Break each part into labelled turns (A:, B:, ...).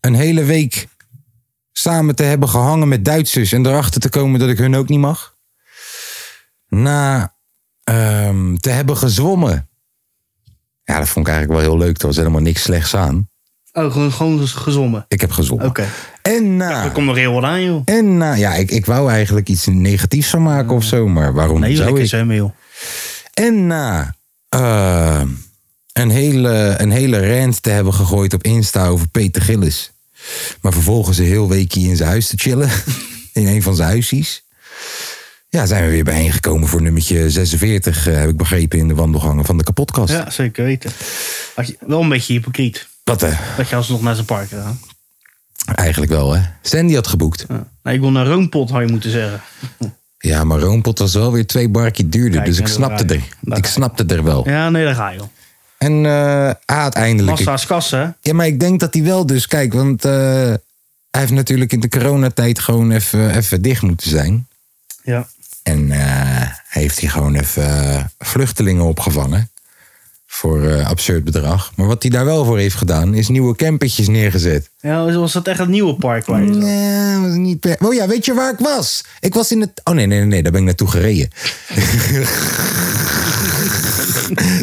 A: een hele week samen te hebben gehangen met Duitsers en erachter te komen dat ik hun ook niet mag. Na ehm, te hebben gezwommen. Ja, dat vond ik eigenlijk wel heel leuk. Er was helemaal niks slechts aan.
B: Oh, gewoon, gewoon gezongen.
A: Ik heb gezwommen.
B: Oké.
A: En na.
B: Er komt nog heel wat aan, joh.
A: En nou ja, ik, ik wou eigenlijk iets negatiefs van maken of zo, maar waarom
B: Nee,
A: zou
B: lekker
A: ik?
B: zwemmen, joh.
A: En na eh, een, hele, een hele rant te hebben gegooid op Insta over Peter Gillis. Maar vervolgens een heel weekje in zijn huis te chillen. in een van zijn huisjes. Ja, zijn we weer bijeengekomen voor nummertje 46, eh, heb ik begrepen, in de wandelgangen van de kapotkast.
B: Ja, zeker weten. Had je, wel een beetje hypocriet.
A: Wat eh,
B: Dat je alsnog naar zijn park gaat.
A: eigenlijk wel, hè? Sandy had geboekt.
B: Ja. Nou, ik wil naar Roompot, had je moeten zeggen.
A: Ja, maar Roompot was wel weer twee barkje duurder,
B: Kijk,
A: dus ik
B: en dat
A: snapte
B: raar.
A: er. Ik snapte er wel.
B: Ja, nee, daar ga je, joh.
A: En eh uiteindelijk.
B: Massa's kassen, hè?
A: Ja, maar ik denk dat hij wel dus, kijk, want eh, hij heeft natuurlijk in de coronatijd gewoon even, even dicht moeten zijn.
B: Ja.
A: En eh, heeft hij gewoon even eh, vluchtelingen opgevangen. Voor eh, absurd bedrag. Maar wat hij daar wel voor heeft gedaan, is nieuwe campertjes neergezet.
B: Ja, was dat echt het nieuwe park waar je zat?
A: Nee, was niet per... Oh ja, weet je waar ik was? Ik was in het... Oh nee, nee, nee, nee daar ben ik naartoe gereden.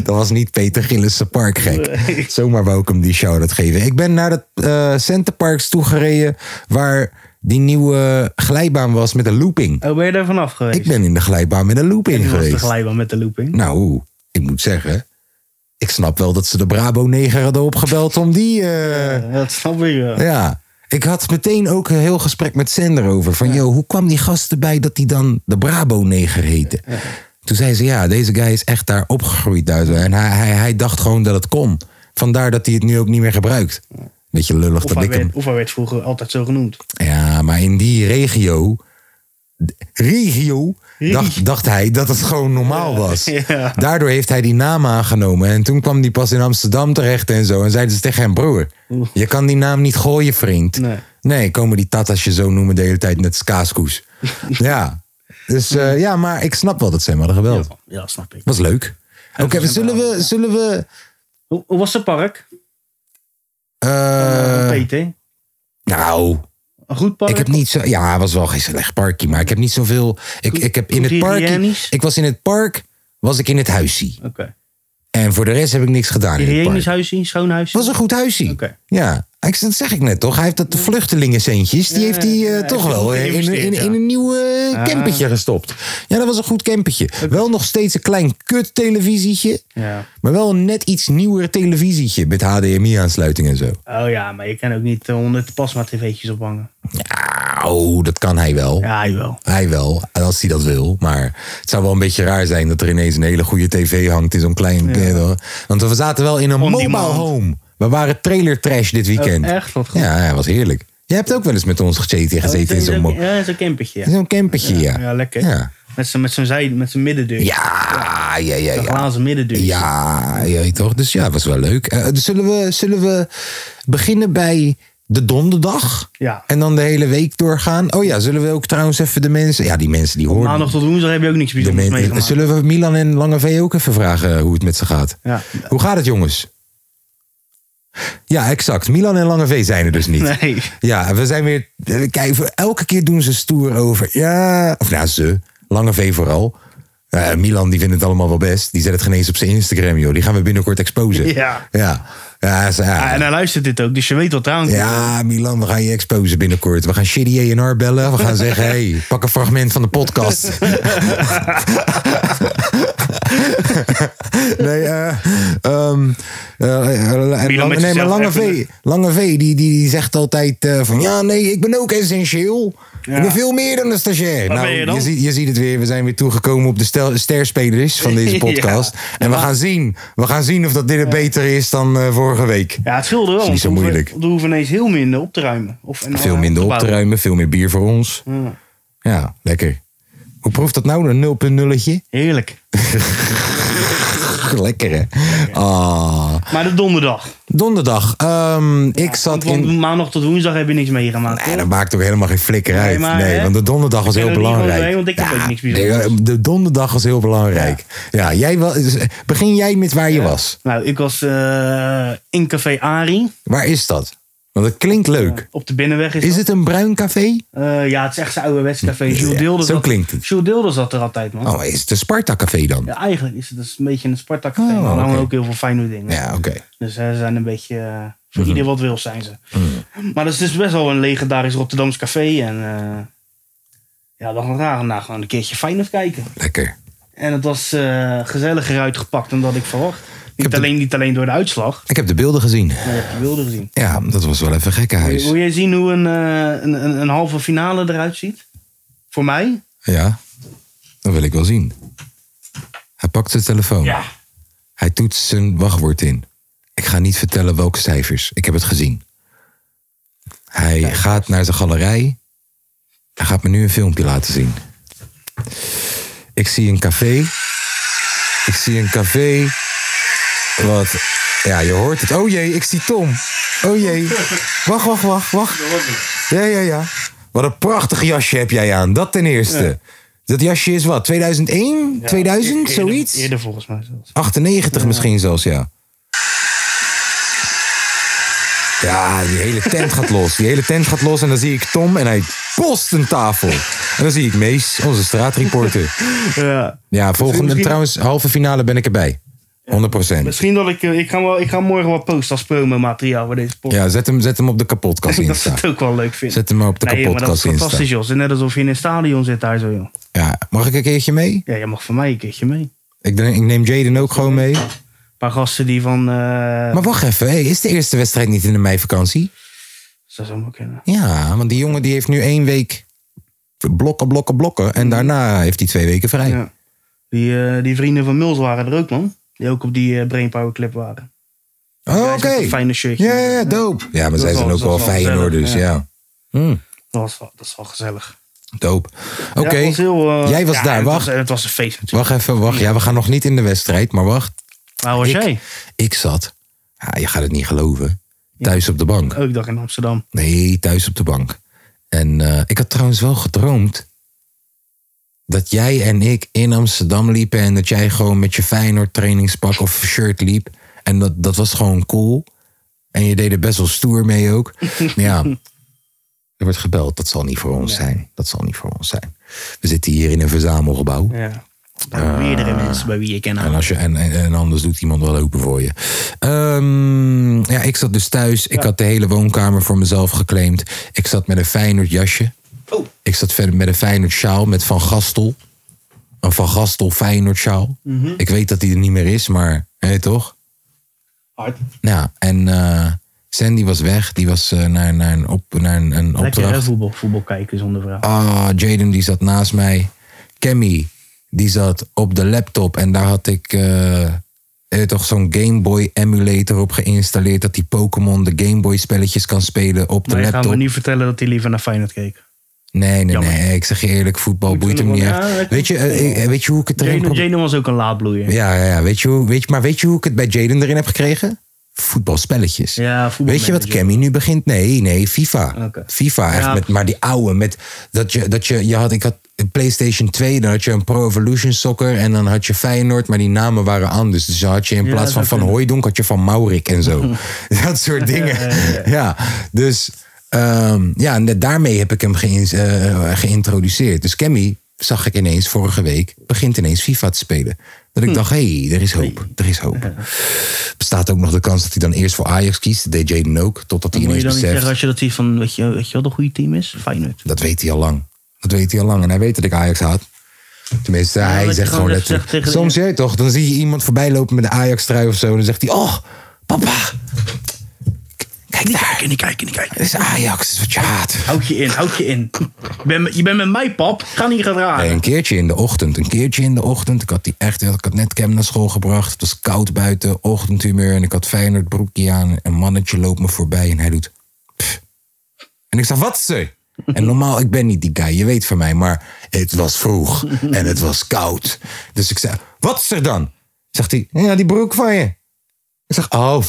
A: dat was niet Peter Gillissen Park, gek. Zomaar wou ik hem die shout-out geven. Ik ben naar het eh Centerparks toegereden waar die nieuwe glijbaan was met een looping.
B: Oh, ben je daar vanaf geweest?
A: Ik ben in de glijbaan met een looping
B: Die was
A: geweest.
B: de glijbaan met de looping.
A: Nou, ik moet zeggen... Ik snap wel dat ze de Brabo-neger hadden opgebeld om die... eh,
B: Ja, dat snap ik wel.
A: ja. Ik had meteen ook een heel gesprek met Sander over. Van, joh, hoe kwam die gast erbij dat die dan de Brabo-neger heette? Toen zei ze, ja, deze guy is echt daar opgegroeid. Uit. En hij, hij, hij dacht gewoon dat het kon. Vandaar dat hij het nu ook niet meer gebruikt. Beetje lullig
B: Of
A: dat
B: hij,
A: ik hem...
B: werd, of hij werd vroeger altijd zo genoemd.
A: Ja, maar in die regio... Regio... Dacht, dacht hij dat het gewoon normaal was.
B: Ja.
A: Daardoor heeft hij die naam aangenomen. En toen kwam die pas in Amsterdam terecht en zo. En zeiden ze tegen hem, broer, je kan die naam niet gooien, vriend.
B: Nee.
A: Nee, komen die tata's je zo noemen de hele tijd net als kaaskoes. ja. Dus eh, ja, maar ik snap wel dat ze hem hadden gebeld.
B: Ja, snap ik.
A: Was leuk. Oké, we zullen we... Zullen we
B: Hoe, hoe was het park?
A: eh,
B: Peter?
A: nou,
B: Een goed park?
A: ik heb niet zo... Ja, het was wel geen slecht parkje, maar ik heb niet zoveel... Ik, ik heb in
B: goed
A: het park...
B: hygiënisch?
A: Ik was in het park, was ik in het huisje.
B: Oké.
A: En voor de rest heb ik niks gedaan in het park.
B: Hygiënisch huisje, schoon huisje?
A: Het was een goed huisje.
B: Oké.
A: Ja, ik, dat zeg ik net toch? Hij heeft dat de vluchtelingencentjes, die heeft hij eh,
B: ja,
A: toch
B: heeft hij
A: wel in, in,
B: geïnvesteerd,
A: in,
B: ja. Ah.
A: een nieuw eh, campertje gestopt. Ja, dat was een goed campertje. Wel nog steeds een klein kut televisietje,
B: Ja.
A: maar wel een net iets nieuwer televisietje met HDMI-aansluiting en zo.
B: Oh ja, maar je kan ook niet eh, honderd pasma tv'tjes ophangen.
A: Ja, oh, dat kan hij wel.
B: Ja, jawel.
A: Hij wel, als hij dat wil. Maar het zou wel een beetje raar zijn dat er ineens een hele goede tv hangt in zo'n klein bed. hoor. Want we zaten wel in een
B: On
A: mobile
B: demand.
A: home. We waren trailer trash dit weekend.
B: Oh, echt? Wat goed.
A: Ja, ja, was heerlijk. Jij hebt ook wel eens met ons gechaten en gezeten in zo'n mo-
B: Ja, zo'n campertje.
A: in
B: Ja,
A: zo'n campertje, ja.
B: ja lekker.
A: Ja,
B: Met zo'n met zo'n zij- met zo'n middendeur.
A: ja, ja, ja.
B: Een
A: ja.
B: glazen middendeur.
A: Ja, je weet toch? Dus ja, was wel leuk. Eh, dus zullen, we, zullen we beginnen bij de donderdag?
B: Ja.
A: En dan de hele week doorgaan? Oh ja, zullen we ook trouwens even de mensen... Ja, die mensen die horen...
B: Maandag tot woensdag heb je ook niks
A: de
B: bijzonders
A: men-
B: meegemaakt.
A: zullen we Milan en Lange V ook even vragen eh, hoe het met ze gaat?
B: Ja.
A: Hoe gaat het, jongens? Ja, exact. Milan en Lange V zijn er dus niet.
B: Nee.
A: Ja, we zijn weer. eh, Kijk, voor- elke keer doen ze stoer over. Ja, of nou, ze. Lange V vooral. Eh, Milan, die vindt het allemaal wel best. Die zet het geen eens op zijn Instagram, joh. Die gaan we binnenkort exposen.
B: Ja.
A: Ja, ja, ze- ja.
B: Ah, en hij luistert dit ook, dus je weet wat eraan komt.
A: Ja, Milan, we gaan je exposen binnenkort. We gaan Shitty A&R bellen. We gaan zeggen, hey, pak een fragment van de podcast. nee, eh, Ehm, eh, eh, en
B: Milan
A: lang-
B: met
A: nee, maar
B: zichzelf
A: Lange
B: even-
A: V, Lange v die, die, die zegt altijd eh, van... Ja, nee, ik ben ook essentieel. Ik ben veel meer dan een stagiair. Nou,
B: Wat ben je dan?
A: Je, ziet, je ziet het weer. We zijn weer toegekomen op de stel, sterspelers van deze
B: Ja.
A: podcast. En we gaan zien. We gaan zien of dat dit er beter is dan eh, vorige week.
B: Ja, het scheelde wel.
A: Is niet zo
B: want we hoeven-
A: moeilijk.
B: We hoeven ineens heel minder op te ruimen. Of, en,
A: Veel
B: eh,
A: minder op te
B: bouwen.
A: ruimen. Veel meer bier voor ons. Ja, lekker. Hoe proeft dat nou, een 0.0'tje?
B: Ja, heerlijk.
A: Lekker, hè? Ah.
B: Maar de donderdag.
A: Donderdag. ehm, ik zat
B: Want
A: in...
B: maandag tot woensdag heb je niks meegemaakt.
A: Nee,
B: toch?
A: dat maakt ook helemaal geen flikker uit.
B: maar,
A: nee,
B: hè?
A: want de donderdag was
B: Ik
A: heel
B: ken er niet
A: belangrijk.
B: van, nee, want ik heb ook niks bijzonders.
A: nee, eh, de donderdag was heel belangrijk. Ja, jij wel, begin jij met waar je was.
B: Nou, ik was eh, in Café Ari.
A: Waar is dat? Want het klinkt leuk.
B: Op de binnenweg is,
A: Is
B: dat.
A: het een bruin café?
B: Eh, ja, het is echt zijn ouderwets café. Jules
A: ja,
B: Deelder
A: zo
B: zat-
A: klinkt het.
B: Jules Deelder zat er altijd, man.
A: Oh, is het een Sparta café dan? Ja,
B: Ja, eigenlijk is het dus een beetje een Spartak café.
A: Oh,
B: maar er hangen
A: oké.
B: ook heel veel fijne dingen.
A: oké.
B: Dus eh, ze zijn een beetje... eh, voor
A: Mhm.
B: ieder wat wil zijn ze. Maar dat is dus best wel een legendarisch Rotterdams café. En eh, ja, dan gaan we daarna gewoon een keertje Feyenoord kijken.
A: Lekker.
B: En het was eh, gezelliger uitgepakt dan dat ik verwacht. Niet
A: heb de-
B: alleen, niet alleen door de uitslag,
A: Ik heb de beelden gezien.
B: maar je hebt de beelden gezien.
A: Ja, dat was wel even
B: Wil
A: gekkenhuis.
B: wil jij zien hoe een, eh, een, een, een halve finale eruit ziet? Voor mij?
A: Ja, dat wil ik wel zien. Hij pakt zijn telefoon. Hij toetst zijn wachtwoord in. Ik ga niet vertellen welke cijfers. Ik heb het gezien. Hij gaat naar zijn galerij. Hij gaat me nu een filmpje laten zien. Ik zie een café. Ik zie een café. Wat? Ja, je hoort het. Oh jee, ik zie Tom. Oh jee. Wacht, wacht, wacht, wacht. Ja, ja, ja. Wat een prachtig jasje heb jij aan. Dat ten eerste. Dat jasje is wat? 2001? 2000?
B: Eerder-
A: Zoiets?
B: Eerder volgens mij zelfs.
A: 98 misschien zelfs, ja. Ja, die hele tent gaat los. Die hele tent gaat los en dan zie ik Tom en hij post een tafel. En dan zie ik Mees, onze straatreporter.
B: Ja.
A: Ja, volgende
B: Misschien-
A: trouwens, halve finale ben ik erbij. 100%.
B: Misschien dat ik... eh, Ik ga, wel, ik ga morgen wel posten als promo-materiaal voor deze podcast.
A: Ja, zet hem, zet hem op de kapotkast
B: dat ze
A: Insta.
B: het ook wel leuk vinden.
A: Zet hem maar op de
B: nee, joh, maar dat is
A: kapotkast Insta.
B: fantastisch, joh. Het is Net alsof je in een stadion zit daar zo, joh.
A: Ja, mag ik een keertje mee?
B: Ja, je mag van mij een keertje mee.
A: Ik, denk- ik neem Jaden ook gewoon mee.
B: Een paar gasten die van... eh
A: Maar wacht even, hey, is de eerste wedstrijd niet in de meivakantie?
B: Dat zou maar kunnen.
A: Ja, want die jongen die heeft nu één week blokken, blokken, blokken. En daarna heeft hij twee weken vrij.
B: Ja. Die, eh, die vrienden van Mills waren er ook, man. Die ook op die eh, Brainpower Clip waren.
A: Oh,
B: Hij
A: oké.
B: is met een fijne shirtje.
A: Ja, ja, ja, dope. Ja, maar
B: Dat
A: zij
B: is
A: zijn
B: wel-
A: ook
B: dat
A: wel
B: is wel
A: Feyenoord, dus
B: gezellig,
A: ja. Hmm,
B: Dat, was wel, dat is wel gezellig.
A: dope. Oké,
B: Ja, het was heel, eh,
A: Jij was
B: ja,
A: daar,
B: het
A: wacht.
B: Was, het was een feest natuurlijk.
A: wacht even, wacht. Ja, we gaan nog niet in de wedstrijd, maar wacht.
B: Waar was
A: Ik-
B: jij?
A: Ik zat, ja, je gaat het niet geloven, thuis op de bank.
B: Ook dag in Amsterdam.
A: Nee, thuis op de bank. En eh, ik had trouwens wel gedroomd dat jij en ik in Amsterdam liepen en dat jij gewoon met je Feyenoord trainingspak of shirt liep. En dat, dat was gewoon cool. En je deed er best wel stoer mee ook. Maar ja, er wordt gebeld. Dat zal niet voor ons zijn. Dat zal niet voor ons zijn. We zitten hier in een verzamelgebouw.
B: Ja. Bij meerdere mensen bij wie ik ken.
A: Eh, En, als je, en, en, en anders doet iemand wel open voor je. Ehm, ja, ik zat dus thuis. Ik had de hele woonkamer voor mezelf geclaimd. Ik zat met een Feyenoord jasje.
B: Oh.
A: Ik zat verder met een Feyenoord sjaal met Van Gastel. Een Van Gastel Feyenoord sjaal. Ik weet dat die er niet meer is, maar hé, toch?
B: Hard.
A: Nou, en eh, Sandy was weg. Die was eh, naar, naar een, op, naar een, een
B: Lekker hè,
A: opdracht.
B: voetbal, voetbal kijken zonder vraag.
A: Ah, Jaden die zat naast mij. Cammy die zat op de laptop en daar had ik eh, eh, toch zo'n Game Boy emulator op geïnstalleerd dat die Pokémon de Game Boy spelletjes kan spelen op de
B: Maar je gaat
A: laptop.
B: me niet vertellen dat hij liever naar Feyenoord keek.
A: Nee, nee,
B: Jammer.
A: nee. Ik zeg je eerlijk, voetbal
B: Moet
A: boeit
B: je
A: hem
B: nog
A: niet
B: wel- ja,
A: echt.
B: ik-
A: Weet je, eh, eh, weet je hoe ik het erin
B: Jano
A: probeer?
B: Jano was ook een laadbloeier.
A: Ja, ja, ja. Weet je hoe, weet je, maar weet je hoe ik het bij Jaden erin heb gekregen? Voetbalspelletjes.
B: Ja, voetbal
A: Weet je wat
B: manager.
A: Cammy nu begint? Nee, nee, FIFA.
B: Oké.
A: FIFA, echt
B: Ja.
A: met, maar die oude. Met, dat je, dat je, je had, ik had een PlayStation 2, dan had je een Pro Evolution Soccer en dan had je Feyenoord, maar die namen waren anders. Dus dan had je in
B: Ja,
A: plaats van
B: dat
A: Van
B: kunnen.
A: Hooijdonk, had je Van Maurik en zo. dat soort dingen. Ja, dus ehm, ja, en daarmee heb ik hem geïn- eh, geïntroduceerd. Dus Cammy zag ik ineens vorige week, begint ineens FIFA te spelen. Dat
B: Hm.
A: ik dacht, hé, hey, er is hoop, er is hoop bestaat ook nog de kans dat hij dan eerst voor Ajax kiest. Dat deed Jaden ook, totdat hij
B: Moet je
A: ineens
B: dan niet
A: beseft.
B: zeggen als je dat ziet van, weet je, weet je wat een goede team is? Feyenoord.
A: Dat weet hij al lang. Dat weet hij al lang. En hij weet dat ik Ajax haat. Tenminste,
C: dat
A: hij
C: je
A: zegt gewoon
C: gewoon
A: dat.
C: even zegt tegen de-
A: soms jij toch, dan zie je iemand voorbij lopen met een Ajax-trui of zo. En dan zegt hij: Oh, papa, k- kijk daar.
C: Kijk, kijk, kijk, kijk.
A: Dat is Ajax, dat is wat je haat.
B: Houd je in, houd je in. Je bent, je bent met mij, pap. Ga niet
A: Nee,
B: gedragen.
A: een keertje in de ochtend. Een keertje in de ochtend. Ik had, die echt, ik had net Cam naar school gebracht. Het was koud buiten, ochtendhumeur. En ik had Feyenoord broekje aan. Een mannetje loopt me voorbij en hij doet... "Pff." En ik zeg, wat ze? En normaal, ik ben niet die guy. Je weet van mij. Maar het was vroeg en het was koud. Dus ik zei, wat is er dan? Zegt hij, ja, die broek van je. Ik zeg, oh.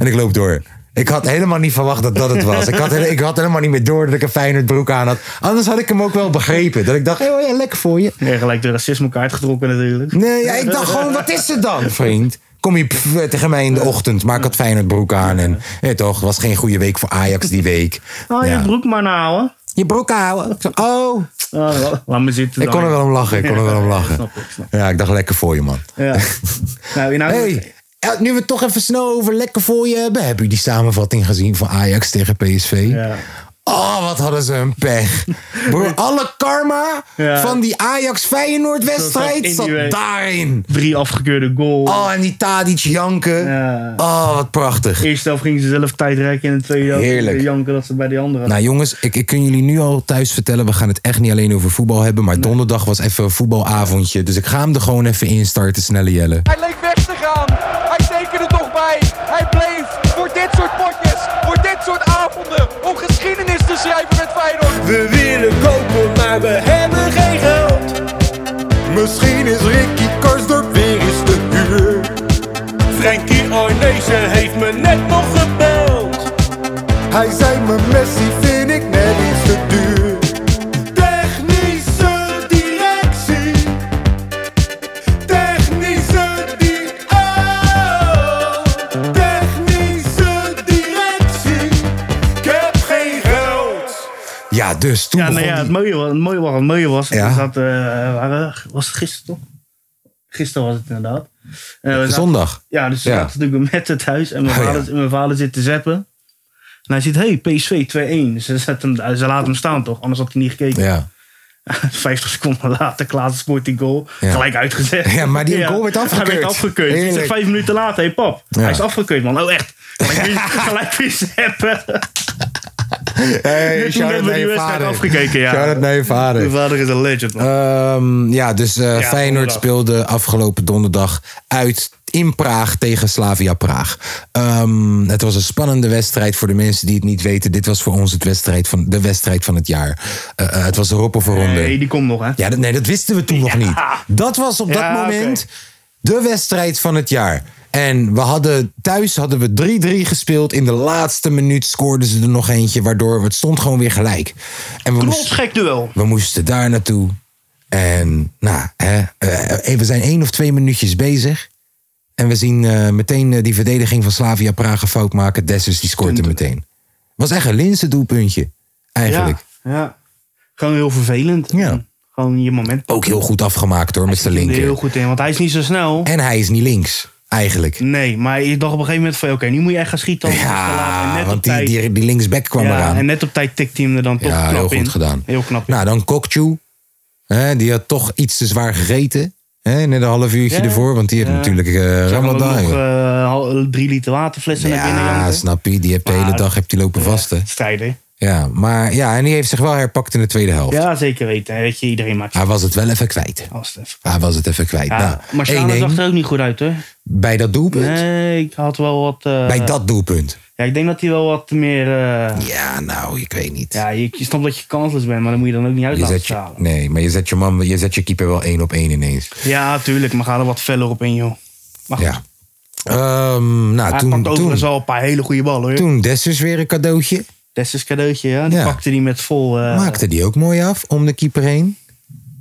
A: En ik loop door. Ik had helemaal niet verwacht dat dat het was. Ik had, hele- ik had helemaal niet meer door dat ik een Feyenoord broek aan had. Anders had ik hem ook wel begrepen. Dat ik dacht, hé, ja, lekker voor je.
B: Ja, gelijk de racismekaart getrokken natuurlijk.
A: Nee, ja, ik dacht gewoon, wat is het dan, vriend? Kom je pff, tegen mij in de ochtend, maar ik had Feyenoord broek aan. En ja, toch, het was geen goede week voor Ajax die week.
B: Oh,
A: Ja.
B: je broek maar naar houden.
A: Je broek houden. Ik zeg, Oh,
B: Ah, la- laat me zitten.
A: ik kon er
B: dan.
A: wel om lachen. Ik kon er wel om lachen.
B: Snap ik, snap
A: Ja, ik dacht, lekker voor je, man.
B: Ja. nou, inhoud-
A: Hey, eh, nu we het toch even snel over lekker voor je hebben. Heb je die samenvatting gezien van Ajax tegen PSV?
B: Ja.
A: Oh, wat hadden ze een pech. Broer, alle karma
B: Ja.
A: van die
B: Dat
A: Ajax-Feyenoord-wedstrijd
B: zat in
A: zat
B: die week.
A: daarin.
B: Drie afgekeurde goal.
A: Oh, en die Tadic janken.
B: Ja.
A: Oh, wat prachtig.
B: Eerste helft gingen ze zelf tijd rekken. En de tweede helft
A: Heerlijk.
B: gingen ze janken dat ze bij die andere.
A: Nou jongens, ik, ik kun jullie nu al thuis vertellen, we gaan het echt niet alleen over voetbal hebben. Maar donderdag was even een voetbalavondje. Dus ik ga hem er gewoon even in starten, snelle Jelle.
D: Hij leek weg te gaan. Hij tekende toch bij. Hij bleef voor dit soort potjes, voor dit soort avonden, om geschiedenis te schrijven met Feyenoord.
E: We willen kopen, maar we hebben geen geld. Misschien is Ricky Karsdorp weer eens te huur. Frankie Arnezen heeft me net nog gebeld. Hij zei me Messi vind ik net iets te duur. Technische directie. Technische di- oh. Technische directie. Ik heb geen geld.
A: Ja, dus toen
B: Ja, nou
A: begon
B: ja,
A: die-
B: het mooie was, het mooie was, het mooie was,
A: Ja.
B: we zaten, eh, waren- was het gisteren toch? Gisteren was het inderdaad. Eh, we zaten-
A: zondag.
B: ja, dus we
A: Ja.
B: zaten natuurlijk met het huis en mijn,
A: Oh, ja.
B: vader, en mijn vader zit te zappen. En hij ziet, hey, PSV 2-1. Dus ze, zet hem, ze laten hem staan toch, anders had hij niet gekeken.
A: Ja.
B: 50 seconden later, Klaas scoort die goal.
A: Ja.
B: Gelijk uitgezet.
A: Ja, maar die goal werd
B: Hij
A: afgekeurd.
B: werd afgekeurd. Dus ik zeg
A: Heerlijk.
B: vijf minuten later, hé hey, pap, hij is afgekeurd man. Oh echt. Gelijk weer- Gelijk weer zappen.
A: Hey,
B: Toen hebben we die wedstrijd afgekeken, ja.
A: Shout-out naar je vader.
B: Mijn vader is een legend man.
A: Ehm, ja, dus eh,
B: Ja,
A: Feyenoord
B: donderdag.
A: speelde afgelopen donderdag uit in Praag tegen Slavia Praag. Ehm, het was een spannende wedstrijd voor de mensen die het niet weten. Dit was voor ons het wedstrijd van, de wedstrijd van het jaar. Eh, eh, het was een roppen voor ronde.
B: Nee, die komt nog hè.
A: Ja, dat, nee, dat wisten we toen nog niet. Dat was op dat
B: Ja, oké.
A: moment de wedstrijd van het jaar. En we hadden, thuis hadden we 3-3 gespeeld. In de laatste minuut scoorden ze er nog eentje. Waardoor we- het stond gewoon weer gelijk. En we moesten,
B: Knotsgek duel.
A: we moesten daar naartoe. En nou, hè, eh, eh, we zijn één of twee minuutjes bezig. En we zien eh, meteen eh, die verdediging van Slavia Praag een fout maken. Dessers die scoort er meteen. Was echt een linse doelpuntje, eigenlijk.
B: Ja, ja. Gewoon heel vervelend.
A: Ja.
B: En Gewoon je moment.
A: Ook heel goed afgemaakt hoor, met zijn
B: Er
A: linker.
B: heel goed in, want hij is niet zo snel.
A: En hij is niet links, eigenlijk.
B: Nee, maar ik dacht op een gegeven moment van... Oké, nu moet je echt gaan schieten. anders is het te laat. En
A: Ja,
B: net op
A: want die,
B: tijd-
A: die, die linksback kwam
B: ja,
A: eraan.
B: En net op tijd tikte hij hem er dan toch
A: ja,
B: knap
A: heel
B: in.
A: goed gedaan.
B: Heel knap.
A: Nou, dan Kokchu. Hè, die had toch iets te zwaar gegeten. Hè, net een half uurtje
B: Ja.
A: ervoor. Want die heeft
B: Ja.
A: natuurlijk eh
B: Zag hem ook
A: Ramadan.
B: nog
A: joh.
B: eh, hal- drie liter waterflessen naar binnen
A: ja,
B: janken.
A: snap je. Die heeft de hele
B: Maar-
A: dag heeft die lopen vasten.
B: Strijden.
A: Ja, maar ja, en die heeft zich wel herpakt in de tweede helft.
B: Ja, zeker weten. Weet je, iedereen maakt
A: Hij was het wel even kwijt.
B: alles even.
A: Hij was het even kwijt.
B: Ja,
A: nou,
B: maar Sala
A: 1-1
B: zag er ook niet goed uit, hoor.
A: bij dat doelpunt.
B: Nee, ik had wel wat... eh,
A: Bij dat doelpunt.
B: Ja, ik denk dat hij wel wat meer... eh,
A: Ja, nou, ik weet niet.
B: ja, je, je snapt dat je kansloos bent, maar dan moet je dan ook niet uit
A: je
B: laten
A: zet je,
B: stralen.
A: nee, maar je zet je, man, je zet je keeper wel één op één ineens.
B: Ja, tuurlijk. Maar ga er wat feller op in, joh. Maar goed,
A: Ja. Ehm, nou,
B: hij
A: toen,
B: pakt overigens
A: toen,
B: wel een paar hele goede ballen, hoor.
A: toen Dessers weer een cadeautje.
B: Dessus cadeautje, ja. Die
A: Ja.
B: pakte die met vol... eh,
A: Maakte die ook mooi af om de keeper heen. Niet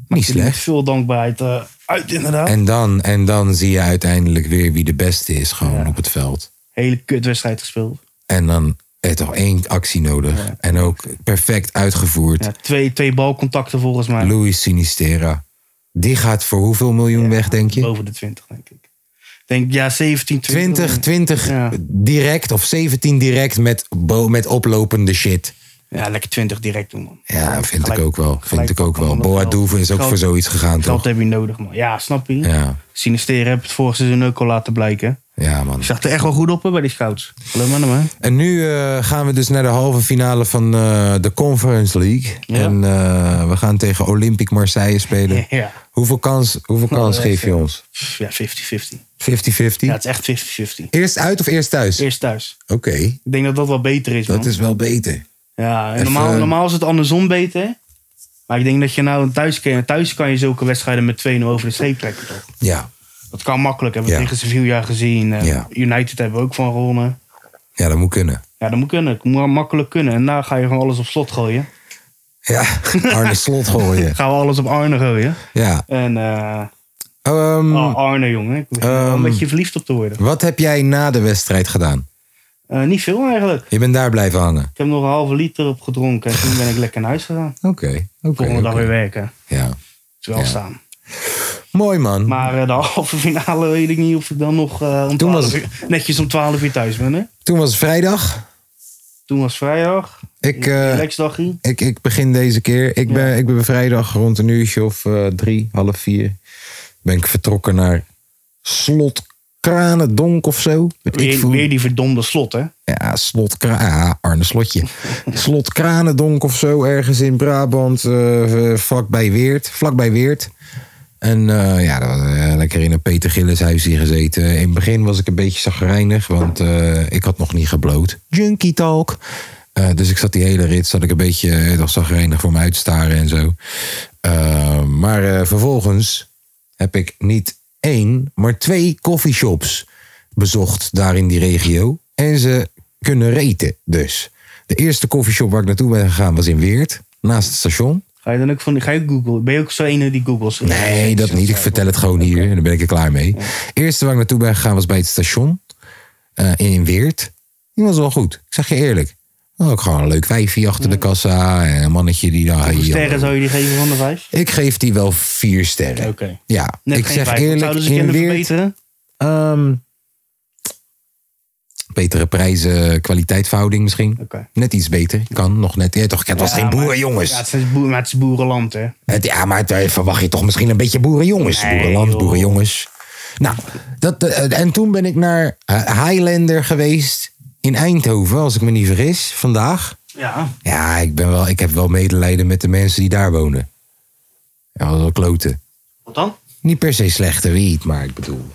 B: pakte die met
A: slecht.
B: veel dankbaarheid eh, uit, inderdaad.
A: En dan, en dan zie je uiteindelijk weer wie de beste is gewoon op het veld.
B: Hele kutwedstrijd gespeeld.
A: En dan heeft toch één actie nodig. En ook perfect uitgevoerd.
B: Ja, twee, twee balcontacten volgens mij.
A: Luis Sinistera. Die gaat voor hoeveel miljoen weg, denk je?
B: Boven de 20, denk ik. Ik Denk, ja, 17, 20.
A: 20, 20
B: Ja.
A: direct of 17 direct met, bo- met oplopende shit.
B: Ja, lekker 20 direct doen, man.
A: Ja, vind
B: Gelijk-
A: ik ook wel. Vind
B: gelijk
A: ik ook
B: pakken,
A: wel.
B: want dat
A: Boa
B: geld-
A: Doeven is ook
B: geld-
A: voor zoiets gegaan,
B: Geld
A: toch?
B: heb je nodig, man. Ja, snap je?
A: Ja,
B: Sinisteren heb het vorig seizoen ook al laten blijken.
A: ja, man.
B: Zag er echt wel goed op hè, bij die scouts. Geloof maar, man.
A: En nu eh, gaan we dus naar de halve finale van eh, de Conference League.
B: Ja.
A: En eh, we gaan tegen Olympique Marseille spelen.
B: Ja.
A: Hoeveel kans, hoeveel kans
B: echt,
A: geef je
B: eh,
A: ons?
B: Pff, Ja,
A: 50-50?
B: 50-50. Ja, het is echt 50-50.
A: Eerst uit of eerst thuis?
B: Eerst thuis.
A: Oké,
B: Ik denk dat dat wel beter is, man.
A: dat is wel beter.
B: Ja, en
A: Even-
B: normaal, normaal is het andersom beter. Maar ik denk dat je nou een thuis, thuis kan je zulke wedstrijden met 2-0 over de streep trekken. Toch?
A: Ja.
B: Dat kan makkelijk. Hebben we
A: Ja.
B: tegen Sevilla gezien. eh,
A: Ja.
B: United hebben we ook van gewonnen.
A: ja, dat moet kunnen.
B: Ja, dat moet kunnen. Het moet makkelijk kunnen. En daarna ga je gewoon alles op slot gooien.
A: Ja, Arne Slot gooien.
B: Gaan we alles op Arne gooien.
A: Ja.
B: En eh,
A: Ehm,
B: oh, Arne, jongen. Ik begin er wel
A: Ehm.
B: een beetje verliefd op te worden.
A: Wat heb jij na de wedstrijd gedaan?
B: Eh, niet veel eigenlijk.
A: Je bent daar blijven hangen.
B: Ik heb nog een halve liter op gedronken. En toen ben ik lekker naar huis gegaan.
A: Oké, oké.
B: Volgende dag
A: oké.
B: weer werken.
A: Ja.
B: Het is wel
A: Ja.
B: staan.
A: Mooi man.
B: Maar eh, de halve finale weet ik niet of ik dan nog eh, om
A: Toen was
B: 12 uur, netjes om 12 uur thuis ben. Hè?
A: Toen was het vrijdag.
B: Toen was vrijdag.
A: Ik, eh,
B: Relaxdagje.
A: Ik, ik begin deze keer. Ik ben, ik ben vrijdag rond een uurtje of eh, drie, half vier. Ben ik vertrokken naar Slot Kranendonk of zo. Weet ik
B: Weer,
A: veel.
B: weer die verdomde slot, hè?
A: Ja, Slot Kra- ah, Arne Slotje. Slot Kranendonk of zo, ergens in Brabant. eh, eh, vlakbij Weert. Vlakbij Weert. En eh, ja, dat was, eh, lekker in een Peter Gillis huisje gezeten. In het begin was ik een beetje zagrijnig, want eh, ik had nog niet gebloot. Junkie talk. Eh, dus ik zat die hele rit, zat ik een beetje eh, nog zagrijnig voor me uit te staren en zo. Eh, maar eh, vervolgens heb ik niet één, maar twee coffeeshops bezocht daar in die regio. En ze kunnen reten dus. De eerste coffeeshop waar ik naartoe ben gegaan was in Weert, naast het station.
B: Ga je dan ook van, ga je Google? Ben je ook zo ene die Googles?
A: Nee, dat niet. Ik vertel het gewoon hier en dan ben ik er klaar mee. Eerste waar ik naartoe ben gegaan was bij het station eh, in Weert. Die was wel goed. Ik zeg je eerlijk. Ook gewoon een leuk wijfje achter de kassa en een mannetje die daar.
B: Hoeveel sterren zou je die geven van de vijf?
A: Ik geef die wel vier sterren.
B: Oké.
A: Ja,
B: Net
A: ik
B: geen
A: zeg
B: vijf.
A: eerlijk.
B: Zouden ze
A: In
B: kunnen
A: Weert,
B: verbeteren?
A: ehm, betere prijzen, kwaliteitverhouding misschien.
B: Oké.
A: Net iets beter. Kan nog net. Ja, toch, het was
B: Ja,
A: geen
B: maar-
A: boerenjongens.
B: Ja, het is, boer, maar het is boerenland, hè?
A: Het- ja, maar het- eh, verwacht je toch misschien een beetje boerenjongens.
B: Nee,
A: Boerenland,
B: joh.
A: boerenjongens. Nou, dat, eh, en toen ben ik naar eh, Highlander geweest in Eindhoven, als ik me niet vergis, vandaag.
B: Ja.
A: Ja, ik, ben wel, ik heb wel medelijden met de mensen die daar wonen. Ja, dat is wel kloten.
B: Wat dan?
A: Niet per se slechte wiet, maar ik bedoel...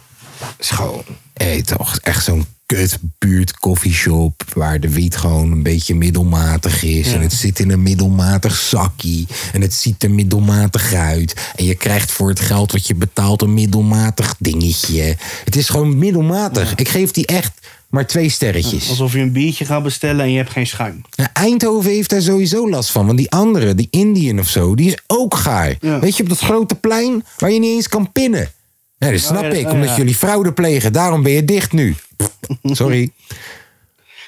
A: Schoon. Hey, toch, echt zo'n kutbuurt koffieshop... waar de wiet gewoon een beetje middelmatig is. En het zit in een middelmatig zakkie. En het ziet er middelmatig uit. En je krijgt voor het geld wat je betaalt een middelmatig dingetje. Het is gewoon middelmatig. Ik geef die echt maar twee sterretjes.
B: Alsof je een biertje gaat bestellen en je hebt geen schuim.
A: Nou, Eindhoven heeft daar sowieso last van. Want die andere, die Indian of zo, die is ook gaar.
B: Ja.
A: Weet je, op dat grote plein waar je niet eens kan pinnen. Nee, dat snap
B: ja,
A: ik,
B: ja,
A: omdat
B: ja.
A: jullie fraude plegen. Daarom ben je dicht nu. Sorry.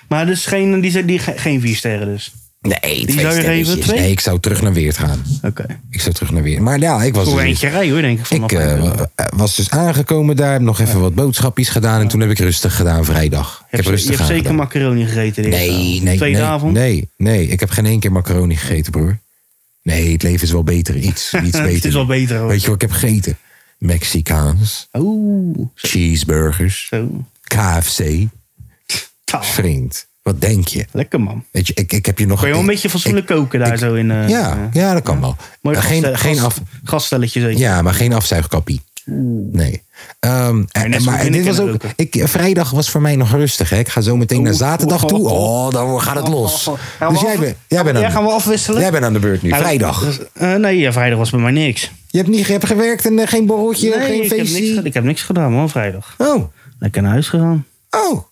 B: Maar dus geen, die, zijn- die, ge- geen vier sterren dus.
A: Nee, twee
B: zou je
A: sterretjes.
B: geven? Twee?
A: Nee, ik zou terug naar Weert gaan.
B: Oké.
A: Ik zou terug naar Weert. Maar ja, ik was
B: Voor
A: dus-
B: eentje rij hoor, denk ik. Vanaf
A: ik eh,
B: Eindhoven.
A: wa- was dus aangekomen daar, heb nog even wat boodschapjes gedaan. En toen heb ik rustig gedaan vrijdag. Ik
B: Je
A: heb
B: hebt,
A: rustig
B: je hebt zeker
A: aangedaan.
B: macaroni gegeten. de eerste
A: Nee,
B: avond.
A: nee,
B: Tweede
A: nee,
B: avond.
A: Nee, nee, ik heb geen één keer macaroni gegeten, broer. Nee, het leven is wel beter. Iets, iets beter.
B: Het is wel beter, hoor.
A: Weet je wat ik heb gegeten? Mexicaans,
B: Oeh,
A: cheeseburgers,
B: zo.
A: KFC.
B: Ah,
A: Vriend, wat denk je?
B: lekker man.
A: Weet je, ik, ik heb je nog...
B: Kun je wel een
A: ik-
B: beetje fatsoenlijk koken daar
A: ik-
B: zo in? eh,
A: Ja,
B: eh,
A: ja, dat kan wel.
B: Mooi
A: Maar geen,
B: gastel-
A: geen
B: gas-
A: af,
B: Gaststelletje zeker.
A: ja, maar geen afzuigkappie.
B: Hmm.
A: Nee. Ehm, en-
B: net zo
A: maar
B: goed in
A: dit
B: de
A: was ook.
B: kinderkeuken.
A: Ik, vrijdag was voor mij nog rustig. Hè. Ik ga zo meteen naar
B: Oeh,
A: zaterdag
B: oeh,
A: toe.
B: oeh,
A: Oh, dan gaat het los.
B: Oh, oh, oh. Gaan we
A: Dus jij
B: af-
A: bent, jij bent aan
B: Ja,
A: de-
B: gaan we afwisselen?
A: Jij bent aan de beurt nu.
B: Ja,
A: Vrijdag.
B: dus, eh, nee, ja, vrijdag was bij mij niks.
A: Je hebt, niet, je hebt gewerkt en eh, geen borreltje, geen
B: ik, heb
A: feestje.
B: niks, ge- ik heb niks gedaan man, vrijdag.
A: Oh,
B: Lekker naar huis gegaan.
A: oh.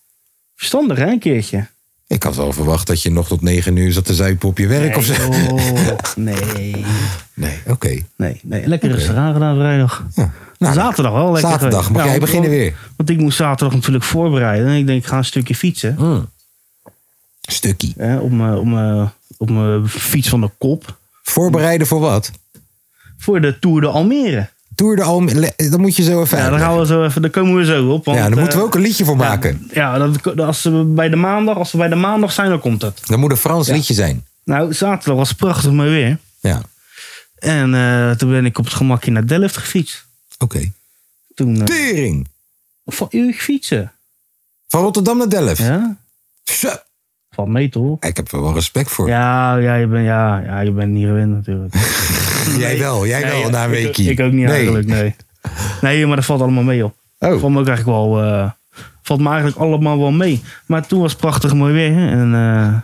B: Verstandig hè, een keertje.
A: Ik had wel verwacht dat je nog tot negen uur zat te zuipen op je werk of zo.
B: Nee, joh. nee,
A: Nee, oké.
B: nee, nee. Lekker rustig aangedaan vrijdag.
A: Ja. Nou,
B: zaterdag wel lekker.
A: Zaterdag,
B: geweest.
A: mag jij
B: want-
A: beginnen
B: want-
A: weer?
B: Want ik moest zaterdag natuurlijk voorbereiden. En ik denk, ik ga een stukje fietsen.
A: Stukkie.
B: Hè, om, eh, om, eh, om mijn fiets van de kop.
A: Voorbereiden voor wat?
B: Voor de Tour de Almere.
A: Tour de Almere. Dan moet je zo even
B: Ja, daar,
A: uitleggen.
B: gaan we zo even, daar komen we zo op. Want,
A: ja, daar moeten we
B: eh,
A: ook een liedje voor
B: ja,
A: maken.
B: Ja, dat, als, we bij de maandag, als we bij de maandag zijn, dan komt dat.
A: Dan moet een Frans liedje zijn.
B: Nou, zaterdag was prachtig mooi weer.
A: Ja,
B: En eh, toen ben ik op het gemakje naar Delft gefietst.
A: oké.
B: Toen eh,
A: Tering!
B: van uur fietsen.
A: Van Rotterdam naar Delft.
B: Ja?
A: Zo.
B: Van mee toch?
A: Ik heb er wel respect voor.
B: Ja, ja, je bent, ja, ja, je bent niet gewend natuurlijk.
A: Jij wel, jij
B: Nee,
A: wel, na een
B: ik-
A: weekje.
B: Ik ook niet
A: Nee.
B: eigenlijk, nee. Nee, maar dat valt allemaal mee, joh.
A: Oh.
B: Valt me ook eigenlijk wel... eh, valt me eigenlijk allemaal wel mee. Maar toen was het prachtig mooi weer. hè. En eh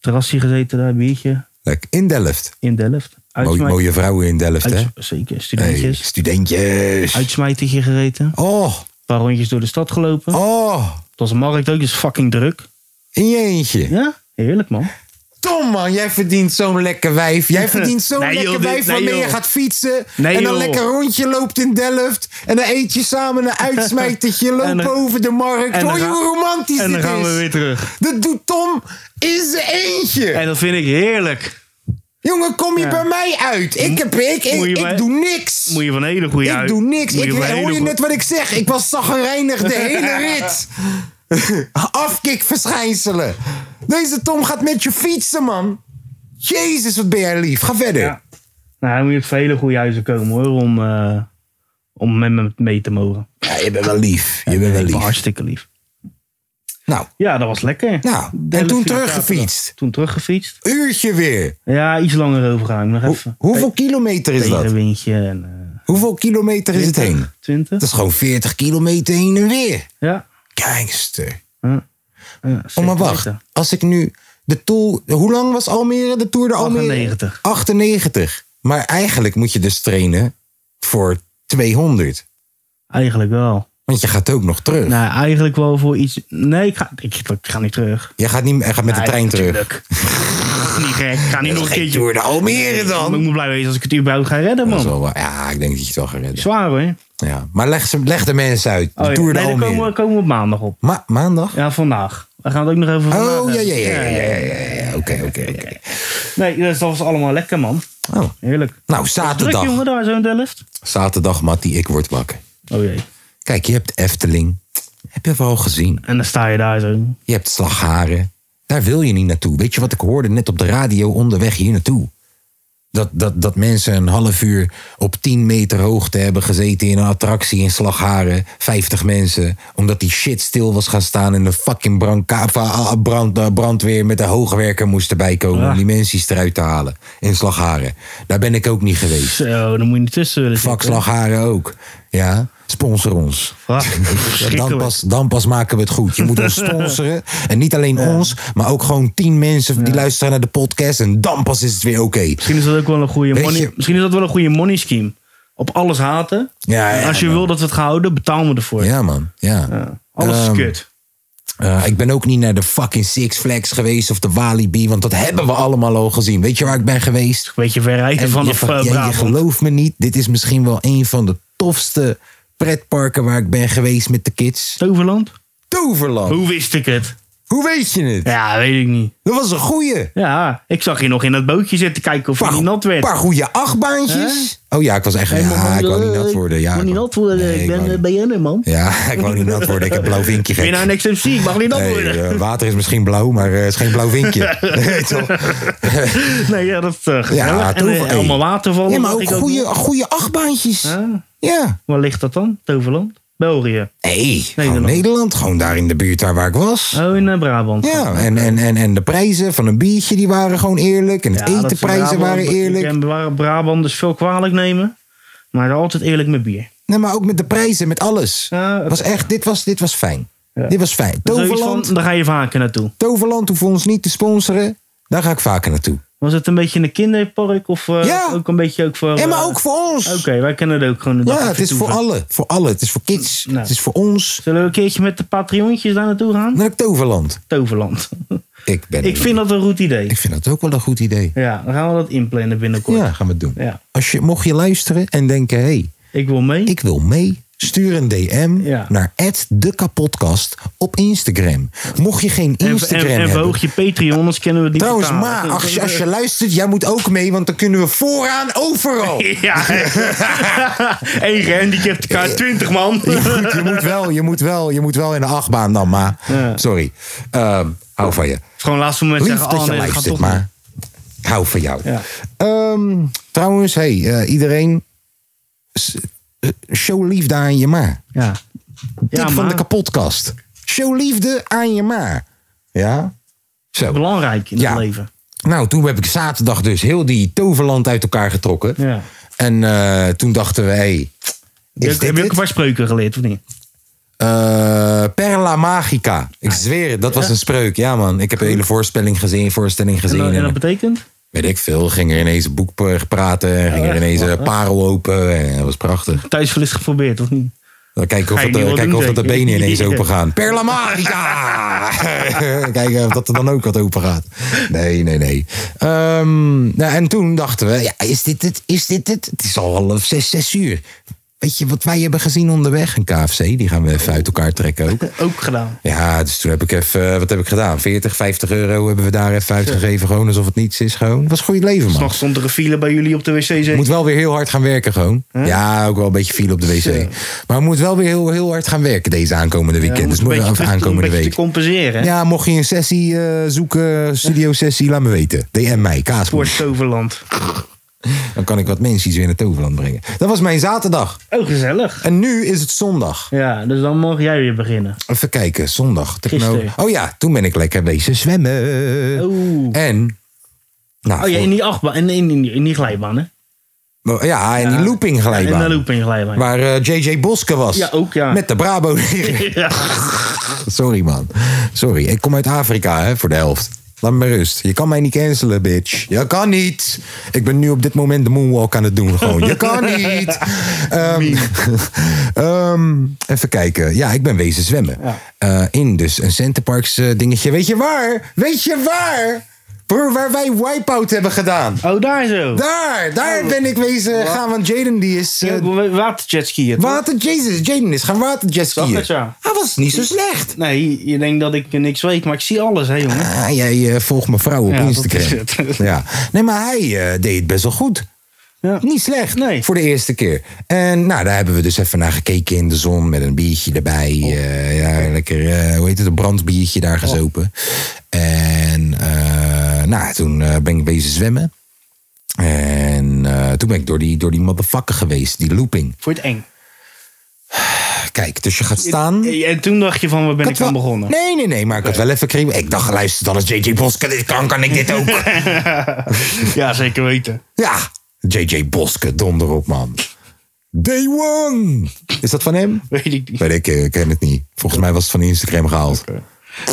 B: terrasje gezeten daar, biertje.
A: Lekker. In Delft.
B: In Delft.
A: Mooi,
B: Uitsmij-
A: mooie vrouwen in Delft, hè?
B: uits- Zeker,
A: Hey,
B: studentjes.
A: studentjes.
B: Uitsmijtertje gereten. Een
A: Oh,
B: paar rondjes door de stad gelopen.
A: oh.
B: Het was een markt ook, dus fucking druk.
A: In je eentje.
B: Ja, heerlijk man.
A: Tom, man, jij verdient zo'n lekker wijf. Jij verdient zo'n
B: Nee, joh,
A: lekker
B: dit-
A: wijf
B: nee,
A: waarmee je
B: joh.
A: gaat fietsen.
B: Nee,
A: en dan
B: joh.
A: lekker rondje loopt in Delft. En dan eet je samen een uitsmijtertje.
B: En
A: Lopen
B: dan-
A: over de markt.
B: en dan
A: Hoor je
B: ga-
A: hoe romantisch
B: En
A: dit
B: dan gaan we
A: is?
B: weer terug.
A: Dat doet Tom in zijn eentje.
B: En dat vind ik heerlijk.
A: Jongen, kom je bij mij uit? Ik, heb, ik, ik,
B: Moet je
A: ik
B: bij-
A: doe niks.
B: Moet je van een hele goede
A: ik
B: uit-
A: doe niks.
B: moet
A: Ik,
B: van een hele
A: hoor je
B: goe-
A: net wat ik zeg? Ik was zagrijnig de hele rit. Afkikverschijnselen. Deze Tom gaat met je fietsen, man. Jezus, wat ben jij lief. Ga verder.
B: Ja. Nou, dan moet je op vele goede huizen komen hoor, om, eh, om met me mee te mogen.
A: Ja, je bent wel lief. Je bent wel
B: Ik ben
A: lief.
B: hartstikke lief.
A: Nou,
B: Ja, dat was lekker.
A: nou. En
B: Delft
A: toen
B: via
A: teruggefietst.
B: zaterdag. Toen teruggefietst.
A: Uurtje weer.
B: Ja, iets langer overgaan. Nog
A: Hoe-
B: even.
A: hoeveel kilometer is dat?
B: Tegenwindje en eh
A: Hoeveel kilometer is het heen?
B: 20.
A: Dat is gewoon 40 kilometer heen en weer.
B: Ja.
A: Gangster.
B: ja
A: Oh, maar wacht. Als ik nu de Tour... Hoe lang was Almere? De Tour de Almere?
B: 98.
A: 98. Maar eigenlijk moet je dus trainen voor 200.
B: Eigenlijk wel.
A: Want je gaat ook nog terug.
B: Nou, eigenlijk wel voor iets. Nee, ik ga, ik, ik ga niet terug.
A: je gaat niet, hij gaat met de
B: Nee,
A: trein terug.
B: tuurlijk. niet gek. Ik ga niet nog
A: Geen
B: een nou, keertje.
A: Tour de Almere dan.
B: Ik moet blij wezen als ik het überhaupt ga redden,
A: Dat is
B: man.
A: wel waar. ja, ik denk dat je het wel gaat redden.
B: Zwaar hoor.
A: Ja. Maar leg, ze- leg de mensen uit. De
B: Oh, ja.
A: Tour de
B: Nee, daar
A: Almere.
B: komen, we- komen we op maandag op.
A: Ma- maandag?
B: Ja, vandaag. We gaan het ook nog even vandaag
A: Oh, ja,
B: hebben.
A: ja, ja, ja, ja, ja, ja. Oké, oké, oké.
B: Nee, dus dat was allemaal lekker, man.
A: Oh.
B: Heerlijk.
A: Nou,
B: Druk, jongen,
A: zaterdag.
B: daar zo in Delft.
A: Zaterdag, Mattie, ik word wakker.
B: Oh jee.
A: Kijk, je hebt Efteling. Heb je wel gezien.
B: En dan sta je daar zo.
A: Je hebt slagharen. Daar wil je niet naartoe. Weet je wat ik hoorde net op de radio onderweg hier naartoe? Dat, dat, dat mensen een half uur op 10 meter hoogte hebben gezeten in een attractie in Slagharen. 50 mensen. Omdat die shit stil was gaan staan en de fucking brandka- of, ah, ah, brand, eh, brandweer met de hoogwerker moest erbij komen.
B: Ja.
A: Om die mensen eruit te halen in Slagharen. Daar ben ik ook niet geweest.
B: Zo, dan moet je niet tussen willen
A: Fuck
B: zitten.
A: Slagharen ook. Ja, sponsor ons.
B: Ah,
A: Ja, dan,
B: verschrikkelijk.
A: pas, dan pas maken we het goed. Je moet ons sponsoren. En niet alleen ons, maar ook gewoon tien mensen die luisteren naar de podcast. En dan pas is het weer oké.
B: Misschien is dat ook wel een goede
A: Weet
B: money.
A: je-
B: Misschien is dat wel een goede money scheme. Op alles haten.
A: Ja,
B: En
A: ja,
B: als je
A: man.
B: wil dat we het gaan houden, betaal me ervoor.
A: Ja, man. Ja.
B: Ja. Alles
A: Ehm,
B: is kut.
A: Eh, ik ben ook niet naar de fucking Six Flags geweest of de Walibi. Want dat hebben we allemaal al gezien. Weet je waar ik ben geweest?
B: Een beetje verrijken
A: En
B: van
A: je,
B: de
A: ver- ja, je
B: Brabant.
A: gelooft me niet. Dit is misschien wel een van de tofste pretparken waar ik ben geweest met de kids.
B: Toverland?
A: Toverland. Hoe,
B: Hoe wist ik het?
A: weet je het?
B: Ja, weet ik niet.
A: Dat was een goeie.
B: Ja, ik zag je nog in dat bootje zitten kijken of je niet nat werd.
A: paar goede achtbaantjes. Oh ja, ik was echt... ja, ik wou niet nat worden. Ja,
B: eh, ik wil niet nat worden.
A: Nee,
B: ik
A: wou
B: ben
A: niet-
B: eh, BN'er, man.
A: Ja, ik wou niet nat worden. Ik heb blauw vinkje
B: Ik ben
A: gek.
B: nou niks MC, ik mag niet nat
A: Nee,
B: worden.
A: eh, water is misschien blauw, maar eh, het is geen blauw vinkje. Nee, toch?
B: Nee, ja, dat is eh, gezellig.
A: Ja,
B: en eh,
A: tover, hey.
B: allemaal watervallen.
A: Ja, maar
B: zag
A: ook
B: ik ook
A: goede,
B: nog.
A: goede achtbaantjes.
B: Ja,
A: Ja.
B: waar ligt dat dan? Toverland? België.
A: Nee, gewoon
B: Nederland.
A: Nederland. Gewoon daar in de buurt daar waar ik was.
B: Oh, in eh, Brabant.
A: Ja, en, en, en, en de prijzen van een biertje die waren gewoon eerlijk. En het
B: Ja, dat ze
A: etenprijzen
B: Brabant-
A: waren eerlijk.
B: En waar Brabant dus veel kwalijk nemen. Maar altijd eerlijk met bier.
A: Nee, maar ook met de prijzen, met alles.
B: Ja, oké.
A: Was echt, dit, was, dit was fijn.
B: Ja.
A: Dit was fijn.
B: Zoiets
A: Toverland,
B: van, daar ga je vaker naartoe.
A: Toverland hoeft ons niet te sponsoren. Daar ga ik vaker naartoe.
B: Was het een beetje een kinderpark? Of eh,
A: Ja.
B: ook een beetje ook voor...
A: En maar
B: eh,
A: ook voor ons.
B: Oké, wij kennen het ook gewoon. een dag
A: Ja, het
B: even
A: is voor
B: toeven.
A: allen. Voor allen. Het is voor kids.
B: Nou.
A: Het is voor ons.
B: Zullen we een keertje met de Patreontjes daar naartoe gaan?
A: Naar het Toverland.
B: Toverland.
A: Ik, ben
B: Ik vind dat een goed idee.
A: ik vind dat ook wel een goed idee.
B: Ja, dan gaan we dat inplannen binnenkort.
A: Ja, gaan we het doen.
B: Ja.
A: Als je, mocht je luisteren en denken, hé, hey,
B: Ik wil mee.
A: ik wil mee. Stuur een DM
B: Ja.
A: naar de kapotkast op Instagram. Mocht je geen
B: en,
A: Instagram
B: en, en
A: hebben.
B: verhoog je Patreon, anders kennen we het niet
A: Trouwens,
B: betalen.
A: ma, als je, als je luistert, jij moet ook mee, want dan kunnen we vooraan overal.
B: Ja. Eén gehandicapte kaart, 20 man.
A: Je moet, je moet wel, je moet wel, je moet wel in de achtbaan dan, ma.
B: Ja.
A: Sorry. Ehm, hou van je.
B: Gewoon laatste moment
A: Lief
B: zeggen,
A: dat
B: oh
A: je
B: nee, dat gaat
A: luistert,
B: toch
A: maar Ik hou van jou.
B: Ja.
A: Ehm, trouwens, hey, eh, iedereen. s- eh, Show liefde aan je ma.
B: Ja.
A: Tip
B: Ja,
A: van
B: maar
A: de kapotkast. Show liefde aan je ma. Ja? Zo.
B: belangrijk in
A: Ja.
B: het leven.
A: Nou, toen heb ik zaterdag dus heel die toverland uit elkaar getrokken.
B: Ja.
A: En eh, toen dachten we, hey,
B: Heb
A: is
B: je-
A: dit
B: heb je ook een
A: het?
B: paar spreuken geleerd, of niet?
A: Eh, Perla Magica. Ik zweer het, dat was een spreuk. Ja man, ik heb een hele voorspelling gezien, voorstelling
B: En,
A: gezien.
B: dat- en dat
A: En,
B: betekent?
A: weet ik veel, ging er ineens een boek per- praten. en Ging er ineens een parel open. En dat was prachtig.
B: Thuis wel eens geprobeerd, of niet?
A: Dan kijken of,
B: Ga je
A: het, eh,
B: niet wel
A: kijken
B: doen,
A: of dat de
B: zeker?
A: benen ineens
B: Ja.
A: open gaan. Perla Magica! kijken of dat er dan ook wat open gaat. Nee, nee, nee. Ehm, nou, en toen dachten we, ja, is dit het? Is dit het? Het is al half zes, zes uur. Weet je wat wij hebben gezien onderweg? Een KFC, die gaan we even uit elkaar trekken ook.
B: Ook gedaan.
A: Ja, dus toen heb ik even, eh, wat heb ik gedaan? 40, 50 euro hebben we daar even uitgegeven. Gewoon alsof het niets is. Gewoon. Het was goed leven, man.
B: S'nachts stond er een file bij jullie op de wc. zeker?
A: Moet wel weer heel hard gaan werken, gewoon. Ja, ook wel een beetje file op de wc.
B: Zo.
A: Maar we moeten wel weer heel, heel hard gaan werken deze aankomende
B: Ja,
A: weekend.
B: om
A: dus
B: het
A: moet
B: beetje
A: of
B: terug- om
A: aankomende
B: een beetje
A: week.
B: te compenseren. Ja.
A: Ja, mocht je een sessie eh, zoeken, studio-sessie, laat me weten. DM mij,
B: Voor
A: kaaspoort.
B: het toverland.
A: Dan kan ik wat mensen weer naar Toverland brengen. Dat was mijn zaterdag.
B: Oh, gezellig.
A: En nu is het zondag.
B: Ja, dus dan mag jij weer beginnen.
A: Even kijken, zondag. Techno.
B: Gisteren. Oh.
A: Oh ja, toen ben ik lekker bezig zwemmen.
B: Oeh.
A: En. Nou,
B: Oh ja,
A: voor-
B: in die achtbaan. En in, in, die- in die glijbaan, hè?
A: Oh, Ja, en die
B: Ja.
A: looping glijbaan.
B: In de looping glijbaan.
A: Waar eh, JJ Boske was.
B: Ja, ook, ja.
A: Met de Brabo.
B: Ja.
A: Sorry man. Sorry, ik kom uit Afrika hè, voor de helft. Laat me rust. Je kan mij niet cancelen, bitch. Je kan niet. Ik ben nu op dit moment de moonwalk aan het doen. Gewoon. Je kan niet. Ehm, ehm, even kijken. Ja, ik ben wezen zwemmen. Eh, in dus een Centerparks eh, dingetje. Weet je waar? Weet je waar? Broer, waar wij wipeout hebben gedaan.
B: Oh, daar zo.
A: Daar, daar ben ik wezen gaan. Want Jaden die is eh,
B: Ja, we- Waterjetskiën, toch?
A: Water, Jezus, Jaden is gaan waterjetskiën.
B: Zag het, ja.
A: Hij was niet zo slecht.
B: Nee, je denkt dat ik niks weet, maar ik zie alles, hè, jongen.
A: Ah, jij eh, volgt mijn vrouw op
B: Ja, dat
A: Instagram.
B: is het.
A: Ja. Nee, maar hij eh, deed het best wel goed.
B: Ja.
A: Niet slecht.
B: Nee.
A: Voor de eerste keer. En nou, daar hebben we dus even naar gekeken in de zon. Met een biertje erbij.
B: Oh.
A: Eh, ja, lekker, eh, hoe heet het, een brandbiertje daar gezopen. En eh, nou, toen eh, ben ik bezig zwemmen. En eh, toen ben ik door die, door die motherfucker geweest. Die looping.
B: Voor het eng.
A: Kijk, dus je gaat staan.
B: En toen dacht je van, waar ben ik
A: had
B: aan
A: wel-
B: begonnen?
A: Nee, nee, nee, maar ik had wel even kriebel. Ik dacht, luister, dan is JJ Boske dit kan, kan ik dit ook.
B: Ja, zeker weten.
A: ja, JJ Boske, donder op, man. Day one! Is dat van hem?
B: Weet ik niet.
A: Weet ik, eh, ik ken het niet. Volgens mij was het van Instagram gehaald.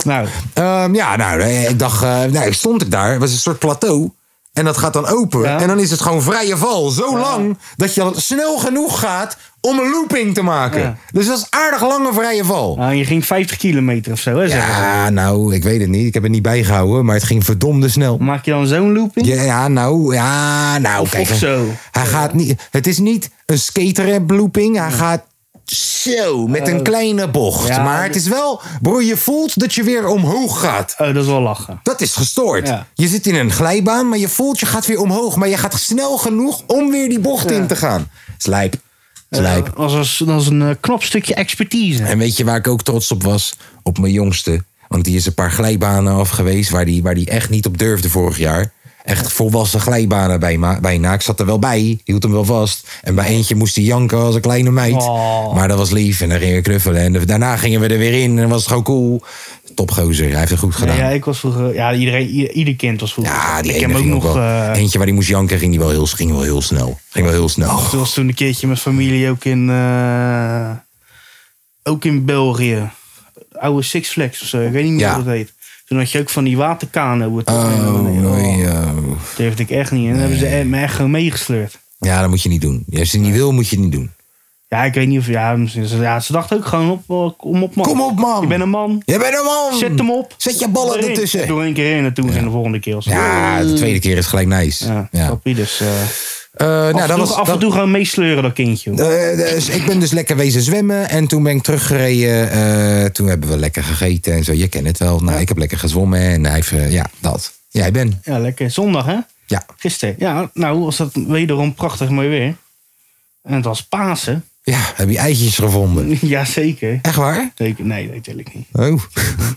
B: Nou,
A: Ehm, ja, nou, eh, ik dacht, eh, nou, ik stond ik daar. Het was een soort plateau. En dat gaat dan open.
B: Ja.
A: En dan is het gewoon vrije val. Zo lang dat je al snel genoeg gaat om een looping te maken.
B: Ja.
A: Dus dat is aardig lange vrije val.
B: nou, je ging 50 kilometer of zo, hè, zeggen ze.
A: Ja, nou, ik weet het niet. Ik heb het niet bijgehouden, maar het ging verdomde snel.
B: Maak je dan zo'n looping?
A: Ja, ja, nou, ja, nou,
B: Mm. Of-
A: kijk.
B: of zo.
A: Hij gaat niet, het is niet een skater blooping. Hij gaat zo, met een kleine bocht.
B: Eh, Ja,
A: maar het is wel, bro, je voelt dat je weer omhoog gaat.
B: Oh, dat is wel lachen.
A: Dat is gestoord.
B: Ja.
A: Je zit in een glijbaan, maar je voelt je gaat weer omhoog. Maar je gaat snel genoeg om weer die bocht in te gaan. Slijp. Slijp.
B: Dat is, dat is een eh, knap stukje expertise.
A: En weet je waar ik ook trots op was? Op mijn jongste. Want die is een paar glijbanen af geweest waar die, waar die echt niet op durfde vorig jaar. Echt volwassen glijbanen bij ma- bijna. Ik zat er wel bij, hield hem wel vast. En bij eentje moest hij janken als een kleine meid.
B: Oh.
A: Maar dat was lief en dan gingen we knuffelen. En daarna gingen we er weer in en dat was het gewoon cool. Topgozer, hij heeft het goed
B: Ja,
A: gedaan. Ja,
B: ik was vroeger... Ja, iedereen, i- ieder kind was vroeger.
A: die
B: ik
A: ene
B: heb hem ook
A: ging ook
B: nog...
A: wel.
B: eh,
A: Eentje waar die moest janken ging, die wel heel, ging wel heel snel. Ging wel heel snel.
B: Toen was toen een keertje met familie ook in, eh, ook in België. Oude Six Flags of zo, ik weet niet meer
A: Ja.
B: hoe dat heet. Toen had je ook van die waterkano. het-
A: Oh,
B: nee,
A: nee, ja.
B: Dat durfde ik echt niet. En dan hebben ze e- me echt gewoon meegesleurd.
A: oh. ja, dat moet je niet doen. Als je het niet wil, moet je het niet doen.
B: Ja, ik weet niet of... Ja, misschien- ja ze dachten ook gewoon op, eh, kom op man.
A: Kom op, man.
B: Je bent een man.
A: Je bent een man!
B: Zet hem op.
A: Zet je ballen
B: Erin.
A: ertussen.
B: Door één keer in en toen ging de volgende keer. als-
A: Ja, de tweede keer is gelijk nice.
B: Ja,
A: Ja.
B: snap je? Dus eh,
A: Eh, nou,
B: af, en
A: dat
B: toe,
A: was,
B: af en
A: dat-
B: toe gewoon meesleuren dat kindje. joh.
A: eh, dus ik ben dus lekker wezen zwemmen en toen ben ik teruggereden. eh, toen hebben we lekker gegeten en zo. Je kent het wel. Nou, ik heb lekker gezwommen en hij heeft, eh, ja, dat. Jij bent.
B: Ja, lekker. Zondag hè?
A: Ja.
B: Gisteren. Ja, nou was dat wederom prachtig mooi weer. En het was Pasen.
A: Ja, heb je eitjes gevonden?
B: Jazeker.
A: Echt waar?
B: Zeker. Nee, nee, natuurlijk niet.
A: Oh.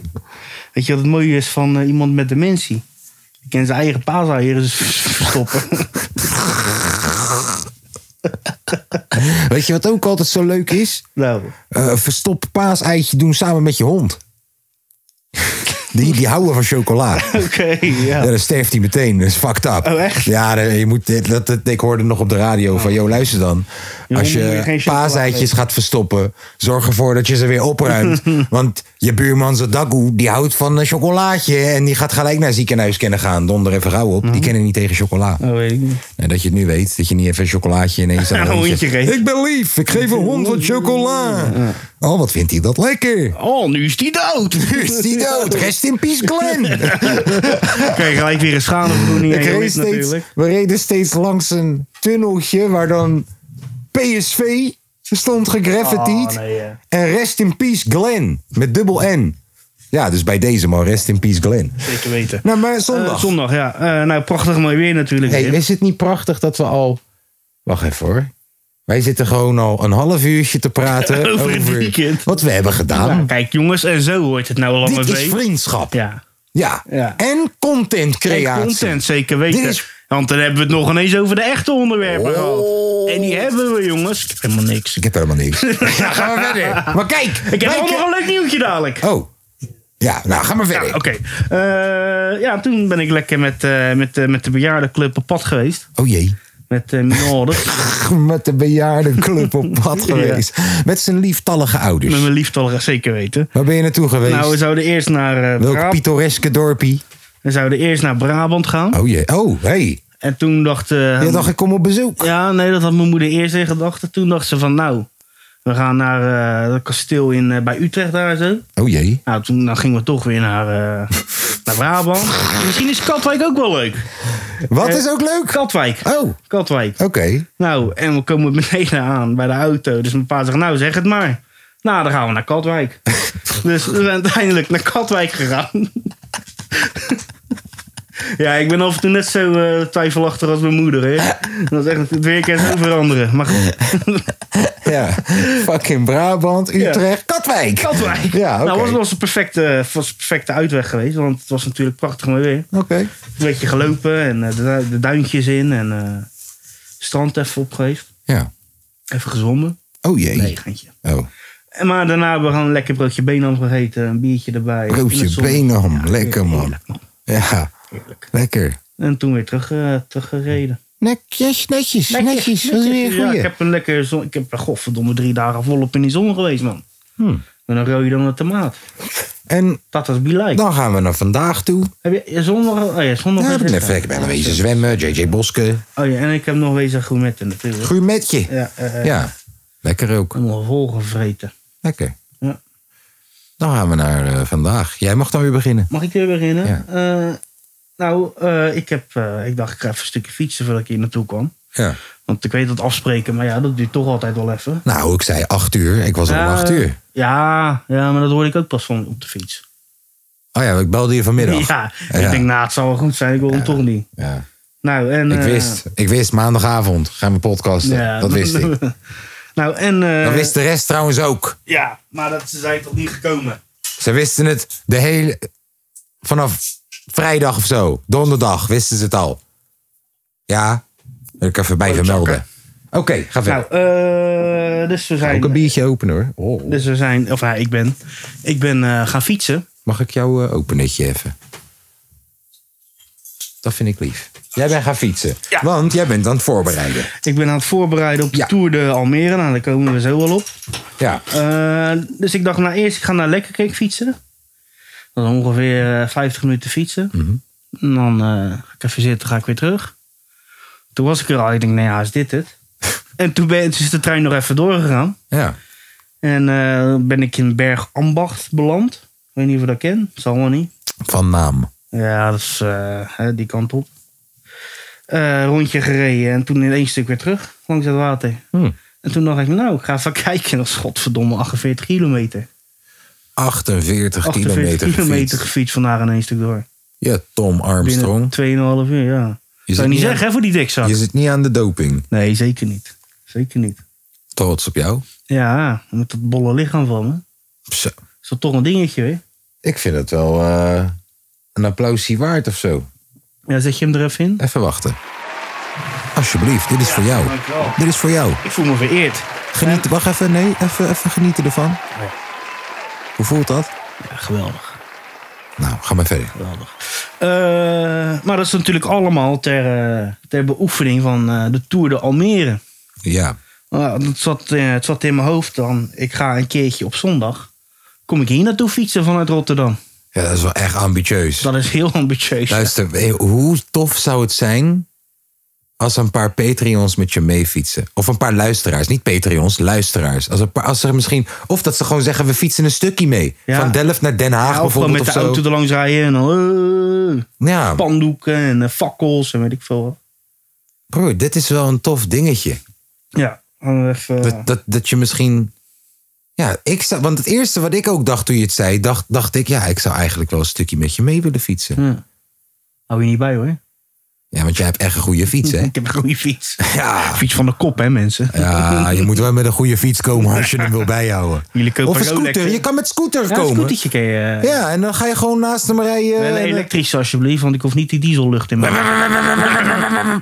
B: Weet je wat het mooie is van eh, iemand met dementie? Die kan zijn eigen paaseieren dus verstoppen.
A: Weet je wat ook altijd zo leuk is?
B: nou,
A: Eh verstop paaseitje doen samen met je hond. Die, die houden van chocola.
B: oké, ja.
A: Ja, dan sterft hij meteen. Dat is fucked up.
B: Oh, echt?
A: Ja, dan- je moet, dit- dat, dat- ik hoorde nog op de radio van... joh, luister dan.
B: Je
A: Als
B: hond moet je
A: je
B: geen chocola
A: paaseitjes
B: geven.
A: gaat verstoppen... zorg ervoor dat je ze weer opruimt. Want je buurman Zadaku, die houdt van een chocolaatje... en die gaat gelijk naar het ziekenhuis kunnen gaan. Donder even gauw op.
B: Mhm.
A: Die kennen niet tegen chocola.
B: Oh, weet ik niet.
A: En dat je het nu weet, dat je niet even een chocolaatje ineens aan
B: Aan een
A: hond
B: hondje
A: zegt,
B: geeft.
A: Ik ben lief, ik geef een hond wat chocola. Oh, wat vindt hij dat lekker?
B: Oh, nu is die dood.
A: Nu is die dood. Rest in peace, Glenn.
B: Krijg je gelijk weer een schadevergoeding.
A: Ik
B: aan je
A: reed
B: lid
A: steeds,
B: natuurlijk.
A: we reden steeds langs een tunneltje waar dan PSV stond gegraffitied.
B: Oh, nee, ja.
A: En rest in peace Glenn met dubbel N. Ja, dus bij deze man, rest in peace Glenn.
B: Zeker weten.
A: Nou, maar
B: Eh,
A: zondag.
B: zondag, ja. Eh, nou, prachtig mooi weer natuurlijk.
A: Hey,
B: Wim.
A: is het niet prachtig dat we al... Wacht even hoor. Wij zitten gewoon al een half uurtje te praten
B: Over het weekend.
A: wat we hebben
B: Ja,
A: gedaan.
B: kijk jongens, en zo hoort het nou al
A: Dit
B: allemaal
A: is
B: mee.
A: vriendschap. Ja.
B: Ja. Ja.
A: En content
B: En
A: creatie.
B: content, zeker weten.
A: Dit is-
B: Want dan hebben we het nog ineens over de echte onderwerpen
A: Oh.
B: gehad. En die hebben we jongens. Ik heb helemaal niks.
A: Ik heb helemaal niks. ja, gaan we verder. Maar kijk.
B: Ik heb
A: wij
B: ook
A: kun-
B: nog een leuk nieuwtje dadelijk.
A: Oh. Ja, nou, ga maar verder.
B: Oké. Eh, ja, toen ben ik lekker met, eh, met, eh, met de bejaardenclub op pad geweest.
A: Oh jee.
B: Met eh minoren.
A: Met de bejaardenclub op pad geweest. Met zijn lieftallige ouders.
B: met mijn lieftallige, zeker weten.
A: Waar ben je naartoe geweest?
B: Nou, we zouden eerst naar, eh
A: Welk
B: Brab-
A: pittoreske dorpie?
B: we zouden eerst naar Brabant gaan.
A: Oh jee. Oh, hey.
B: En toen dacht... eh,
A: Je dacht, ik kom op bezoek.
B: Ja, nee, dat had mijn moeder eerst in gedachten. Toen dacht ze van, nou, we gaan naar eh, dat kasteel in, eh, bij Utrecht daar zo.
A: Oh jee.
B: Nou, toen nou gingen we toch weer naar, eh, naar Brabant. Misschien is Katwijk ook wel leuk.
A: Wat
B: Eh,
A: is ook leuk?
B: Katwijk.
A: Oh, oké.
B: Katwijk. Nou, en we komen beneden aan bij de auto. Dus mijn pa zegt, nou zeg het maar. Nou, dan gaan we naar Katwijk. dus we zijn uiteindelijk naar Katwijk gegaan. ja, ik ben af en toe net zo eh, twijfelachtig als mijn moeder. Hè? Dat is echt, het weer kan zo veranderen. Maar goed.
A: Ja. Fucking Brabant, Utrecht, Katwijk.
B: Katwijk.
A: Ja, oké.
B: Nou, was was een perfecte, was een perfecte uitweg geweest, want het was natuurlijk prachtig mooi weer.
A: Oké.
B: Een beetje gelopen en eh, de, du- de duintjes in en eh, strand even op geweest.
A: Ja.
B: Even gezwommen.
A: Oh jee.
B: Nee, geintje.
A: Oh.
B: En Maar daarna hebben we gewoon een lekker broodje benam gegeten, een biertje erbij. In het
A: Broodje
B: zon.
A: Benham. Lekker man.
B: Heerlijk, man.
A: Ja. Lekker.
B: En toen weer terug, eh, teruggereden.
A: Netjes, netjes, netjes. Dat is weer een
B: Ja,
A: goeie.
B: ik heb een lekker zon. Ik heb, eh, godverdomme, drie dagen volop in die zon geweest, man.
A: Hmm.
B: Met een rode dan een tomaat.
A: En
B: Dat was bilij.
A: dan gaan we naar vandaag toe.
B: Heb je eh, zondag? Oh ja, zondag.
A: Ja,
B: was
A: ik ben
B: dit,
A: even
B: ja.
A: Nou, ik ben een wezen zwemmen. JJ Boske.
B: Oh ja, en ik heb nog wezen gourmetten natuurlijk.
A: Gourmetje.
B: Ja, eh,
A: Ja, lekker ook.
B: Allemaal volgevreten.
A: Lekker.
B: Ja.
A: Dan gaan we naar eh, vandaag. Jij mag dan weer beginnen.
B: Mag ik weer beginnen?
A: Ja.
B: Eh, nou, eh, ik, heb, eh, ik dacht ik ga even een stukje fietsen voordat ik hier naartoe kwam.
A: Ja.
B: Want ik weet dat afspreken, maar ja, dat duurt toch altijd wel even.
A: Nou, ik zei acht uur. Ik was al om
B: Ja,
A: acht uur.
B: Ja, ja, maar dat hoorde ik ook pas van op de fiets.
A: Oh ja, ik belde je vanmiddag.
B: Ja,
A: Ja.
B: ik denk, nou, het zal wel goed zijn. Ik wil hem toch niet.
A: Ja.
B: Nou, en...
A: Ik
B: eh,
A: wist. Ik wist maandagavond gaan we podcasten.
B: ja.
A: Dat wist ik.
B: nou, en... eh,
A: Dat wist de rest trouwens ook.
B: Ja, maar dat, ze zijn toch niet gekomen?
A: Ze wisten het de hele... Vanaf vrijdag of zo. Donderdag wisten ze het al. Ja. Wil ik even bij vermelden. Oké, ga verder.
B: Nou, eh, dus we zijn...
A: Ook een biertje openen hoor. Oh.
B: Dus we zijn, of ja, ik ben, ik ben eh, gaan fietsen.
A: Mag ik jouw eh, openetje even? Dat vind ik lief. Jij bent gaan fietsen.
B: Ja.
A: Want jij bent aan het voorbereiden.
B: Ik ben aan het voorbereiden op de
A: Ja.
B: Tour de Almere. Nou, daar komen we zo wel op.
A: Ja.
B: Eh, dus ik dacht, nou eerst, ik ga naar Lekkerkeek fietsen. Dat is ongeveer eh, 50 minuten fietsen. En dan eh, ga ik even zitten, ga ik weer terug. Toen was ik er al, ik denk, nou ja, is dit het? en toen, ben, toen is de trein nog even doorgegaan.
A: Ja.
B: En eh, ben ik in Berg Ambacht beland. Ik weet niet of je dat ken, zal wel niet.
A: Van naam.
B: Ja, dat is eh, hè, die kant op. Eh, rondje gereden en toen in één stuk weer terug langs het water.
A: Hm.
B: En toen dacht ik, nou, ik ga even kijken. Dat is godverdomme 48 kilometer.
A: 48,
B: 48
A: kilometer,
B: kilometer
A: gefietst.
B: gefietst vandaar in één stuk door.
A: Ja, Tom
B: Binnen
A: Armstrong.
B: 2,5 uur, ja.
A: Je
B: Zou je niet
A: niet
B: zeggen, hè, voor die dikzak?
A: aan, je zit niet aan de doping.
B: Nee, zeker niet. Zeker niet.
A: Trots op jou.
B: Ja, met dat bolle lichaam van me.
A: Zo.
B: Is dat toch een dingetje, hè?
A: Ik vind het wel eh, een applausje waard of zo.
B: Ja, zet je hem er even in?
A: Even wachten. Alsjeblieft, dit is voor jou.
B: dankjewel.
A: Dit is voor jou.
B: Ik voel me vereerd.
A: Geniet, wacht even, nee, even, even genieten ervan. Hoe voelt dat?
B: Ja, geweldig.
A: Nou, ga maar verder.
B: Geweldig. Eh, maar dat is natuurlijk allemaal ter, eh, ter beoefening van eh, de Tour de Almere.
A: Ja,
B: Nou, het, zat, eh, het zat in mijn hoofd dan. Ik ga een keertje op zondag. Kom ik hier naartoe fietsen vanuit Rotterdam?
A: ja dat is wel echt ambitieus.
B: Dat is heel ambitieus.
A: Luister, eh, hoe tof zou het zijn als een paar Patreons met je meefietsen? Of een paar luisteraars, niet Patreons, luisteraars. Als, een paar, als er misschien, of dat ze gewoon zeggen, we fietsen een stukje mee.
B: Ja.
A: Van Delft naar Den Haag
B: Ja, of gewoon
A: bijvoorbeeld
B: met
A: of
B: de
A: zo.
B: auto er langs rijden en dan, eh,
A: ja,
B: pandoeken en eh, fakkels en weet ik veel. wat.
A: broer, dit is wel een tof dingetje.
B: Ja, dan eh, even.
A: Dat, dat, dat je misschien... Ja, ik zou, want het eerste wat ik ook dacht toen je het zei, dacht, dacht ik... Ja, ik zou eigenlijk wel een stukje met je mee willen fietsen.
B: Ja. Hou je niet bij hoor.
A: Ja, want jij hebt echt een goede fiets, hè?
B: Ik heb een goede fiets.
A: Ja.
B: Fiets van de kop, hè, mensen?
A: Ja, je moet wel met een goede fiets komen als je hem wil bijhouden.
B: Jullie kopen
A: Of een
B: een Rolex,
A: scooter.
B: hè?
A: Je kan met scooter
B: Ja, een
A: komen.
B: scootertje kan je. eh,
A: Ja, en dan ga je gewoon naast hem rijden. eh,
B: Wel
A: en-
B: elektrisch alsjeblieft, want ik hoef niet die diesellucht in mijn.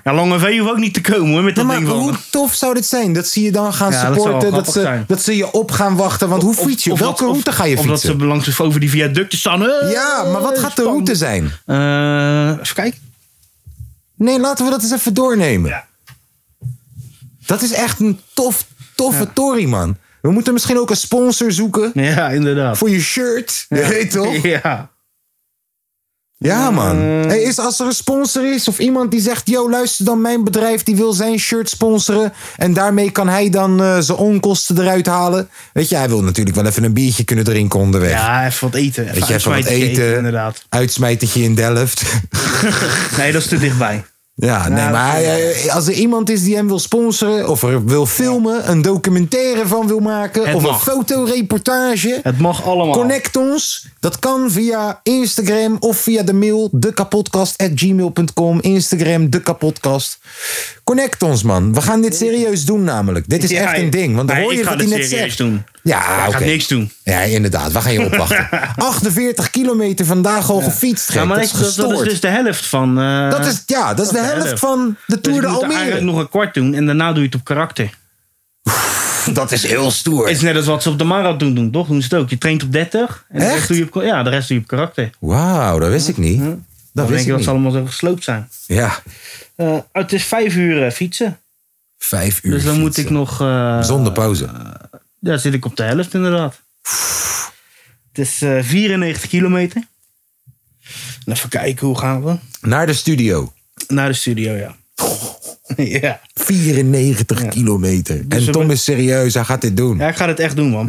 B: ja, Lange V hoeft ook niet te komen hoor, met
A: Ja,
B: dat
A: Nou, maar
B: ding
A: hoe
B: van.
A: tof zou dit zijn? Dat ze je dan gaan
B: Ja, dat zou wel
A: supporten. Dat,
B: grappig
A: ze,
B: zijn.
A: dat ze je op gaan wachten. Want hoe fiets je?
B: Of- of
A: Welke
B: dat- of-
A: route ga je
B: Of dat ze
A: fietsen?
B: langs over die viaducten staan. Eh,
A: Ja, maar wat gaat de
B: spannend.
A: route zijn?
B: Eh, even kijken.
A: Nee, laten we dat eens even doornemen.
B: Ja.
A: Dat is echt een tof, toffe tory, man. We moeten misschien ook een sponsor zoeken.
B: Ja, inderdaad.
A: Voor je shirt. Je weet toch?
B: Ja.
A: Ja, man. Hey, is, als er een sponsor is of iemand die zegt: Yo, luister dan, mijn bedrijf die wil zijn shirt sponsoren. En daarmee kan hij dan eh, zijn onkosten eruit halen. Weet je, hij wil natuurlijk wel even een biertje kunnen drinken onderweg.
B: ja, even wat eten.
A: Weet
B: Even
A: je, even wat
B: uitsmijtertje
A: eten.
B: Inderdaad.
A: Uitsmijtertje in Delft.
B: Nee, dat is te dichtbij.
A: ja, nee,
B: Nou, dat
A: maar
B: vind ik
A: hij- hij- als er iemand is die hem wil sponsoren. of er wil filmen, een documentaire van wil maken.
B: Het
A: of
B: mag.
A: een fotoreportage.
B: Het mag allemaal.
A: Connect ons. Dat kan via Instagram of via de mail dekapodcast.gmail.com. Instagram dekapodcast. Connect ons, man. We gaan dit serieus doen namelijk. Dit is
B: Ja,
A: echt een ding. Want dan
B: nee,
A: hoor
B: ik
A: je
B: ga
A: wat hij
B: dit
A: net
B: serieus
A: zegt.
B: doen.
A: Ja,
B: Hij
A: oké.
B: gaat niks doen.
A: Ja, inderdaad. We gaan je opwachten. 48 kilometer vandaag al gefietst. Gek.
B: Ja, maar
A: dat,
B: dat,
A: is
B: dat, dat
A: gestoord.
B: is dus de helft van. eh,
A: dat is, ja, dat is de
B: de
A: helft
B: helft.
A: van de
B: dus
A: Tour de
B: ik moet er
A: Almere.
B: eigenlijk nog een kwart doen en daarna doe je het op karakter.
A: Dat is heel stoer.
B: Het is net als wat ze op de marathon doen, toch? Doen ze het ook. Je traint op 30 en de
A: Echt?
B: rest doe je op, ja, de rest doe je op karakter.
A: Wauw, dat wist ik niet. Dat
B: Hm? Dan denk
A: wist
B: je
A: ik
B: dat ze
A: niet.
B: allemaal zo gesloopt zijn.
A: Ja,
B: Eh, het is vijf uur eh, fietsen.
A: vijf uur
B: Dus dan moet
A: fietsen.
B: ik nog. eh,
A: Zonder pauze.
B: Ja, zit ik op de helft inderdaad. Het is eh, 94 kilometer. En even kijken, hoe gaan we?
A: Naar de studio.
B: Naar de studio, ja.
A: Oh.
B: ja.
A: 94 kilometer.
B: Dus
A: en
B: we
A: Tom
B: hebben-
A: is serieus, hij gaat dit doen. Ja.
B: Ja, ik ga dit echt doen, man.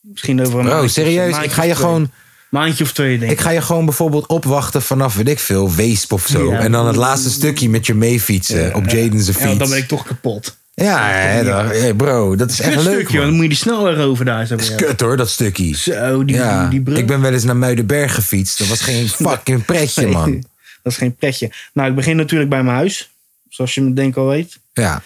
B: Misschien over een
A: Bro,
B: maandje of-
A: serieus,
B: maandje
A: ik ga
B: of
A: je
B: twee.
A: gewoon,
B: Maandje of twee, denk
A: ik
B: ik.
A: ga je gewoon bijvoorbeeld opwachten vanaf, weet ik veel, Weesp of zo.
B: Ja.
A: En dan het laatste stukje met je meefietsen op Jaden's fiets.
B: Ja,
A: Ja,
B: want dan ben ik toch kapot.
A: hè, dan- hey, bro, dat is echt
B: Kut
A: leuk.
B: stukje, want
A: Man.
B: dan moet je die snelweg over daar. Zo
A: Dat is
B: weer.
A: kut hoor, dat stukje.
B: Zo, die,
A: Ja,
B: die, die brug.
A: ik ben wel eens naar Muidenberg gefietst. Dat was geen fucking pretje,
B: Nee,
A: man.
B: Dat is geen pretje. Nou, ik begin natuurlijk bij mijn huis. Zoals je me denk al weet.
A: Ja,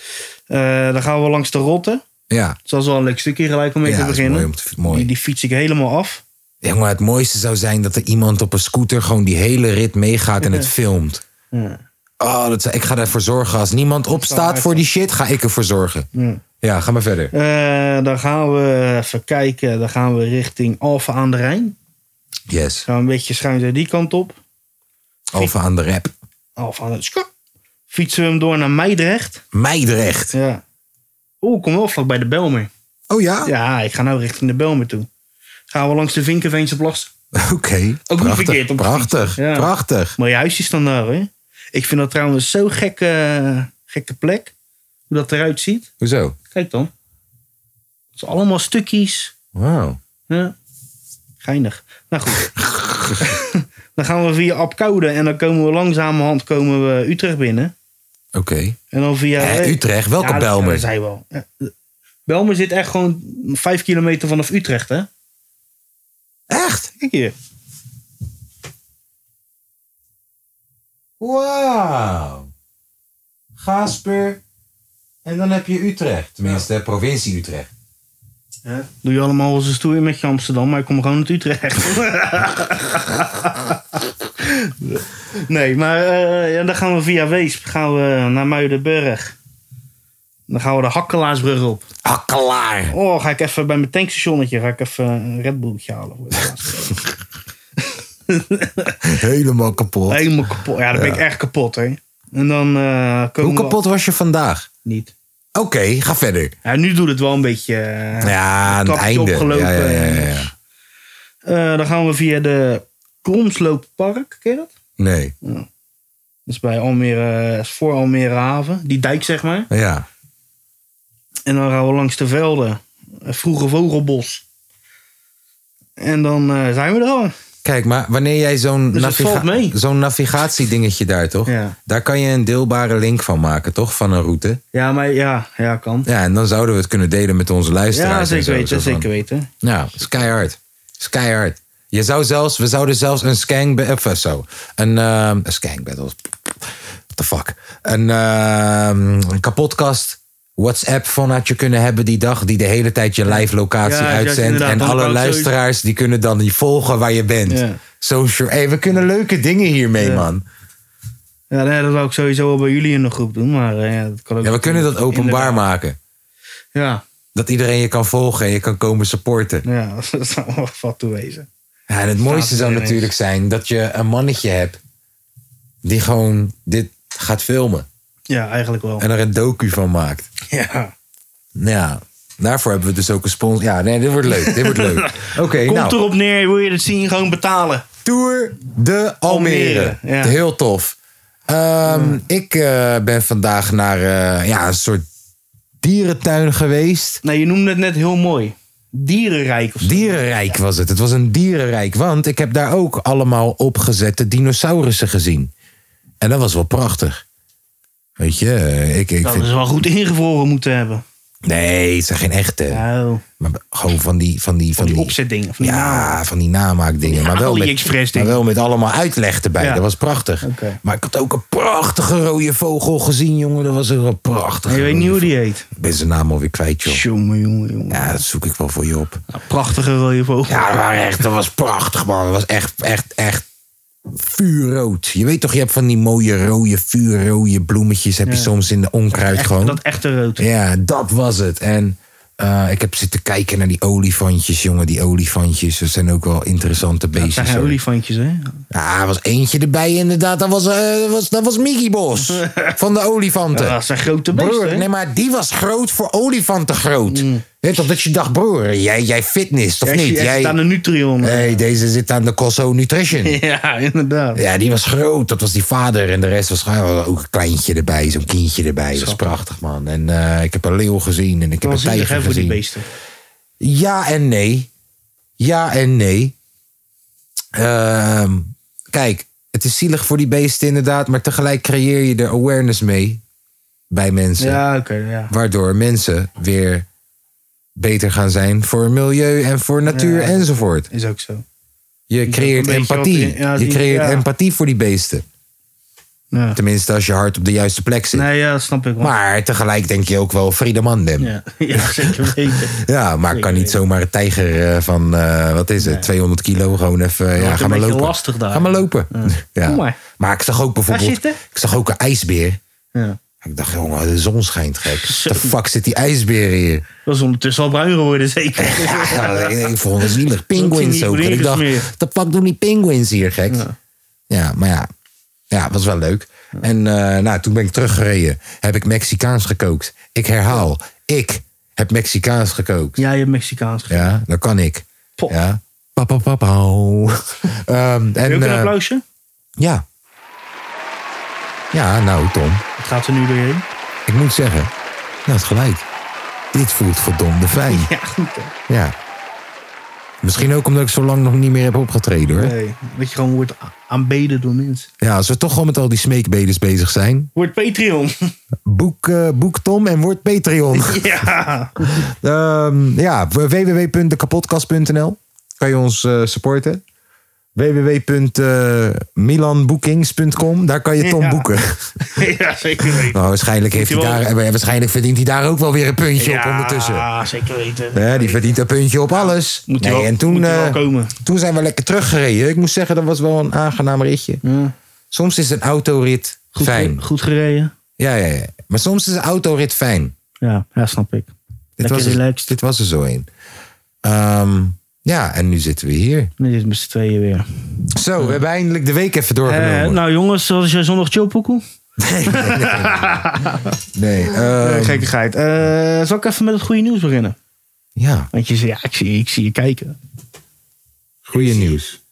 B: Eh, dan gaan we langs de rotte.
A: ja.
B: Het was wel een leuk stukje gelijk om mee
A: Ja,
B: te
A: dat is mooi
B: beginnen.
A: om te mooi.
B: Die, die fiets ik helemaal af.
A: Ja, maar het mooiste zou zijn dat er iemand op een scooter gewoon die hele rit meegaat en het filmt.
B: Ja.
A: Oh, dat, zou- ik ga ervoor zorgen. Als niemand opstaat voor die shit, ga ik ervoor zorgen.
B: Ja.
A: Ja, ga maar verder.
B: Eh, dan gaan we even kijken. Dan gaan we richting Alphen aan de Rijn.
A: Yes.
B: Gaan we een beetje schuin zo die kant op.
A: Over aan de rap.
B: Alphen aan de Skop. Fietsen we hem door naar Meidrecht.
A: Meidrecht.
B: Ja. Oeh, ik kom wel vlak bij de Belmer.
A: Oh ja?
B: Ja, ik ga nou richting de Belmer toe. Gaan we langs de Vinkenveense Plas.
A: Oké.
B: niet
A: Prachtig.
B: verkeerd om te
A: Prachtig.
B: fietsen. Ja.
A: Prachtig.
B: Mooie huisjes dan daar, hè? Ik vind dat trouwens zo'n gekke, gekke plek. Hoe dat eruit ziet.
A: Hoezo?
B: Kijk dan. Het is allemaal stukjes.
A: Wauw.
B: Ja. Geinig. Nou goed. dan gaan we via Apkoude en dan komen we langzamerhand komen we Utrecht binnen.
A: Oké.
B: En dan via...
A: Eh, Utrecht, welke
B: Ja, dat-
A: Bijlmer?
B: Dat zei wel. Ja. Belmer zit echt gewoon vijf kilometer vanaf Utrecht, hè?
A: Echt?
B: Kijk hier.
A: Wauw. Gasper. En dan heb je Utrecht. Tenminste, provincie Utrecht.
B: Doe je allemaal als een stoer met je Amsterdam, maar ik kom gewoon uit Utrecht. Nee, maar eh, ja, dan gaan we via Weesp gaan we naar Muidenburg. Dan gaan we de Hakkelaarsbrug op.
A: Hakkelaar.
B: Oh, ga ik even bij mijn tankstationnetje ga ik even een Red Bulltje halen. Voor de laatste.
A: Helemaal kapot.
B: Helemaal kapot. Ja, dan ben ik echt kapot, hè. En dan eh, komen
A: Hoe kapot was je vandaag?
B: we... Niet.
A: Oké, ga verder.
B: Ja, nu doet het wel een beetje... eh,
A: Ja, aan het
B: Kapje
A: einde.
B: opgelopen.
A: Ja, ja, ja, ja.
B: eh, dan gaan we via de Kromslooppark, ken je dat?
A: Nee.
B: Dat is bij Almere, eh, is voor Almere Haven. Die dijk, zeg maar.
A: Ja.
B: En dan gaan we langs de velden. Het vroege vogelbos. En dan eh, zijn we er al.
A: Kijk, maar wanneer jij zo'n
B: Dus het valt mee.
A: zo'n navigatiedingetje daar, toch?
B: Ja.
A: Daar kan je een deelbare link van maken, toch? Van een route.
B: Ja, maar ja, ja kan.
A: Ja, en dan zouden we het kunnen delen met onze luisteraars.
B: Ja,
A: en
B: zeker
A: zo.
B: weten,
A: Zo van-
B: zeker weten.
A: Ja, skyhard. Skyhard. Je zou zelfs, we zouden zelfs een skank... Of eh, zo. Een, ehm een skank battle. What the fuck. Een, ehm, een kapotkast. WhatsApp vanuit je kunnen hebben die dag. Die de hele tijd je live locatie
B: Ja, juist,
A: uitzendt.
B: inderdaad.
A: En
B: Dan
A: alle
B: kan ik sowieso-
A: luisteraars die kunnen dan die volgen waar je bent.
B: Ja.
A: Social. Hey, we kunnen leuke dingen hiermee,
B: Ja.
A: man.
B: Ja, nee, dat wou ik sowieso wel bij jullie in de groep doen, maar eh, ja, dat kan ook.
A: Ja, we kunnen dat openbaar
B: Inderdaad.
A: maken.
B: Ja,
A: Dat iedereen je kan volgen en je kan komen supporten.
B: ja, dat zou wel wat toewezen.
A: Ja, en het mooiste
B: Staat
A: zou
B: er
A: natuurlijk zijn dat je een mannetje hebt die gewoon dit gaat filmen
B: Ja, eigenlijk wel.
A: en er een docu van maakt.
B: Ja.
A: Nou Ja, daarvoor hebben we dus ook een sponsor. Ja, nee, dit wordt leuk. Dit wordt leuk. Oké,
B: Komt
A: nou,
B: erop neer, wil je het zien, gewoon betalen.
A: Tour de Almere.
B: Almere, ja.
A: Heel tof. Ehm, Ik eh, ben vandaag naar eh, ja, een soort dierentuin geweest.
B: Nee, je noemde het net heel mooi. Dierenrijk of zo.
A: Dierenrijk was het. Het was een dierenrijk. Want ik heb daar ook allemaal opgezette dinosaurussen gezien. En dat was wel prachtig. Weet je, eh, ik, ik
B: Dat is
A: vind...
B: wel goed ingevroren moeten hebben.
A: Nee, het zijn geen echte.
B: Nou,
A: Maar gewoon van die... Van die, van
B: die
A: die
B: opzetdingen. Van die namen.
A: ja, van die namaakdingen.
B: Ja,
A: Maar wel met, maar
B: AliExpress-dingen.
A: wel met allemaal uitleg erbij.
B: Ja.
A: Dat was prachtig.
B: Oké.
A: Maar ik had ook een prachtige rode vogel gezien, jongen. Dat was een prachtige
B: En je weet
A: rode
B: niet hoe
A: vogel.
B: die heet.
A: Ik ben zijn naam alweer kwijt, joh.
B: Jongen, jongen, jongen.
A: Ja, dat zoek ik wel voor je op.
B: Nou, Prachtige rode vogel.
A: Ja, dat, waren echt, dat was prachtig, man. Dat was echt, echt, echt vuurrood. Je weet toch, je hebt van die mooie rode, vuurrode bloemetjes... heb je soms in de onkruid
B: Echt-
A: gewoon.
B: Dat echte rood.
A: Ja, dat was het. En eh, ik heb zitten kijken naar die olifantjes, jongen. Die olifantjes, dat zijn ook wel interessante
B: Dat zijn
A: beestjes.
B: geen
A: hoor.
B: olifantjes, hè?
A: Ja, er was eentje erbij inderdaad. Dat was, eh, dat was, dat was Mickey Bos van de olifanten.
B: Dat zijn grote beesten,
A: Broer,
B: hè? Mm.
A: nee, maar die was groot voor olifanten groot. Weet toch, dat je dacht, broer, jij, jij fitness, of
B: Ja,
A: niet?
B: Jij
A: Jij,
B: zit aan de Nutrion.
A: Hey, deze zit aan de Cosso Nutrition.
B: eh, Ja, inderdaad.
A: Ja, die was groot. Dat was die vader. En de rest was oh, ook een kleintje erbij, zo'n kindje erbij. Dat was prachtig, man. En eh, ik heb een leeuw gezien en ik heb
B: Dan
A: een
B: zie je
A: tijger
B: hè, voor die
A: gezien.
B: beesten.
A: Ja en nee. Ja en nee. Ehm, kijk, het is zielig voor die beesten inderdaad. Maar tegelijk creëer je er awareness mee bij mensen.
B: Ja, oké, ja.
A: Waardoor mensen weer beter gaan zijn voor milieu en voor natuur
B: Ja.
A: enzovoort.
B: Is ook zo.
A: Je
B: ook
A: creëert
B: een beetje wat
A: empathie.
B: in- ja,
A: je
B: die-
A: creëert
B: ja.
A: empathie voor die beesten.
B: Ja.
A: Tenminste, als je hart op de juiste plek zit.
B: Nee, ja, dat snap ik wel.
A: Maar tegelijk denk je ook wel Friedemandem. Ja,
B: Ja, ja zeker weten.
A: ja maar kan niet zomaar een tijger eh, van, eh, wat is het, 200 kilo gewoon even, ja,
B: wordt
A: ga
B: een
A: maar
B: beetje
A: lopen.
B: lastig daar.
A: Ga maar lopen. Ja.
B: Kom maar.
A: Maar ik zag ook bijvoorbeeld,
B: zitten?
A: ik zag ook een ijsbeer.
B: Ja.
A: Ik dacht, jongen, de zon schijnt gek. De fuck zit die ijsbeer hier?
B: Dat is ondertussen al bruin geworden, zeker.
A: Ja, dat ik ik vond het zielig.
B: Dat
A: Penguins
B: zien
A: ook.
B: die
A: En ik dacht,
B: vlinders meer.
A: de fuck doen die penguins hier, gek? Ja,
B: Ja.
A: maar ja. Ja, was wel leuk. En eh, nou, toen ben ik teruggereden. Heb ik Mexicaans gekookt. Ik herhaal. Ik heb Mexicaans gekookt.
B: Ja, je hebt Mexicaans gezien.
A: Ja, dat kan ik.
B: Pop.
A: Ja. Papa, papa. Ehm en,
B: Wil je ook een
A: eh,
B: applausje?
A: ja. Ja, nou Tom.
B: Het gaat er nu doorheen.
A: Ik moet zeggen. Nou, het gelijk. Dit voelt verdomde fijn.
B: Ja, goed hè.
A: Ja. Misschien ook omdat ik zo lang nog niet meer heb opgetreden hoor.
B: Nee, dat je gewoon wordt a- aanbeden door mensen.
A: Ja, als we toch gewoon met al die smeekbeders bezig zijn.
B: Wordt Patreon.
A: Boek, eh, boek Tom en word Patreon.
B: ja.
A: Ehm ja, www.dekapodcast.nl kan je ons eh, supporten. eh, www.milanbookings.com. Daar kan je Tom
B: Ja.
A: boeken.
B: ja, zeker weten.
A: Nou, waarschijnlijk, heeft hij
B: Moet je wel-
A: daar, eh, waarschijnlijk verdient hij daar ook wel weer een puntje op ondertussen.
B: Ja, zeker weten.
A: Ja, die verdient een puntje op alles.
B: Moet hij
A: Nee,
B: wel-
A: en toen,
B: moet hij wel
A: eh,
B: komen.
A: toen zijn we lekker teruggereden. Ik moet zeggen, dat was wel een aangenaam ritje. Soms is een autorit
B: Goed,
A: fijn.
B: goed gereden.
A: Ja, ja, ja. Maar soms is een autorit fijn.
B: Ja, ja, snap ik.
A: Dit
B: Lekker
A: was, er,
B: relaxed.
A: dit was er zo een. Ehm, ja, en nu zitten we hier.
B: Nu zitten we met z'n tweeën weer.
A: Zo, we hebben eindelijk de week even
B: Eh,
A: doorgenomen.
B: nou jongens, zoals jij zondag chillpokoe?
A: nee, ehm,
B: gekkigheid. Eh, zal ik even met het goede nieuws beginnen?
A: ja,
B: Want je zegt, ja, ik zie, ik zie je kijken.
A: goede nieuws.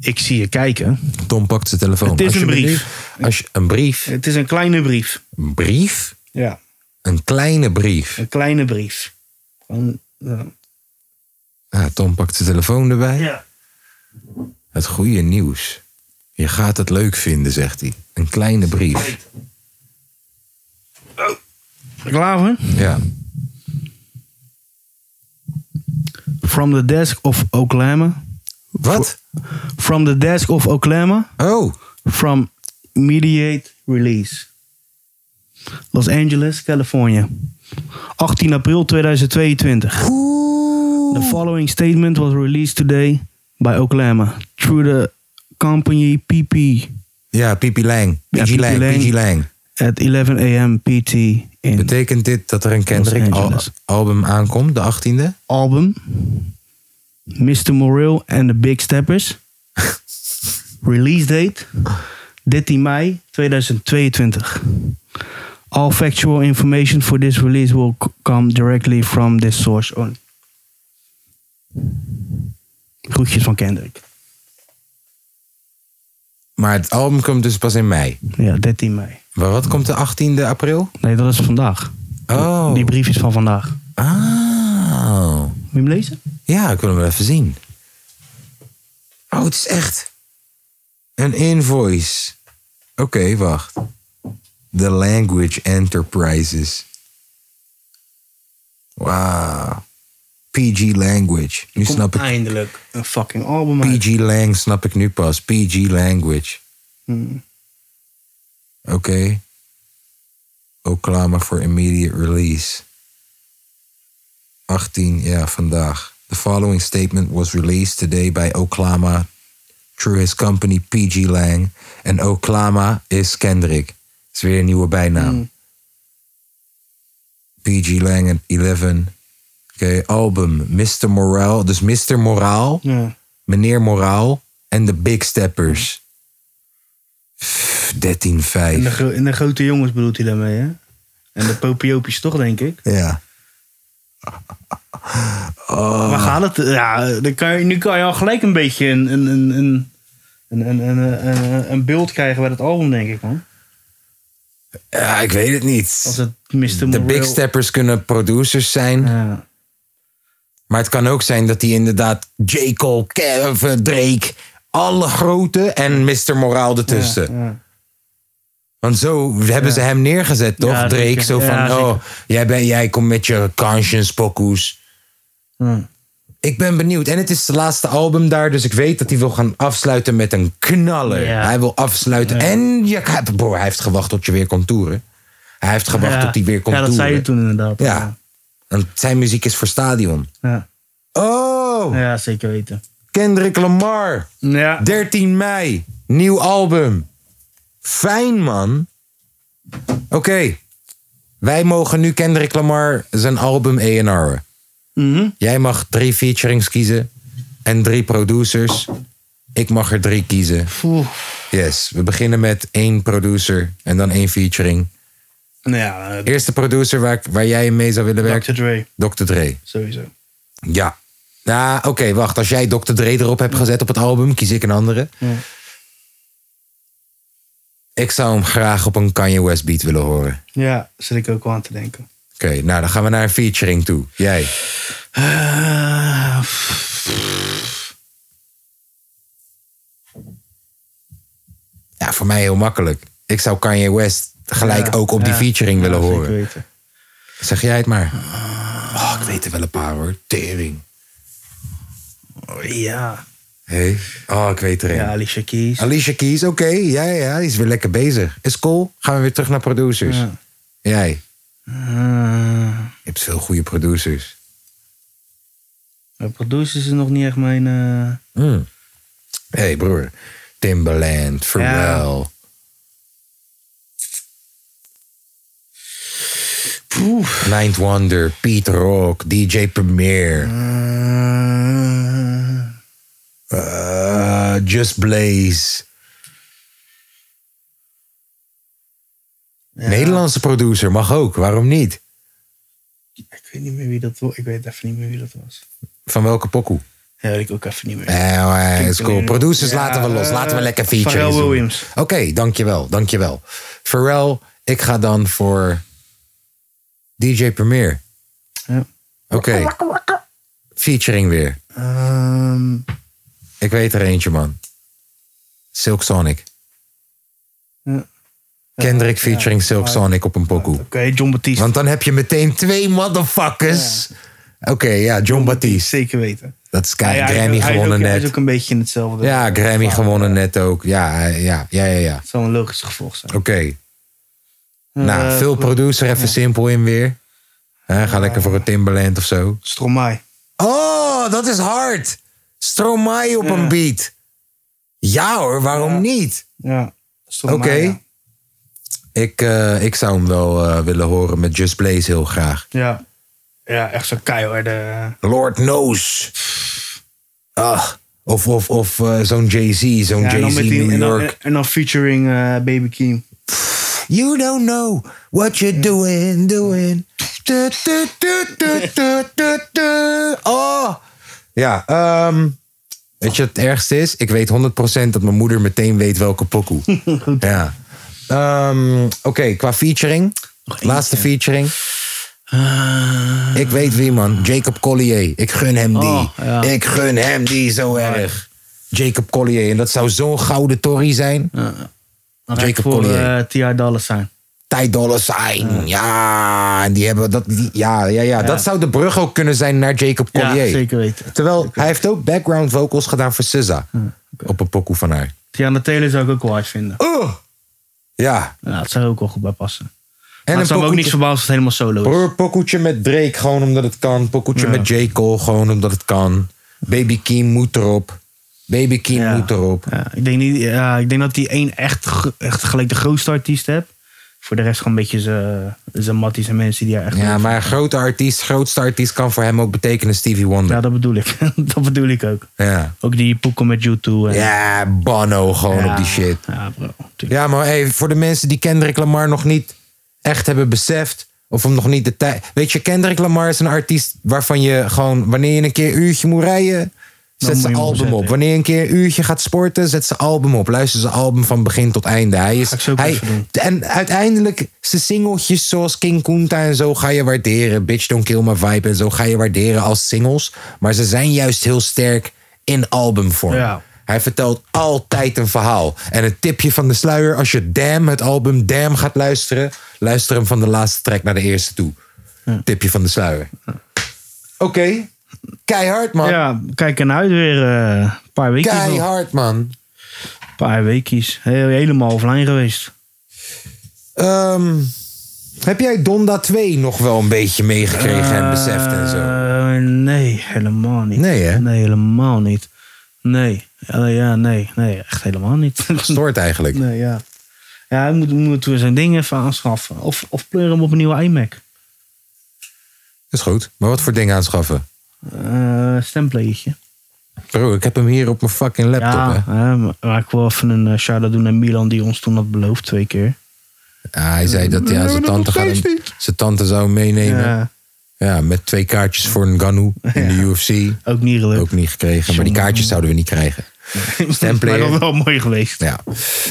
B: Ik zie je kijken.
A: Tom pakt zijn telefoon.
B: Het is
A: Als je
B: een
A: me nu-
B: brief.
A: als je, een brief.
B: Het is een kleine brief.
A: Een brief?
B: Ja,
A: Een kleine brief.
B: een kleine brief. Gewoon, eh,
A: Ah, Tom pakt zijn telefoon erbij.
B: ja.
A: Het goede nieuws. Je gaat het leuk vinden, zegt hij. Een kleine brief.
B: Klaar voor?
A: Ja.
B: From the desk of Oklahoma.
A: Wat?
B: From the desk of Oklahoma.
A: Oh,
B: From immediate release. Los Angeles, California. 18 april 2022. The following statement was released today by Oklahoma through the company PP
A: ja, Pipi Lang.
B: Ja,
A: Pipi Lang.
B: Pipi Lang.
A: Pipi Lang.
B: at 11 a.m. PT in
A: Betekent dit dat er een Kendrick al-
B: Angeles.
A: album aankomt, de 18e?
B: album Mr. Morrill and the Big Steppers. Release date 13 mei 2022. All factual information for this release will c- come directly from this source only. Groetjes van Kendrick.
A: Maar het album komt dus pas in mei.
B: Ja, 13 mei.
A: Maar wat komt de 18e april?
B: Nee, dat is vandaag.
A: Oh.
B: Die brief is van vandaag. Moet
A: Ah.
B: je hem lezen?
A: Ja, ik wil hem wel even zien. Oh, het is echt. Een invoice. Oké, wacht. The Language Enterprises. Wauw. PG Language. Nu snap ik.
B: Eindelijk. Een fucking album. uit.
A: PG Lang snap ik nu pas. PG Language.
B: Hmm.
A: Oké. Oklahoma for immediate release. 18, ja, vandaag. The following statement was released today by Oklahoma through his company PG Lang. En Oklahoma is Kendrick. is weer een nieuwe bijnaam. PG Lang en 11. Oké, album Mr. Moraal. Dus Mr. Moraal.
B: Ja.
A: Meneer Moraal en de Big Steppers. Pff, 13-5.
B: En de, gro- en de grote jongens bedoelt hij daarmee, hè? En de popiopies toch, denk ik.
A: Ja. Oh.
B: Waar gaat het? Ja, dan kan je, nu kan je al gelijk een beetje een, een, een, een, een, een, een, een, een beeld krijgen bij het album, denk ik, man.
A: ja, ik weet het
B: Als
A: niet.
B: het Mr.
A: De
B: Moreel-
A: Big Steppers kunnen producers zijn.
B: Ja.
A: Maar het kan ook zijn dat hij inderdaad J. Cole, Kevin, Drake... alle grote en Mr. Moraal ertussen.
B: Ja.
A: Want zo hebben ze hem neergezet, toch?
B: Ja,
A: Drake,
B: zeker.
A: zo van...
B: Ja, zeker.
A: oh, jij, ben, jij komt met je conscience pokoes.
B: Ja.
A: Ik ben benieuwd. En het is zijn laatste album daar, dus ik weet dat hij wil gaan afsluiten met een knaller.
B: Ja.
A: Hij wil afsluiten. En je, hij, bro, hij heeft gewacht tot je weer komt toeren. Hij heeft gewacht
B: Ja.
A: tot hij weer komt
B: Ja, dat
A: toeren.
B: zei je toen inderdaad.
A: Ja. Want zijn muziek is voor stadion.
B: Ja,
A: Oh,
B: Ja, zeker weten.
A: Kendrick Lamar.
B: Ja.
A: 13 mei. Nieuw album. Fijn, man. Oké. Wij mogen nu Kendrick Lamar zijn album A&R'en.
B: Mhm.
A: Jij mag drie featurings kiezen en drie producers. Ik mag er drie kiezen.
B: Oeh.
A: Yes, we beginnen met één producer en dan één featuring.
B: Nou ja, eh,
A: Eerste producer waar, ik- waar jij mee zou willen
B: Dr.
A: werken?
B: Dre,
A: Dr. Dre.
B: sowieso.
A: Ja. Nou, oké, wacht. Als jij Dr. Dre erop hebt gezet op het album, kies ik een andere.
B: Ja.
A: Ik zou hem graag op een Kanye West beat willen horen.
B: Ja, zit ik ook wel aan te denken.
A: Oké, nou dan gaan we naar een featuring toe. Jij.
B: Eh,
A: Ja, voor mij heel makkelijk. Ik zou Kanye West gelijk
B: ja,
A: ook op die
B: ja.
A: featuring willen
B: Ja, zeker
A: horen.
B: weten.
A: Zeg jij het maar. Oh, ik weet er wel een paar hoor. Tering.
B: Oh, ja.
A: Hey. Oh, ik weet er een.
B: Ja, Alicia Keys.
A: Alicia Keys, oké. Ja, ja, die is weer lekker bezig. Is cool. Gaan we weer terug naar producers.
B: Ja.
A: Jij.
B: Eh,
A: Je hebt veel goede producers.
B: maar producers is nog niet echt mijn... eh,
A: Hé hey, broer. Timbaland, Pharrell. Ninth Wonder, Pete Rock, DJ Premier.
B: eh,
A: eh, Just Blaze. Nederlandse producer mag ook, waarom niet?
B: ik weet niet meer wie dat was. Ik weet even niet meer wie dat was.
A: Van welke pokoe?
B: Ja, weet ik ook even niet meer.
A: Eh, maar is cool. Producers
B: Ja,
A: laten we los.
B: eh,
A: Laten we lekker features
B: Pharrell
A: doen.
B: Williams.
A: Oké, dankjewel. Dankjewel. Pharrell, ik ga dan voor DJ Premier.
B: Ja.
A: Oké. Featuring weer.
B: Ehm,
A: Ik weet er eentje, man. Silk Sonic.
B: Ja.
A: Kendrick featuring Silk
B: maar-
A: Sonic op een pokoe.
B: Oké, John Baptiste.
A: Want dan heb je meteen twee motherfuckers. Oké, ja, John Baptiste.
B: Zeker weten.
A: Dat is kei-
B: Ja, ja, hij is
A: Grammy
B: ook- hij is
A: gewonnen
B: ook- Hij
A: net.
B: is ook een beetje in hetzelfde.
A: Ja, Grammy
B: Maar
A: gewonnen net ook. Ja, ja, ja, ja. ja.
B: Het zal een logisch gevolg zijn.
A: Oké. Nou,
B: Eh,
A: veel producer even simpel in weer. Hè, ga lekker voor een Timberland of zo.
B: Stromae.
A: Oh, dat is hard. Stromae op een beat. Ja hoor, waarom niet?
B: Ja. Stromae,
A: Oké.
B: Ja.
A: Ik, eh, ik zou hem wel eh, willen horen met Just Blaze heel graag.
B: ja. Ja, echt zo'n keiharde... eh,
A: Lord Knows. Ah, of of, of eh, zo'n Jay-Z, zo'n
B: Ja, en dan
A: Jay-Z
B: met die-
A: New
B: en dan-
A: York.
B: En dan featuring eh, Baby Keem.
A: You don't know what you're doing, doing. Du, du, du, du, du, du, du. Oh. Ja, ehm, weet je wat het ergste is? Ik weet 100% dat mijn moeder meteen weet welke pokoe. Ja. Ehm, Oké, qua featuring. Laatste featuring. Ik weet wie, man. Jacob Collier. Ik gun hem die.
B: Ah. Oh, ja.
A: Ik gun hem die zo erg. Jacob Collier. En dat zou zo'n gouden tory zijn.
B: Dan ga ik
A: Jacob
B: voor
A: Collier.
B: eh T.I. Dolla zijn.
A: Ty Dolla Sign. Ja, en die hebben dat. die- ja, ja, ja, dat zou de brug ook kunnen zijn naar Jacob
B: Ja,
A: Collier.
B: zeker weten.
A: Terwijl hij heeft ook background vocals gedaan voor SZA op een pokoe van haar.
B: Tiana Taylor zou ik ook wel hard vinden.
A: Ja,
B: Ja, het zou er ook wel goed bij passen.
A: en
B: maar
A: een
B: het zou me ook niet
A: pokoetje,
B: verbazen als het helemaal solo is.
A: broer, pokoetje met Drake gewoon omdat het kan. Pokoetje met J. Cole gewoon omdat het kan. Baby Keem moet erop. Baby Keem
B: Ja.
A: moet erop.
B: Ja, ik, denk niet, ja, ik denk dat hij één echt, gro- echt gelijk de grootste artiest hebt. Voor de rest gewoon een beetje zijn- zijn matties en mensen die daar echt...
A: Ja, maar een grote artiest, grootste artiest kan voor hem ook betekenen Stevie
B: Ja,
A: Wonder.
B: dat bedoel ik. dat bedoel ik ook.
A: Ja,
B: Ook die poeko met YouTube. En,
A: ja Bono gewoon
B: Ja.
A: op die shit.
B: Ja, bro. tuurlijk.
A: Ja, maar hey, voor de mensen die Kendrick Lamar nog niet echt hebben beseft. Of hem nog niet de tijd. Weet je, Kendrick Lamar is een artiest waarvan je gewoon. Wanneer je een keer een uurtje moet rijden. Zet
B: moet
A: zijn
B: je hem
A: album
B: opzetten.
A: op. Wanneer je een keer een uurtje gaat sporten, zet zijn album op. Luister zijn album van begin tot einde. Hij is,
B: ik zo ook
A: hij,
B: even doen.
A: en uiteindelijk zijn singeltjes zoals King Kunta en zo ga je waarderen. Bitch Don't Kill My Vibe en zo ga je waarderen als singles. Maar ze zijn juist heel sterk in albumvorm.
B: Ja.
A: Hij vertelt altijd een verhaal. En een tipje van de sluier, als je Damn, het album Damn gaat luisteren... luister hem van de laatste track naar de eerste toe. Tipje van de sluier. Oké. Keihard, man.
B: Ja, kijk ernaar uit weer. eh, Een paar weken.
A: Keihard, man.
B: Een paar weekjes. Heel, helemaal offline geweest.
A: Ehm, heb jij Donda 2 nog wel een beetje meegekregen en beseft en zo?
B: Eh, nee, helemaal niet.
A: Nee, hè?
B: Nee, helemaal niet. Nee. Ja, ja, nee. Nee, echt helemaal niet.
A: Stoort eigenlijk.
B: nee, ja. Ja, we moeten- we moeten zijn dingen even aanschaffen. Of, of pleur hem op een nieuwe iMac.
A: Is goed. Maar wat voor ding aanschaffen?
B: Eh stemplayertje.
A: Bro, ik heb hem hier op mijn fucking laptop,
B: Ja,
A: hè?
B: hè, maar- maar ik wil even een eh, shout-out doen naar Milan die ons toen had beloofd twee keer.
A: Ah, hij zei dat ja, zijn, tante gaat hem- zijn tante zou hem meenemen. Ja.
B: Ja,
A: met twee kaartjes voor een Ganu in de UFC.
B: ook niet gelukt.
A: Ook niet gekregen. Maar die kaartjes zouden we niet krijgen.
B: Maar dat
A: Stemplayer.
B: was wel mooi geweest.
A: Ja.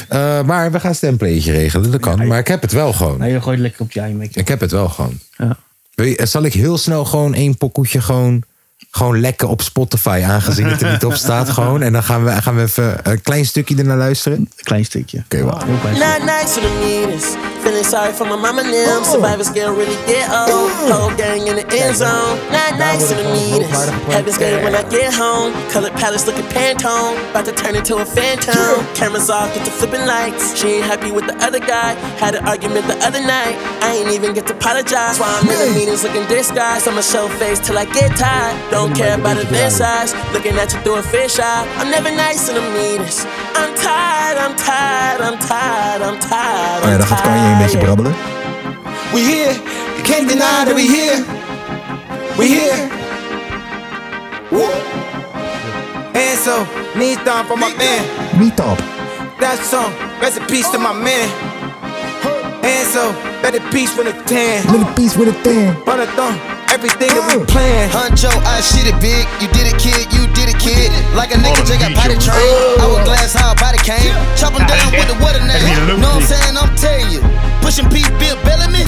A: Eh, maar we gaan een stempleetje regelen. Dat kan. Maar ik heb het wel gewoon.
B: Nee, je gooit lekker op je iMac.
A: Ik heb het wel gewoon.
B: Ja.
A: Wil je- zal ik heel snel gewoon één pokoetje gewoon Gewoon lekker op Spotify, aangezien het er niet op staat. Gewoon. En dan gaan we, gaan we even een klein stukje ernaar luisteren.
B: Een klein stukje.
A: Oké, wacht.
B: Heel klein stukje.
C: Not nice to the meetings. Feeling sorry for my mama and them. Survivors can really get old. Whole gang in the end zone. Not nice to the meetings. Heaven scared when I get home. Colored palace looking Pantone. About to turn into a phantom. Cameras off, get to flipping lights. She ain't happy with the other guy. Had an argument the other night. I ain't even get to apologize. Why I'm in the meetings looking disguised. I'ma show face till I get tired. Don't care about event size. Looking at you through a fish eye. I'm never nice in the meetings. I'm tired, I'm tired, I'm tired, I'm tired.
A: Oh ja,
C: I'm
A: dan gaat Kanye een
C: tired.
A: beetje brabbelen.
F: We here, you can't deny that we here. We here. Woo. And so, need down for my man.
A: Meet up.
F: That song, rest in peace to my man. And so, let it peace with a tan.
A: Little piece with a thing.
F: Run a thumb, everything that we plan.
G: Huncho, I shit it big. You did it, kid. You did it, kid. Like a nigga drink a potty train. I was glass how a body came. Chop 'em down with the water name. Know what I'm saying? I'm telling you. Pushing Pete Bill Bellamy.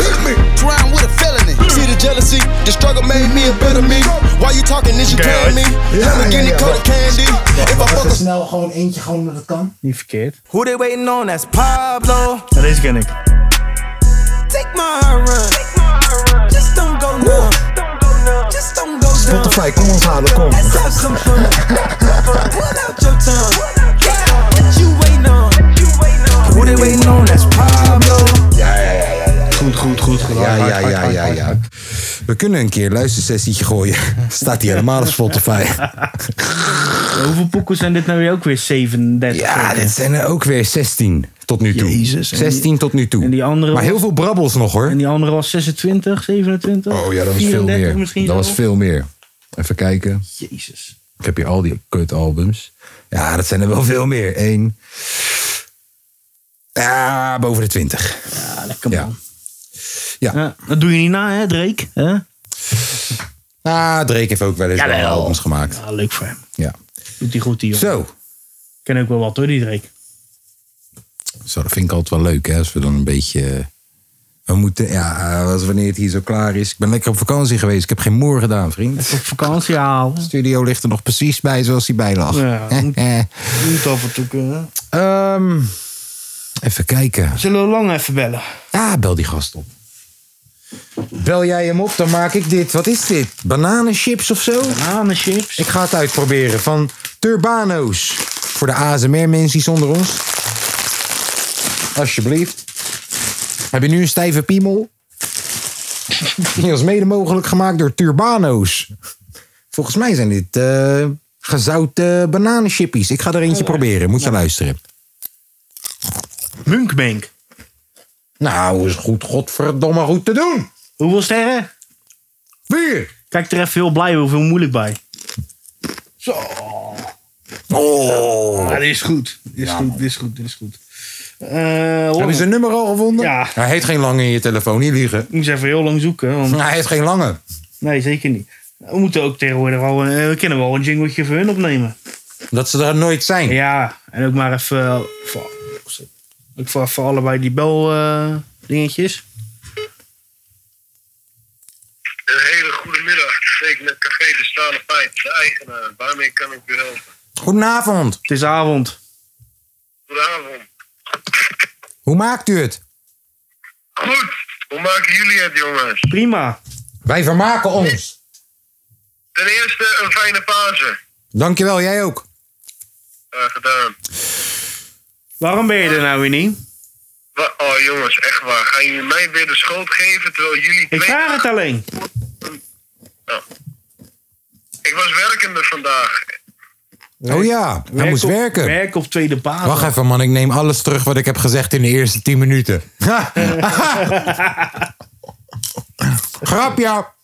G: Trying with a felony.
F: Hmm.
G: See the jealousy? The struggle made me a better me. Why you talking this? You telling me? I'm a guinea coat of candy. If I fuck a
H: Snel gewoon eentje, gewoon omdat het kan.
B: Niet verkeerd.
F: Who they waiting on? That's Pablo.
B: Ja, deze ken ik.
F: Take my run. Just don't go numb. Just don't go dumb.
A: Spotify, kom ons halen, kom.
F: Let's have some fun. Pull out your tongue. Yeah, what you waiting on? Who they waiting on? That's Pablo.
B: Goed, goed, goed. goed.
A: Ja,
B: Hard,
A: ja,
B: hard,
A: ja,
B: hard,
A: ja,
B: hard,
A: ja.
B: hard.
A: We kunnen een keer een luistersessietje gooien. Staat hier helemaal op Spotify.
B: Hoeveel poekels zijn dit nou weer ook weer? 37.
A: Ja, dit zijn er ook weer 16 tot nu toe.
B: Jezus.
A: 16 tot nu toe.
B: en die andere
A: maar heel
B: was-
A: veel brabbels nog hoor.
B: En die andere was 26, 27.
A: Oh ja, dat was veel
B: 34
A: meer.
B: misschien
A: Dat was
B: wel.
A: veel meer. Even kijken.
B: Jezus.
A: Ik heb hier al die kut albums. Ja, dat zijn er wel veel meer. Eén. Ja, boven de 20.
B: Ja, Ah, lekker
A: Ja.
B: man.
A: Ja.
B: dat doe je niet na, hè, Drake? Hè?
A: Ah, Drake heeft ook wel eens
B: Jawel.
A: wel albums gemaakt.
B: Ja, Ah, leuk voor hem.
A: Ja.
B: Doet hij goed, die jongen.
A: Zo.
B: Ken ook wel wat, hoor, die Drake.
A: Zo, dat vind ik altijd wel leuk, hè? Als we dan een beetje. eh, We moeten. Ja, eh, als wanneer het hier zo klaar is. Ik ben lekker op vakantie geweest. Ik heb geen moer gedaan, vriend.
B: Op vakantie halen.
A: Studio ligt er nog precies bij zoals hij bij lag.
B: Ja, moet- Moet af en toe eh. kunnen.
A: Ehm, even kijken.
B: Zullen we lang even bellen?
A: Ah, bel die gast op. Bel jij hem op, dan maak ik dit. Wat is dit? Bananenchips of zo?
B: Bananenchips.
A: Ik ga het uitproberen van Turbano's. Voor de ASMR-mensen onder ons. Alsjeblieft. Heb je nu een stijve piemel? Die was mede mogelijk gemaakt door Turbano's. Volgens mij zijn dit eh gezouten bananenchippies. Ik ga er eentje proberen. Moet je luisteren.
B: Munkbank.
A: Nou, is goed godverdomme goed te doen.
B: Hoeveel sterren?
A: Vier.
B: Kijk er even heel blij hoeveel moeilijk bij.
A: Oh.
B: Ah, dit is goed. Dit is goed, dit is goed, dit is goed. Eh,
A: Heb je
B: lang.
A: zijn nummer al gevonden?
B: Ja.
A: Hij heeft geen lange in je telefoon, niet liegen.
B: Ik moest even heel lang zoeken. Want...
A: Hij heeft geen lange.
B: Nee, zeker niet. We moeten ook tegenwoordig wel, een- eh, we kunnen wel een jingletje voor hun opnemen.
A: Dat ze er nooit zijn.
B: Ja, en ook maar even eh, voor, ook voor, voor allebei die bel eh, dingetjes.
I: Een hele goede middag. Ik met Café de Stalen Pijp, de eigenaar. Waarmee kan ik u helpen?
A: Goedenavond.
B: Het is avond.
I: Goedenavond.
A: Hoe maakt u het?
I: Goed. Hoe maken jullie het, jongens?
B: Prima.
A: Wij vermaken ons.
I: Ten eerste een fijne Pasen.
A: Dankjewel, jij ook.
I: Eh, gedaan.
B: Waarom ben je er nou weer niet?
I: Wa- oh, jongens, echt waar. Gaan jullie mij weer de schuld geven terwijl jullie
B: Ik
I: twee...
B: vraag het alleen.
I: Nou. Ik was werkende vandaag.
A: Oh ja, hij moest
B: op,
A: werken.
B: Werk op tweede paas.
A: Wacht even man, ik neem alles terug wat ik heb gezegd in de eerste 10 minuten. Grapje. Ja.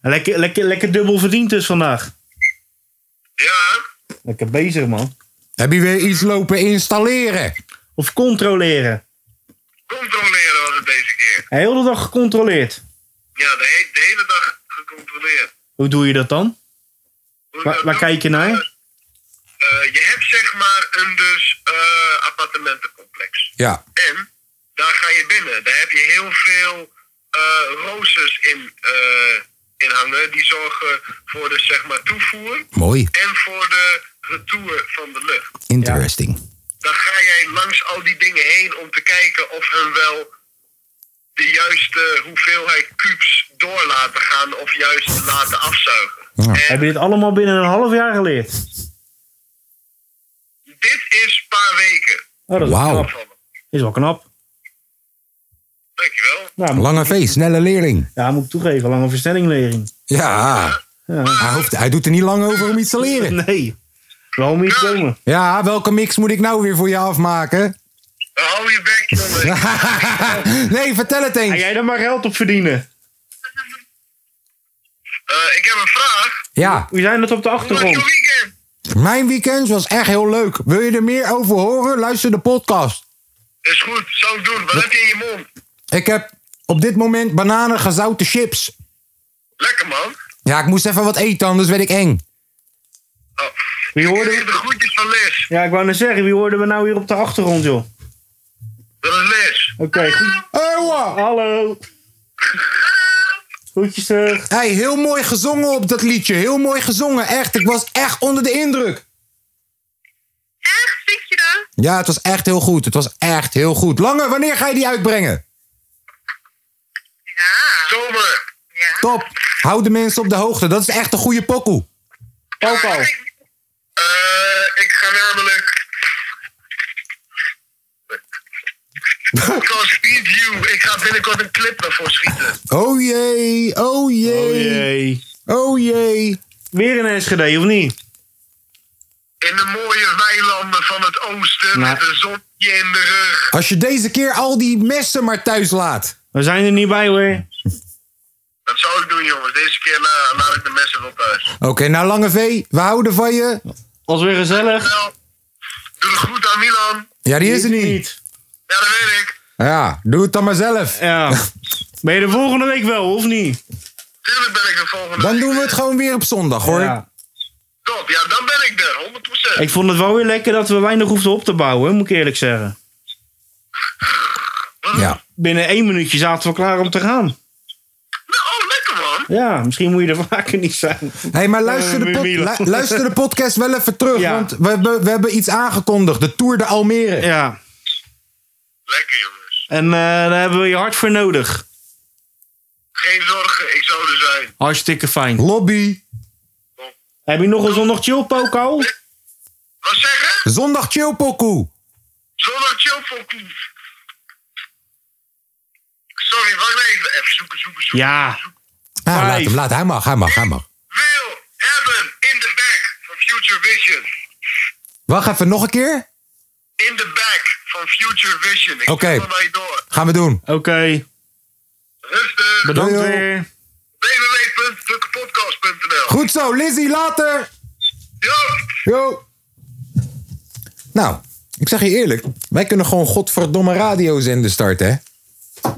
B: Lekker, lekker, lekker dubbel verdiend dus vandaag.
I: Ja,
B: Lekker bezig man.
A: Heb je weer iets lopen installeren?
B: Of controleren.
I: controleren was het deze keer.
B: Heel de dag gecontroleerd.
I: Ja, de, he- de hele dag gecontroleerd.
B: Hoe doe je dat dan?
I: Hoe
B: Waar,
I: dat
B: waar
I: doet?
B: kijk je naar?
I: Eh, je hebt zeg maar een dus eh, appartementencomplex.
A: Ja.
I: En daar ga je binnen. Daar heb je heel veel eh roosters in, eh, inhangen. Die zorgen voor de zeg maar, toevoer
A: Mooi.
I: en voor de retour van de lucht.
A: Interesting.
I: Dan ga jij langs al die dingen heen om te kijken of hun wel de juiste hoeveelheid kubus door laten gaan of juist laten afzuigen.
B: Heb je dit allemaal binnen een half jaar geleerd?
I: Dit is een paar weken.
B: Oh, dat is
A: Wauw.
B: knap. Is wel knap.
I: Dankjewel.
B: Nou, moet-
A: Lange V, snelle leerling.
B: Ja, moet ik toegeven. Lange versnellinglering.
A: Ja. Hij, hoeft, hij doet er niet lang over om iets te leren.
B: Nee. Wel om iets komen.
A: Ja, welke mix moet ik nou weer voor je afmaken?
I: Hou je bek,
A: jongen. nee, vertel het eens.
B: Ga jij daar maar geld op verdienen?
I: Eh, ik heb een vraag.
A: Ja.
B: Hoe zijn dat op de achtergrond?
A: Mijn weekend was echt heel leuk. Wil je er meer over horen? Luister de podcast.
I: Is goed, zou ik doen. Wat heb je in je mond?
A: Ik heb op dit moment bananen gezouten chips.
I: Lekker man.
A: Ja, ik moest even wat eten, anders werd ik eng.
B: Wie hoorde...
I: Oh. De groetjes van Les.
B: Ja, ik wou net zeggen, wie hoorden we nou hier op de achtergrond, joh?
I: Dat is Les.
B: Oké,
J: Ah,
B: goed. Hallo. Groetjes terug.
A: Hey, heel mooi gezongen op dat liedje. Heel mooi gezongen, echt. Ik was echt onder de indruk.
J: Vind je dat?
A: Ja, het was echt heel goed. Het was echt heel goed. Lange, wanneer ga je die uitbrengen?
I: Zomer.
A: Top. Hou de mensen op de hoogte. Dat is echt een goede pokoe.
B: Poco.
I: Eh, Ik ga namelijk... Podcast Review. Ik ga binnenkort een clip daarvoor schieten.
A: Oh jee, oh jee.
B: Oh jee.
A: Oh jee.
B: Weer in Enschede, of niet?
I: In de mooie weilanden van het oosten.
B: Nou.
I: Met een zonnetje in de rug.
A: Als je deze keer al die messen maar thuis laat.
B: We zijn er niet bij, hoor.
I: Dat zou ik doen jongens. Deze keer la- laat ik de mensen wel thuis.
A: Oké, nou Lange V, we houden van je.
B: Als weer gezellig.
I: Doe de groet aan Milan.
A: Ja, die is er niet.
I: Ja, dat weet ik.
A: Ja, doe het dan maar zelf.
B: Ja. Ben je er volgende week wel, of niet?
I: Tuurlijk ben ik er volgende
A: Dan doen we het gewoon weer op zondag, hoor.
B: Ja.
I: Top, ja, dan ben ik er. 100%.
B: Ik vond het wel weer lekker dat we weinig hoefden op te bouwen, moet ik eerlijk zeggen.
A: Ja.
B: Binnen één minuutje zaten we klaar om te gaan.
I: Oh, lekker man.
B: Ja, misschien moet je er vaker niet zijn.
A: Hé, hey, maar luister de,
B: Eh,
A: pod-
B: Milan.
A: lu- luister de podcast wel even terug.
B: Ja.
A: Want we hebben, we hebben iets aangekondigd. De Tour de Almere.
B: Ja.
I: Lekker jongens.
B: En eh, daar hebben we je hart voor nodig.
I: Geen zorgen, ik zou er zijn.
B: Hartstikke fijn.
A: Lobby.
B: Heb je nog een zondag chill, Poco?
I: Wat zeggen?
A: Zondag chill, pokoe.
I: Zondag chill pokoe. Sorry, wacht even. Even zoeken, zoeken, zoeken.
B: Ja.
A: Ah, laat
B: Vijf.
A: hem, laat Hij mag, hij mag, hij mag.
I: Wil hebben in the back van Future Vision.
A: Wacht even, nog een keer?
I: In the back van Future Vision. Ik
A: Oké.
I: ga er maar door.
A: Gaan we doen.
B: Oké.
I: Rustig.
B: Bedankt
A: Doei, joh.
B: weer.
I: www.tukkepodcast.nl
A: Goed zo, Lizzie, later.
I: Yo,
A: Yo. Nou, ik zeg je eerlijk. Wij kunnen gewoon godverdomme radiozender starten, hè?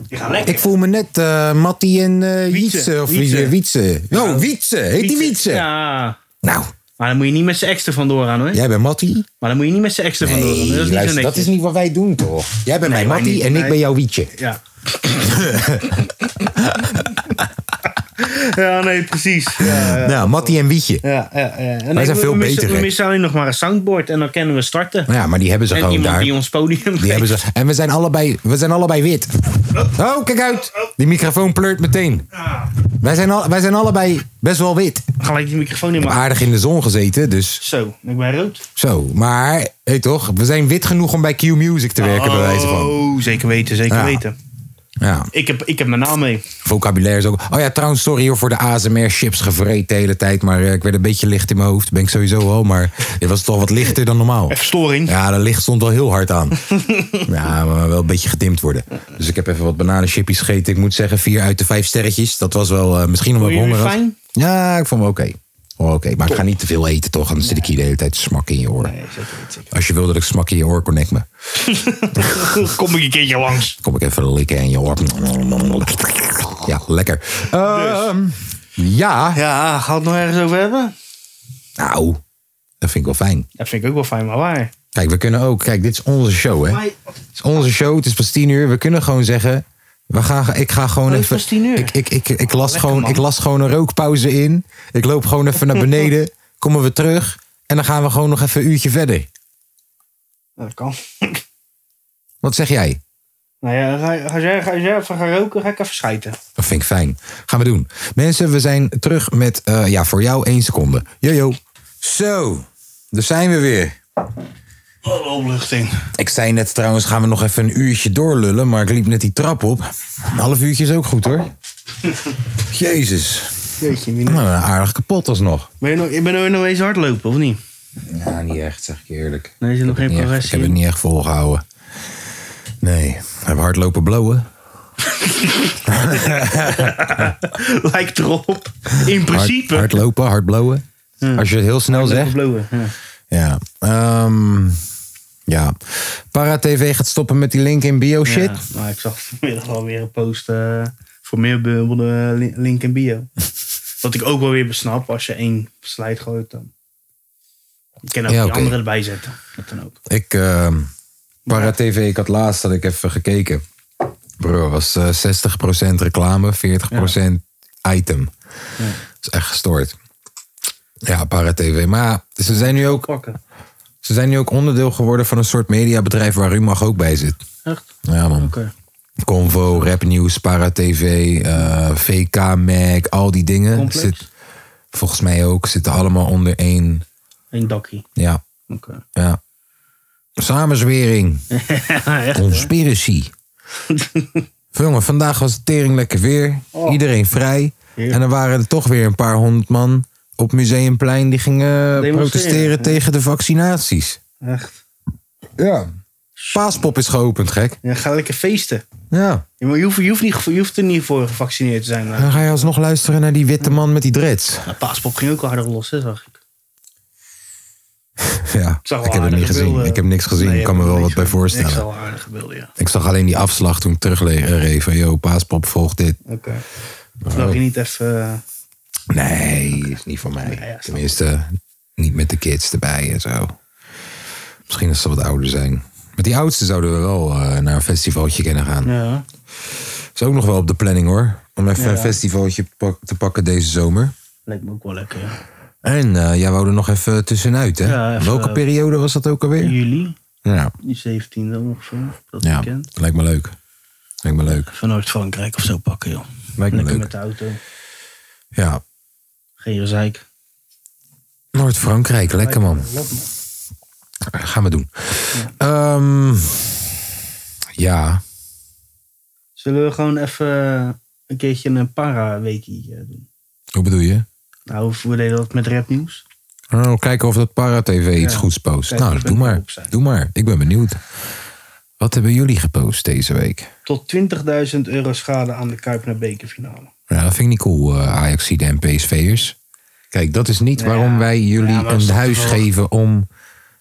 B: Die gaan lekker.
A: Ik voel me net eh Mattie en eh
B: Wietse.
A: Wietse. Of
B: Wietse.
A: Wietse. Wietse. Oh, Wietse. Heet die Wietse?
B: Ja.
A: Nou,
B: Maar dan moet je niet met z'n extra vandoor gaan hoor.
A: jij bent Mattie.
B: Maar dan moet je niet met z'n extra
A: Nee,
B: vandoor gaan. Dat is niet zo
A: luister, dat
B: netjes.
A: is niet wat wij doen, toch? Jij bent mijn
B: Nee, wij
A: Mattie
B: niet.
A: en ik
B: Nee.
A: ben jouw Wietje.
B: Ja. ja, nee, precies. Ja, ja.
A: Nou, Mattie en Wietje.
B: Ja, ja, ja.
A: Wij
B: En ik-
A: zijn
B: we
A: veel
B: missen-
A: beter,
B: We
A: hè?
B: missen alleen nog maar een soundboard en dan kunnen we starten.
A: Nou Ja, maar die hebben ze
B: en
A: gewoon
B: iemand
A: daar.
B: die ons podium
A: Die hebben ze. En we zijn allebei, we zijn allebei wit. Oh, kijk uit. Die microfoon pleurt meteen. Wij zijn, al, wij zijn allebei best wel wit.
B: Gelijk die microfoon in mijn
A: Aardig in de zon gezeten, dus
B: Zo, ik ben rood.
A: zo. Maar, hé toch, we zijn wit genoeg om bij Q-Music te werken, bij wijze van.
B: Oh, zeker weten, zeker
A: Ja.
B: weten.
A: Ja,
B: Ik heb, ik heb mijn naam mee.
A: vocabulaire is ook... Oh ja, trouwens, sorry hoor voor de ASMR-chips gevreten de hele tijd. Maar eh, ik werd een beetje licht in mijn hoofd. Ben ik sowieso al, maar dit was toch wat lichter dan normaal.
B: Even storing.
A: Ja, de licht stond al heel hard aan. ja, maar wel een beetje gedimd worden. Dus ik heb even wat bananenchippies gegeten. Ik moet zeggen, vier uit de vijf sterretjes. Dat was wel eh, misschien omdat ik
B: Vond je
A: honger
B: het
A: had.
B: fijn?
A: Ja, ik vond me oké. Oh, Oké, maar ik ga niet te veel eten toch? Anders zit ik hier de hele tijd smak in je oor. Als je wil dat ik smak in je oor, connect me.
B: Kom ik een keertje langs.
A: Kom ik even likken in je oor. Ja, lekker.
B: Dus.
A: Ehm, ja,
B: Ja, gaat het nog ergens over hebben?
A: nou, dat vind ik wel fijn.
B: Dat vind ik ook wel fijn, maar waar?
A: Kijk, we kunnen ook. Kijk, dit is onze show, hè? Het is onze show, het is pas tien uur. We kunnen gewoon zeggen. We gaan, ik ga gewoon even. Ik, ik, ik, ik, las gewoon, ik las gewoon een rookpauze in. Ik loop gewoon even naar beneden. Komen we terug. En dan gaan we gewoon nog even een uurtje verder.
B: Dat kan.
A: Wat zeg jij?
B: Nou ja, ga- als jij, als jij even gaat roken, ga ik even schijten.
A: Dat vind ik fijn. Gaan we doen. Mensen, we zijn terug met, eh, ja, voor jou één seconde. Jojo. Zo, daar zijn we weer.
B: Wat een Oh, opluchting.
A: Ik zei net trouwens, gaan we nog even een uurtje doorlullen, maar ik liep net die trap op. Een half uurtje is ook goed hoor. Jezus.
B: Jeetje,
A: Nou, aardig kapot alsnog.
B: Ben je nog, ben je nog eens hardlopen, of niet?
A: Ja, niet echt, zeg ik je eerlijk.
B: Nee, is er nog geen
A: Niet echt.
B: progressie?
A: ik heb het niet echt volgehouden. Nee, hebben we hardlopen blowen?
B: Lijkt erop. In principe.
A: Hard, hardlopen, hard blowen. Als je het heel snel
B: Hardlopen,
A: zegt.
B: blowen,
A: ja. Ehm, ja. Para TV gaat stoppen met die link in bio shit.
B: Ja, maar ik zag vanmiddag alweer een post eh, voor meer bubbelde li- link in bio. Wat ik ook wel weer besnap als je één slide gooit. Dan. Je kan ook
A: Ja,
B: die
A: oké.
B: andere erbij zetten. Dat dan ook.
A: Ik, ehm Para TV, ik had laatst dat ik even gekeken. Bro, was eh, 60% reclame, 40% item. Dat is echt gestoord. Ja, Para TV. Maar ja, ze zijn nu ook... Ze zijn nu ook onderdeel geworden van een soort mediabedrijf waar Rumach ook bij zit.
B: Echt?
A: Ja, man.
B: Oké.
A: Convo, Rapnieuws, Para TV, eh, VK, Mac, al die dingen.
B: Complex?
A: Zit, volgens mij ook, zitten allemaal onder één.
B: Eén dakkie.
A: Ja.
B: Oké.
A: ja. Samenzwering. Conspiracy. Jongen, vandaag was het tering lekker weer.
B: Oh.
A: Iedereen vrij. En er waren er toch weer een paar honderd man op Museumplein die gingen
B: Demonstreren,
A: protesteren
B: ja.
A: tegen de vaccinaties.
B: Echt.
A: Ja. Paaspop is geopend, gek.
B: Ja, ga lekker feesten.
A: Ja.
B: Je, maar je, hoeft, je, hoeft niet, je hoeft er niet voor gevaccineerd te zijn.
A: Dan
B: Maar.
A: ga je alsnog luisteren naar die witte man met die dreads.
B: Nou, Paaspop ging ook al harder los, hè, zag ik.
A: Ja,
B: zag wel
A: ik heb het niet
B: aardige
A: gezien.
B: beelden.
A: Ik heb niks gezien.
B: Nee,
A: ik kan me wel wat bij
B: Ik zag
A: voorstellen.
B: wel aardige beelden, ja.
A: Ik zag alleen die afslag toen ik terugreed van... Yo, paaspop, volg dit.
B: Oké. Wil je niet even... eh,
A: Nee, is niet voor mij. Tenminste, niet met de kids erbij en zo. Misschien als ze wat ouder zijn. Met die oudsten zouden we wel eh, naar een festivaltje kunnen gaan.
B: Ja.
A: Is ook nog wel op de planning hoor. Om even
B: Ja.
A: een festivaltje pak- te pakken deze zomer.
B: Lijkt me ook wel lekker. ja.
A: En eh, jij wou er nog even tussenuit hè?
B: Ja, eh, even-
A: Welke periode was dat ook alweer?
B: Juli.
A: Ja,
B: Die 17e ongeveer. Dat
A: ja.
B: weekend.
A: lijkt me leuk. Lijkt me leuk.
B: Van Noord-Frankrijk of zo pakken, joh.
A: Lijkt me
B: Lekker
A: leuk.
B: met de auto.
A: Ja,
B: Geen gezeik.
A: Noord-Frankrijk, lekker man. Gaan we doen. Ehm, ja.
B: Zullen we gewoon even eh, een keertje een para-weekie eh, doen?
A: Hoe bedoel je?
B: Nou, of we deden dat met rapnieuws.
A: Oh, kijken of dat Para-TV iets
B: Ja.
A: goeds post.
B: Kijk,
A: nou,
B: ik ben
A: doe maar. Doe maar. Ik ben benieuwd. Wat hebben jullie gepost deze week?
B: Tot 20.000 euro schade aan de Kuip naar bekerfinale.
A: Ja, dat vind ik niet cool, eh ajax en PSV'ers. Kijk, dat is niet waarom wij jullie
B: Ja, maar
A: een
B: is
A: huis
B: toch wel-
A: geven om...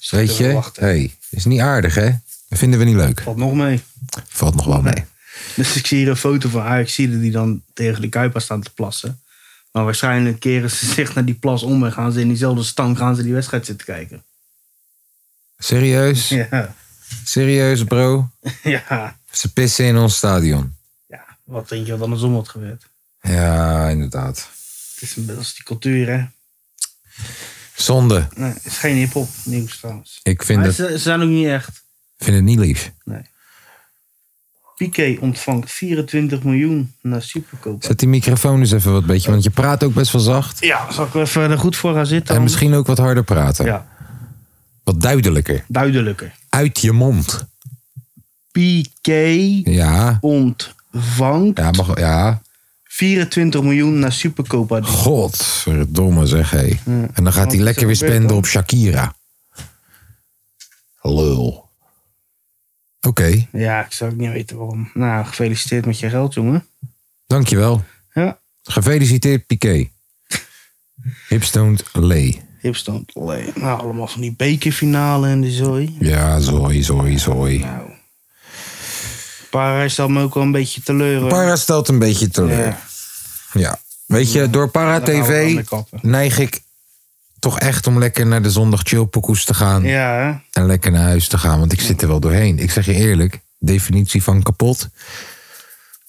A: Weet je, hey, is niet aardig, hè? Dat vinden we niet leuk.
B: Valt nog mee.
A: Valt nog wel mee.
B: Dus ik zie hier een foto van ajax die dan tegen de Kuip aan staan te plassen. Maar waarschijnlijk keren ze zich naar die plas om en gaan ze in diezelfde stang gaan ze die wedstrijd zitten kijken.
A: Serieus?
B: Ja,
A: Serieus, bro?
B: ja.
A: Ze pissen in ons stadion.
B: wat denk je wat andersom had gebeurd?
A: Ja, inderdaad.
B: Het is een beetje die cultuur, hè?
A: Zonde.
B: Nee, het is geen hip-hop nieuws trouwens.
A: Ik vind
B: Maar
A: het,
B: ze, ze zijn ook niet echt.
A: vind het niet lief.
B: Piqué ontvangt 24 miljoen na Supercopa.
A: Zet die microfoon eens even wat beetje, want je praat ook best wel zacht.
B: Ja, zal ik er even er goed voor gaan zitten?
A: En
B: dan?
A: misschien ook wat harder praten.
B: Ja.
A: Wat duidelijker.
B: Duidelijker.
A: Uit je mond.
B: Piqué
A: Ja.
B: ontvangt
A: Ja, mag, ja.
B: 24 miljoen na Supercopa.
A: Godverdomme zeg, hé. En dan gaat
B: Hm. Wat is
A: hij
B: er
A: lekker weer
B: gebeurd
A: spenden
B: dan?
A: op Shakira. Lul. Oké.
B: Ja, ik zou ook niet weten waarom. Nou, gefeliciteerd met je geld, jongen.
A: Dankjewel.
B: Ja.
A: Gefeliciteerd, Piqué. Hipstoned Lee.
B: Hipstand. Nou, allemaal van die bekerfinale en die zooi.
A: Ja, zooi, zooi, zooi.
B: Para stelt me ook wel een beetje teleur. hoor.
A: Para stelt een beetje teleur. Ja. Weet je, door Para
B: Daar gaan we wel
A: TV
B: mee kappen.
A: neig ik toch echt om lekker naar de zondag chillpokoes te gaan.
B: Ja, hè?
A: En lekker naar huis te gaan, want ik zit er wel doorheen. Ik zeg je eerlijk, definitie van kapot.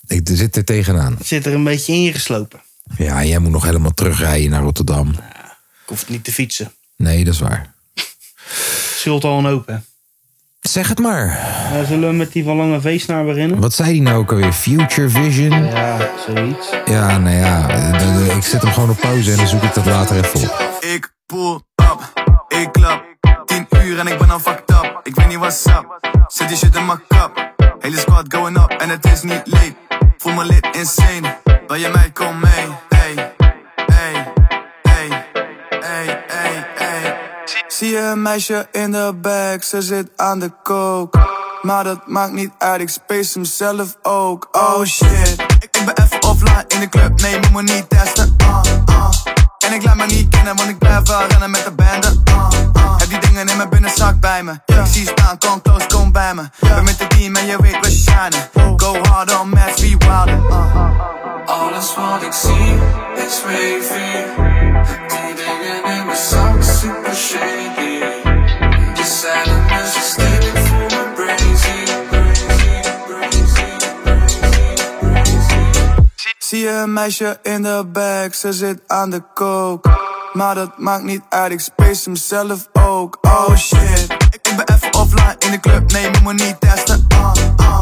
A: Ik zit er tegenaan.
B: Zit er een beetje ingeslopen.
A: Ja, jij moet nog helemaal terugrijden naar Rotterdam.
B: Ik hoef niet te fietsen.
A: Nee, dat is waar.
B: Zult al een open.
A: Zeg het maar.
B: zullen we met die van Lange Veesnaar beginnen?
A: Wat zei die nou ook alweer? Future Vision?
B: Ja, zoiets.
A: Ja, nou ja. d- d- Ik zet hem gewoon op pauze en dan zoek ik dat later even op.
J: Ik pull up, ik klap. 10 uur en ik ben al fucked up. Ik weet niet what's up. Zet die shit in mijn kap. Hele squad going up en het is niet late. Voel me lid insane. Bij je mij kom mee. Hey, hey, hey, hey, hey, hey. Zie je een meisje in de bag, ze zit aan de kook. Maar dat maakt niet uit, ik space hem zelf ook. Oh shit, ik ben even offline in de club, nee, moet me niet testen. ah, ah. En ik laat me niet kennen, want ik blijf wel rennen met de bende. ah, ah. Heb die dingen in mijn binnenzak bij me. Ik zie je staan, kom close, kom bij me. Ben met de team en je weet we shinen. Go hard on mass, be wilder. ah, ah.
K: Alles wat ik zie is wavy. Die dingen in mijn zak super shady. Je zijn een mensen stelen voor me brazy.
J: Zie je een meisje in de bag, ze zit aan de kook. Maar dat maakt niet uit, ik space hem zelf ook. Oh shit, ik ben even offline in de club, nee, moet me niet testen. ah, ah.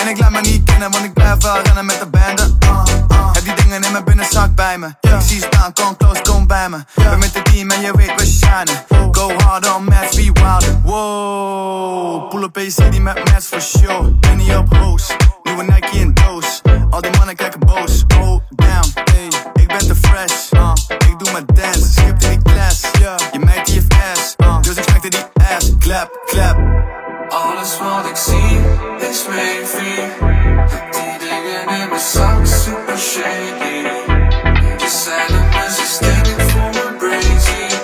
J: En ik laat me niet kennen, want ik blijf wel rennen met de bende. ah, ah. Heb die dingen in mijn binnenzak bij me. Ik zie je staan, kom close, kom bij me. Ben met de team en je weet we shinen. Go hard on mass, be wilder. Wow, pull up AC die met mass for sure. Penny op hoes, nieuwe Nike in doos. Al die mannen kijken boos, oh damn. Hey, ik ben te fresh, uh, ik doe mijn dance. Skip in die class, je meid die heeft ass. uh, dus ik smijte die ass, clap, clap.
K: Alles wat ik zie is wavy. Die dingen in mijn zak super shady. Je zijn een mensen stelen voor me brazy.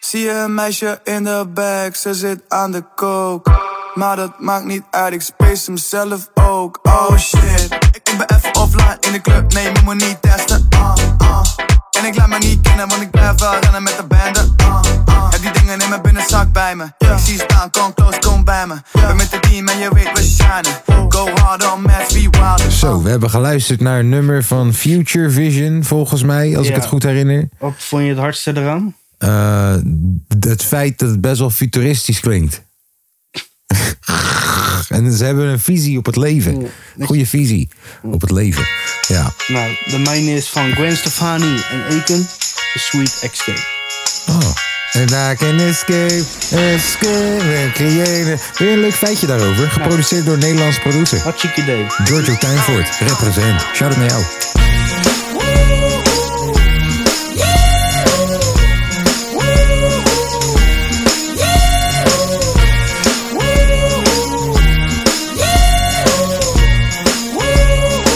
J: Zie je een meisje in de bag, ze zit aan de kook. Maar dat maakt niet uit, ik space hem zelf ook. Oh shit, ik ben even offline in de club, nee, moet me niet testen. ah, ah. En ik laat me niet kennen, want ik blijf wel rennen met de bende. ah, ah. Heb die dingen in mijn binnenzak bij me. Ik zie je staan, kom close, kom bij me. Ben met de team en je weet we shinen. Go hard on mass, be wilder.
A: Zo, Oh, we hebben geluisterd naar een nummer van Future Vision, volgens mij, als
B: Ja.
A: ik het goed herinner.
B: Wat vond je het hardste eraan?
A: Eh, d- het feit dat het best wel futuristisch klinkt. en ze hebben een visie op het
B: Mm.
A: leven. Goede visie op het leven. Ja.
B: Nou, de mijne is van Gwen Stefani en Aiken. The Sweet Escape.
A: Oh. And I can escape, escape and create. Weer een leuk feitje daarover. Geproduceerd door een Nederlands producer.
B: Hartstikke idee.
A: Giorgio Tuinvoort, represent. Shout out naar jou.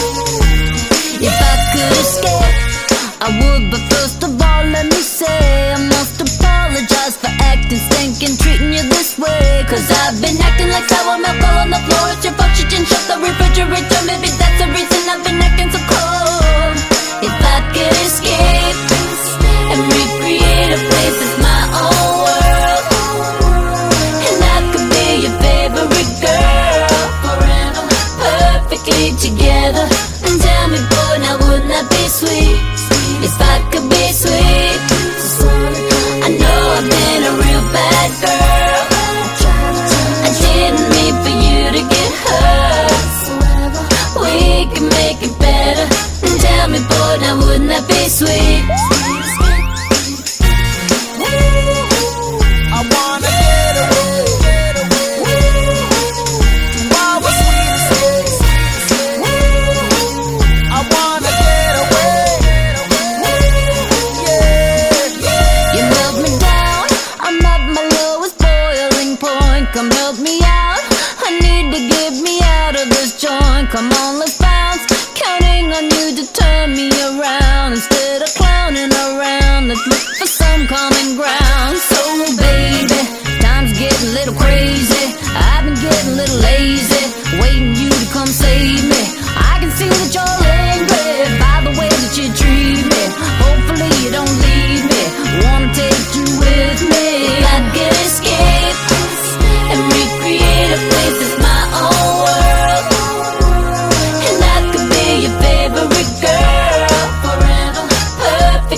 L: If I could escape, I would, but first of all, let me say I must apologize for acting, stinking, treating you this way. Cause I've been acting like sour milk all on the floor. It's your fault, you didn't shut the refrigerator. Maybe that's the reason I've been acting so cold. If I could escape and recreate a place that's my own world, and I could be your favorite girl forever, perfectly together. And tell me, boy, now wouldn't that be sweet? If I could be sweet, I know I've been a real bad girl. I didn't mean for you to get hurt. We can make it better.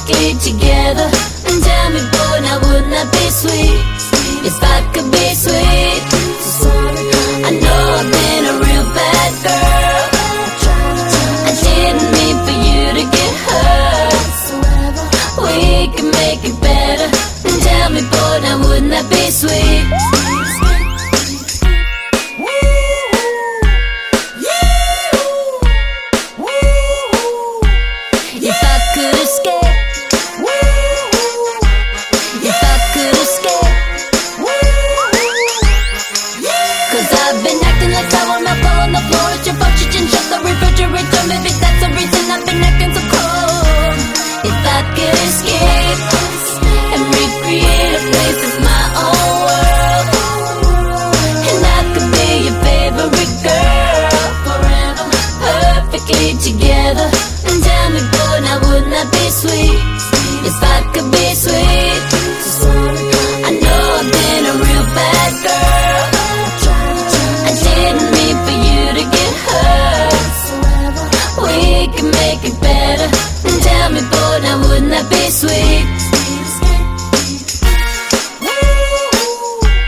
L: it together. And tell me, boy, now wouldn't I be sweet if I could be sweet? I know I've been a real bad girl. I didn't mean for you to get hurt. We can make it better. And tell me, boy, now wouldn't that be sweet? If I could escape, if I could escape, cause I've been acting like sour milk on the floor. It's your fault you didn't shut the refrigerator. Maybe that's the reason I've been acting so cold. If I could escape and recreate a place that's my own world, and I could be your favorite girl forever, perfectly together. And tell me, boy, now wouldn't that be sweet if I could be sweet? I know I've been a real bad girl. I didn't mean for you to get hurt. We can make it better. And tell me, boy, now wouldn't that be sweet?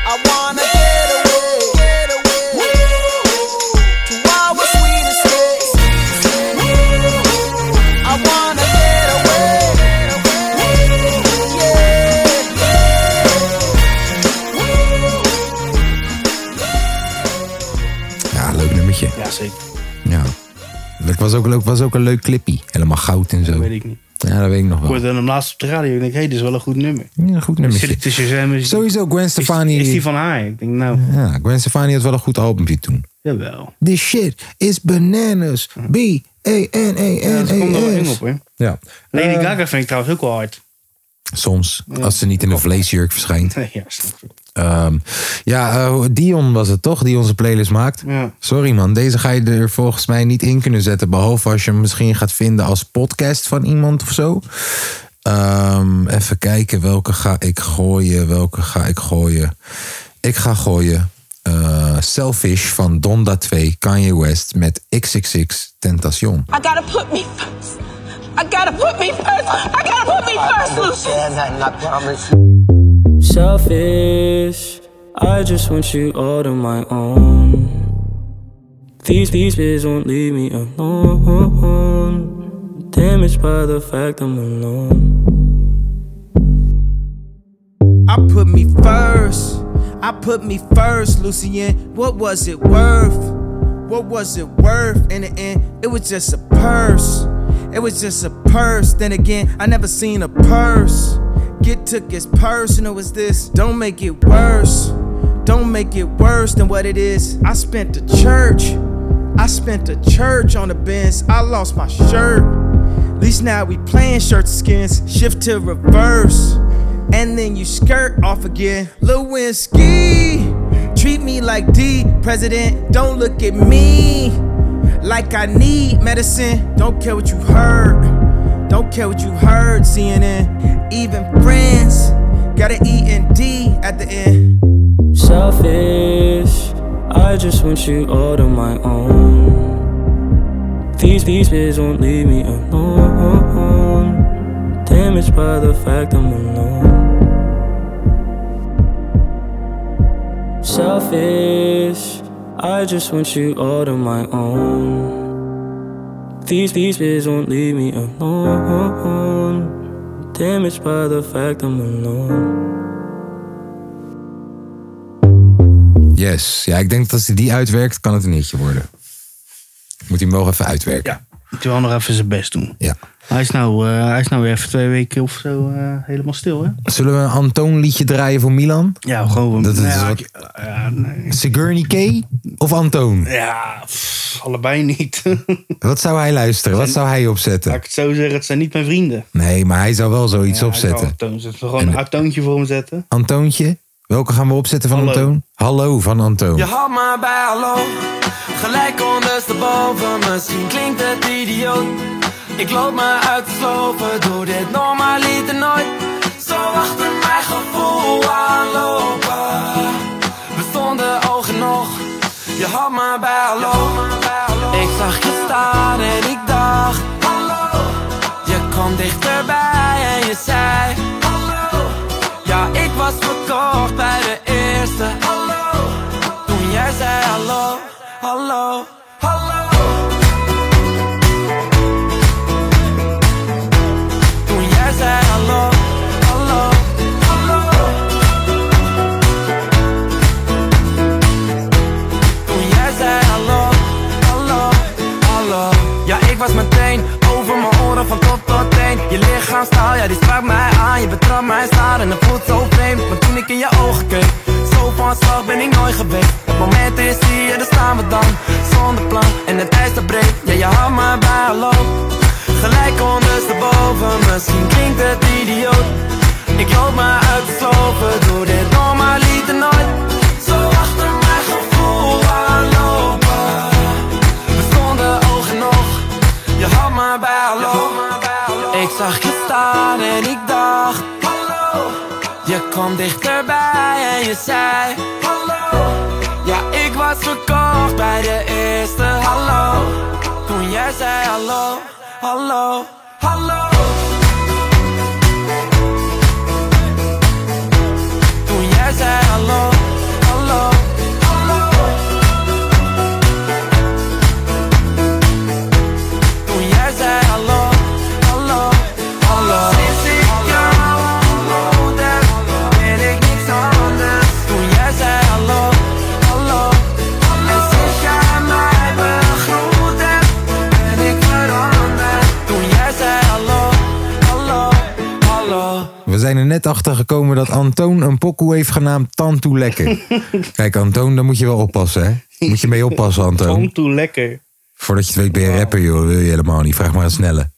G: I wanna get away, get away. To our sweetest days. I wanna get away, get away. Yeah,
A: Ja, leuk nummertje.
B: Ja, zeker.
A: Ja. Het was ook, leuk- was ook een leuk clippie. Helemaal goud en zo.
B: Dat weet ik niet.
A: Ja, dat weet ik nog
B: Ik
A: wel.
B: hoorde hem laatst op de radio en ik denk, hé, dit is wel een goed nummer.
A: Ja, goed
B: Zit
A: nummertje.
B: ik tussen zwemmen.
A: Sowieso Gwen Stefani.
B: Is, is die van haar? Ik denk, nou,
A: Ja, Gwen Stefani had wel een goed albumje toen.
B: jawel.
A: This shit is bananas.
B: Ja, ze komt er wel in
A: B-A-N-A-N-A-S.
B: op, hoor.
A: Ja.
B: Lady
A: Eh,
B: Gaga vind ik trouwens ook wel hard.
A: Soms, als ze niet in een vleesjurk verschijnt.
B: Nee, ja, snap ik.
A: Ehm, ja, eh, Dion was het toch die onze playlist maakt?
B: Ja.
A: Sorry man, deze ga je er volgens mij niet in kunnen zetten. Behalve als je hem misschien gaat vinden als podcast van iemand of zo. Ehm, even kijken, welke ga ik gooien? Welke ga ik gooien? Ik ga gooien eh, Selfish van Donda 2, Kanye West met XXX Tentacion.
M: I gotta put me first. I gotta put me first. I gotta put me first, Lucius.
N: Selfish, I just want you all to my own. These these bitches won't leave me alone. Damaged by the fact I'm alone.
O: I put me first. I put me first, Lucien. What was it worth? What was it worth in the end? It was just a purse. It was just a purse. Then again, I never seen a purse. Get took as personal as this. Don't make it worse. Don't make it worse than what it is. I spent the church. I spent the church on the bench. I lost my shirt. Least now we playing shirts and skins. Shift to reverse. And then you skirt off again. Lewinsky, treat me like D president. Don't look at me like I need medicine. Don't care what you heard. Don't care what you heard, CNN. Even friends got an E and D at the end.
N: Selfish, I just want you all to my own. These these bitches won't leave me alone. Damaged by the fact I'm alone. Selfish, I just want you all to my own. These these bitches won't leave me alone. Damaged by the fact I'm alone.
A: Yes, ja, ik denk dat als hij die uitwerkt, kan het een hitje worden. Moet hij hem wel even uitwerken.
B: Moet hij wel nog even zijn best doen.
A: Ja.
B: Hij is nou, eh, hij is nou weer even twee weken of zo eh, helemaal stil, hè?
A: Zullen we een Antoon liedje draaien voor Milan?
B: Ja, gewoon.
A: Dat is
B: nou ja,
A: wat-
B: Ja, nee.
A: Sigourney K of Antoon?
B: Ja, pff, allebei niet. Laat
A: Wat zou hij luisteren? Wat zou hij opzetten?
B: ik het zo zeggen, het zijn niet mijn vrienden.
A: Nee, maar hij zou wel zoiets
B: Ja,
A: opzetten.
B: ik wou Antoon zetten. gewoon een Antoontje voor hem zetten.
A: Antoontje? Welke gaan we opzetten van Antoon? Hallo van Antoon.
P: Je had maar bij hallo, gelijk ondersteboven. Misschien klinkt het idioot. Ik loop me uit te sloven, doe dit normaliter nooit. Zo achter mijn gevoel aanlopen. We stonden ogen nog, je had maar bij hallo. Ik zag je staan en ik dacht, hallo. Je kwam dichterbij en je toch bij de eerste hallo. Toen jij zei hallo, hallo, hallo. Toen jij zei hallo, hallo, hallo. Toen jij zei hallo, hallo, hallo. Ja, ik was meteen over mijn oren van top tot teen. Je lichaamstaal, ja, die sprak mij aan. Je betrapt mijn staar en dat voelt zo vreemd. Maar toen ik in je ogen keek, zo van slag ben ik nooit geweest. Het moment is hier, daar staan we dan. Zonder plan en het ijs dat breekt. Ja, je houdt me bij hallo. Gelijk ondersteboven, misschien klinkt het idioot. Ik loop maar uit de sloven, doe dit normaal lieten nooit. Zo achter mijn gevoel aanlopen. We stonden oog in oog, je had me bij hallo. Ik zag je staan en ik dacht, hallo. Je kwam dichterbij en je zei, hallo. Ja, ik was verkocht bij de eerste hallo. Toen jij zei hallo, hallo, hallo. Toen jij zei hallo, hallo, hallo. Toen jij zei hallo, hallo, hallo. Sinds ik jou ontmoet heb, ben ik niks anders. Toen jij zei hallo, hallo, hallo. En sinds jij mij begroet hebt, ben ik veranderd. Toen jij zei hallo, hallo, hallo.
A: We zijn er net achter gekomen dat Antoon een pokoe heeft genaamd Tantoe Lekker. Kijk, Antoon, daar moet je wel oppassen, hè? Moet je mee oppassen, Antoon.
B: Tantoe Lekker.
A: Voordat je het weet ben je rapper, joh. Dat wil je helemaal niet. Vraag maar aan Snelle.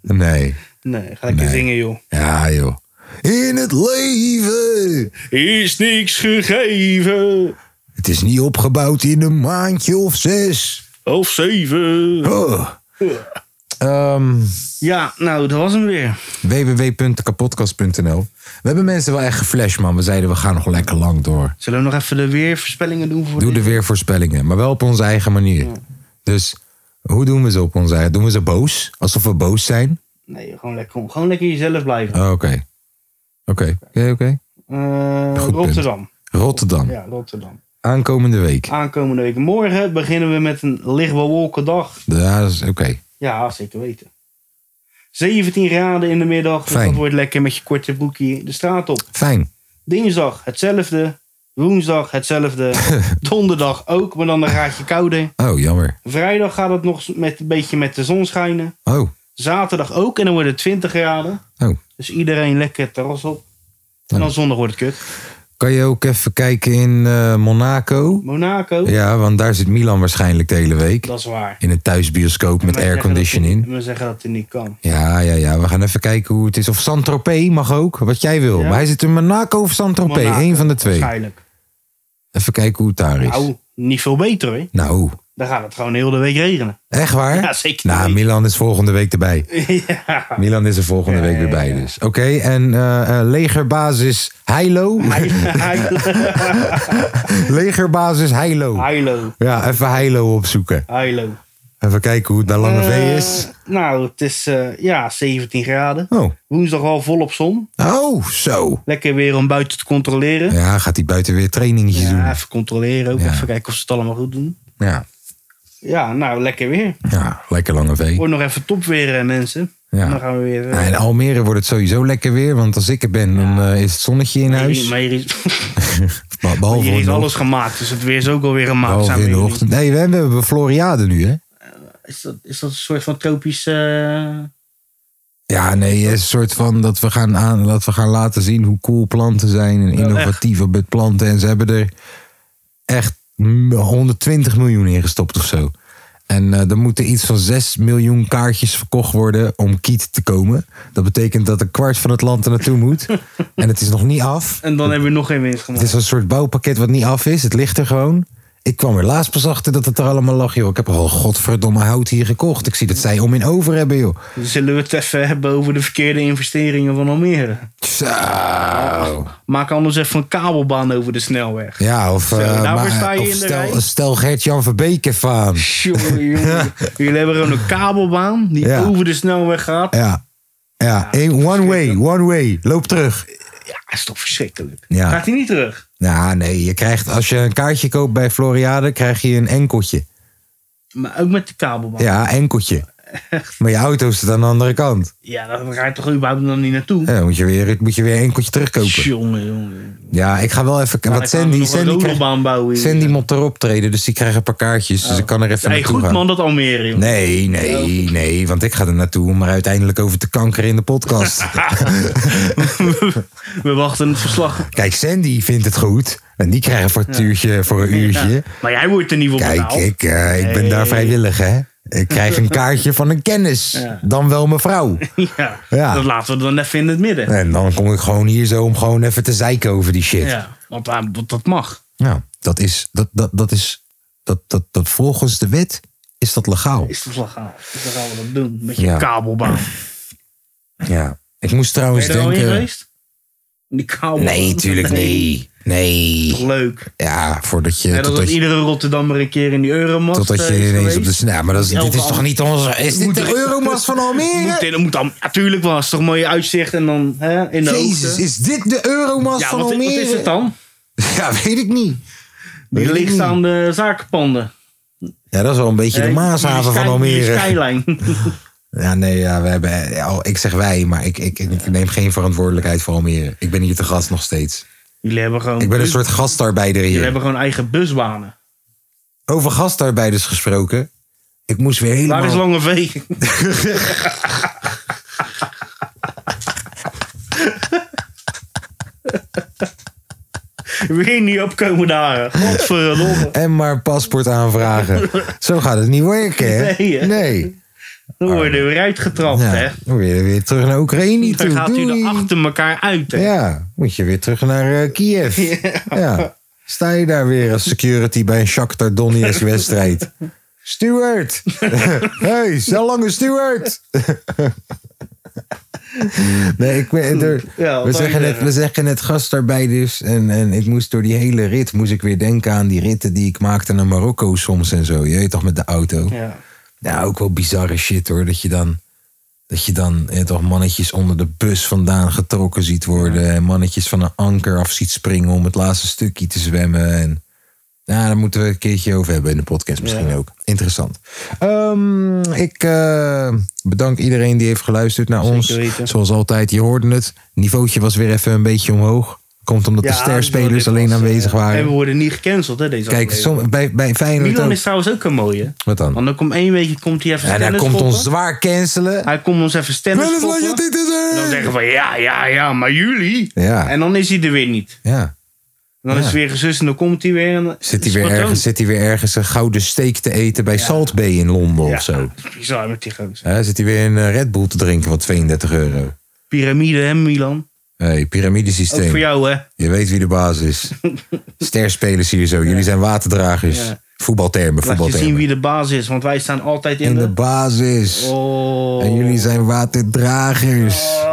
A: Nee.
B: Nee, ga lekker
A: Nee.
B: zingen, joh.
A: Ja, joh. In het leven
B: is niks gegeven.
A: Het is niet opgebouwd in een maandje of zes. Oh.
B: Of zeven.
A: Ehm,
B: ja, nou, dat was hem weer.
A: www.kapotkast.nl We hebben mensen wel echt geflasht, man. We zeiden, we gaan nog lekker lang door.
B: Zullen we nog even de weervoorspellingen doen voor
A: Doe de weervoorspellingen, maar wel op onze eigen manier. Dus hoe doen we ze op onze eigen? Doen we ze boos? Alsof we boos zijn?
B: Nee, gewoon lekker, gewoon lekker jezelf blijven.
A: Oh, Oké. Oké, oké, oké.
B: Eh,
A: Goed punt.
B: Rotterdam.
A: Rotterdam.
B: Ja, Ah. Rotterdam.
A: Aankomende week.
B: Aankomende week morgen beginnen we met een licht bewolken dag.
A: Ja, dat is oké.
B: Ja, zeker weten. 17 graden in de middag. Dus
A: Fijn.
B: dat wordt lekker met je korte broekje de straat op.
A: Fijn.
B: Dinsdag hetzelfde. Woensdag hetzelfde. Donderdag ook, maar dan een graadje kouder.
A: Oh, jammer.
B: Vrijdag gaat het nog met, een beetje met de zon schijnen.
A: Oh.
B: Zaterdag ook en dan wordt het 20 graden.
A: Oh.
B: Dus iedereen lekker het terras op. En dan zondag wordt het kut.
A: Kan je ook even kijken in eh, Monaco?
B: Monaco.
A: Ja, want daar zit Milan waarschijnlijk de hele week.
B: Dat is waar.
A: In een thuisbioscoop met
B: Wij zeggen dat
A: airconditioning.
B: hij- We zeggen dat het niet kan.
A: Ja, ja, ja. We gaan even kijken hoe het is. Of Saint-Tropez mag ook, wat jij wil.
B: Ja.
A: Maar hij zit in Monaco of Saint-Tropez.
B: Monaco,
A: Eén Oh, van de twee.
B: Waarschijnlijk.
A: Even kijken hoe het daar is.
B: Nou, niet veel beter hoor.
A: Nou,
B: Dan gaat het gewoon heel de week regenen.
A: echt waar?
B: Ja, zeker.
A: Nou, Milan is volgende week erbij.
B: ja.
A: Milan is er volgende week weer bij dus. Oké, en eh, eh, legerbasis Heilo. legerbasis Heilo.
B: Heilo.
A: Ja, even Heilo opzoeken.
B: Heilo.
A: Even kijken hoe het bij Lange V
B: Eh,
A: is.
B: Nou, het is eh, ja, 17 graden.
A: Oh.
B: Woensdag al volop zon.
A: Oh, zo.
B: Lekker weer om buiten te controleren.
A: Ja, gaat hij buiten weer trainingetjes
B: Ja,
A: doen.
B: even controleren ook. Even kijken of ze het allemaal goed doen.
A: Ja,
B: Ja, nou, lekker weer.
A: ja, lekker Lange V.
B: Wordt nog even top weer, eh, mensen.
A: Ja.
B: Dan gaan we weer... eh,
A: Nou, in Almere wordt het sowieso lekker weer, want als ik er ben, dan eh, is het zonnetje in
B: hier-
A: huis.
B: maar hier is,
A: Maar Behalve
B: hier
A: in
B: is
A: de
B: alles
A: ochtend-
B: gemaakt, dus het weer is ook alweer gemaakt.
A: behalve
B: Zijn we
A: in de
B: jullie.
A: ochtend. Nee, we hebben we hebben Floriade nu, hè?
B: Is, dat, is dat een soort van tropisch... eh,
A: Ja, nee, het is een soort van dat we gaan, aan, dat we gaan laten zien hoe cool planten zijn en innovatief met planten. En ze hebben er echt m- 120 miljoen in gestopt of zo. En eh, er moeten iets van 6 miljoen kaartjes verkocht worden om kiet te komen. Dat betekent dat een kwart van het land er naartoe moet. en het is nog niet af.
B: En dan hebben we nog geen winst
A: Het
B: gemaakt.
A: is een soort bouwpakket wat niet af is. Het ligt er gewoon. Ik kwam er laatst pas achter dat het er allemaal lag, joh. Ik heb al godverdomme hout hier gekocht. Ik zie dat zij om in over hebben, joh.
B: Dan zullen we het even hebben over de verkeerde investeringen van Almere.
A: Zo.
B: Maak anders even een kabelbaan over de snelweg.
A: Ja, of,
B: Zo,
A: eh,
B: daarvoor
A: maar-
B: sta je
A: of
B: in de
A: stel,
B: rij.
A: stel Gert-Jan Verbeek even aan.
B: Tjonge, jonge. Jullie hebben gewoon een kabelbaan die
A: Ja.
B: over de snelweg gaat.
A: Ja, ja. één- one way, one way. Loop terug.
B: Dat is toch verschrikkelijk.
A: Ja.
B: Gaat hij niet terug?
A: Nou, nee, je krijgt, als je een kaartje koopt bij Floriade, krijg je een enkeltje.
B: Maar ook met de kabelband.
A: Ja, enkeltje. Maar je auto zit aan de andere kant.
B: Ja, dan ga je toch überhaupt nog niet naartoe?
A: Ja, dan moet je weer, moet je weer enkeltje terugkopen.
B: Jongen, jongen.
A: Ja, ik ga wel even.
B: Nou,
A: wat
B: dan gaan we
A: Sandy,
B: nog een
A: Sandy, krijgt-
B: rodelbaan bouwen hier.
A: Sandy moet erop treden, dus die krijgt een paar kaartjes. Dus ik kan er even
B: Hey,
A: naartoe
B: goed
A: gaan.
B: man, dat Almere, jongen.
A: Nee, nee, nee, want ik ga er naartoe om er uiteindelijk over te kankeren in de podcast.
B: We wachten het verslag.
A: Kijk, Sandy vindt het goed. En die krijgt een factuurtje voor een uurtje.
B: Maar nou. jij wordt er niet voor
A: Kijk,
B: betaald.
A: ik, eh, ik ben daar
B: Hey.
A: vrijwillig, hè. Ik krijg een kaartje van een kennis. Dan wel mevrouw.
B: Ja,
A: Ja.
B: dat laten we dan even in het midden.
A: En dan kom ik gewoon hier zo om gewoon even te zeiken over die shit.
B: Ja, want ah, want dat mag.
A: Ja, dat is, dat, dat, dat is, dat, dat, dat volgens de wet is dat legaal.
B: Is dat legaal? Dus dan gaan we dat doen. Met je
A: Ja.
B: kabelbaan.
A: Ja. Ik moest
B: Ben
A: trouwens
B: je er al in
A: denken.
B: geweest? In Die kabelbaan?
A: Nee, tuurlijk niet. Nee.
B: Leuk.
A: Ja, voordat je.
B: Net als dat
A: totdat je
B: iedere Rotterdammer een keer in die Euromast
A: Totdat je
B: eh, is
A: ineens
B: geweest.
A: op de snel. Maar dat is,
B: Elke
A: dit is toch
B: andere-
A: niet onze. Is dit
B: Moet
A: de
B: er-
A: Euromast van Almere?
B: Moet in, moet dan, natuurlijk was toch mooi uitzicht en dan hè, in de
A: Jezus,
B: hoogte.
A: is dit de Euromast
B: ja,
A: van
B: wat,
A: Almere?
B: Wat is het dan?
A: Ja, weet ik niet. Weet
B: Die
A: ik
B: lichtstaande zakenpanden.
A: Ja, dat is wel een beetje de
B: Nee,
A: Maashaven van
B: die sky- die
A: Almere.
B: skyline.
A: Ja, nee, ja, we hebben, ja, oh, ik zeg wij, maar ik, ik, ik neem geen verantwoordelijkheid voor Almere. Ik ben hier te gast nog steeds.
B: Jullie hebben gewoon...
A: Ik ben een
B: bus-
A: soort gastarbeider
B: Jullie
A: hier.
B: hebben gewoon eigen busbanen.
A: Over gastarbeiders gesproken. Ik moest weer helemaal...
B: Waar is Lange V? Weer niet opkomen daar. Godverdomme.
A: En maar paspoort aanvragen. Zo gaat het niet werken, hè?
B: Nee, hè?
A: Nee.
B: Dan worden we weer uitgetrapt,
A: Ja,
B: hè?
A: dan weer, weer terug naar Oekraïne toe.
B: Dan gaat u
A: Doei.
B: er achter elkaar uit, hè?
A: Ja, moet je weer terug naar eh, Kiev. Ja. Sta je daar weer als security bij een Shakhtar Donetsk wedstrijd. Stuart! hey, zo lange Stuart! nee, ik ben er,
B: Ja,
A: we, zeggen net,
B: wat wou je zeggen?
A: we zeggen net gastarbeiders. En, en ik moest door die hele rit moest ik weer denken aan die ritten die ik maakte naar Marokko soms en zo. Je weet toch met de auto.
B: Ja.
A: Nou, ook wel bizarre shit hoor. Dat je dan, dat je dan eh, toch mannetjes onder de bus vandaan getrokken ziet worden. En mannetjes van een anker af ziet springen om het laatste stukje te zwemmen. En nou, daar moeten we een keertje over hebben in de podcast misschien
B: Ja.
A: ook. Interessant. Ehm, ik eh, bedank iedereen die heeft geluisterd naar ons.
B: weten.
A: Zoals altijd, je hoorde het. Niveautje was weer even een beetje omhoog. Komt omdat
B: Ja,
A: de sterspelers
B: dit
A: alleen
B: was, eh,
A: aanwezig
B: En we
A: waren.
B: worden niet gecanceld, hè, deze
A: Kijk,
B: aflevering.
A: som, bij, bij Feyenoord
B: Milan
A: ook.
B: is trouwens ook een mooie.
A: Wat dan?
B: Want dan komt één weekje komt hij even
A: En hij
B: stennis
A: komt
B: schoppen.
A: ons zwaar cancelen.
B: Hij komt ons even stennis schoppen.
A: Hmm.
B: Dan zeggen we, ja, ja, ja, maar jullie.
A: Ja.
B: En dan is hij er weer niet.
A: Ja.
B: En dan
A: Ja.
B: is het weer gezust en dan komt hij weer. En dan-
A: Zit hij,
B: Het is
A: weer
B: patroon.
A: ergens, zit hij weer ergens een gouden steek te eten bij Salt Bay in Londen of zo?
B: Bizar met die gozer.
A: Hè, zit hij weer een eh, Red Bull te drinken van 32 euro?
B: Pyramide, hè, Milan?
A: hey, piramidesysteem.
B: Ook voor jou, hè?
A: Je weet wie de baas is. Sterspelers hier zo. Jullie zijn waterdragers.
B: Ja.
A: Voetbaltermen,
B: Laat je zien
A: voetbaltermen.
B: wie de baas is, want wij staan altijd in,
A: In de
B: de...
A: basis.
B: Oh,
A: En jullie zijn waterdragers.
B: wat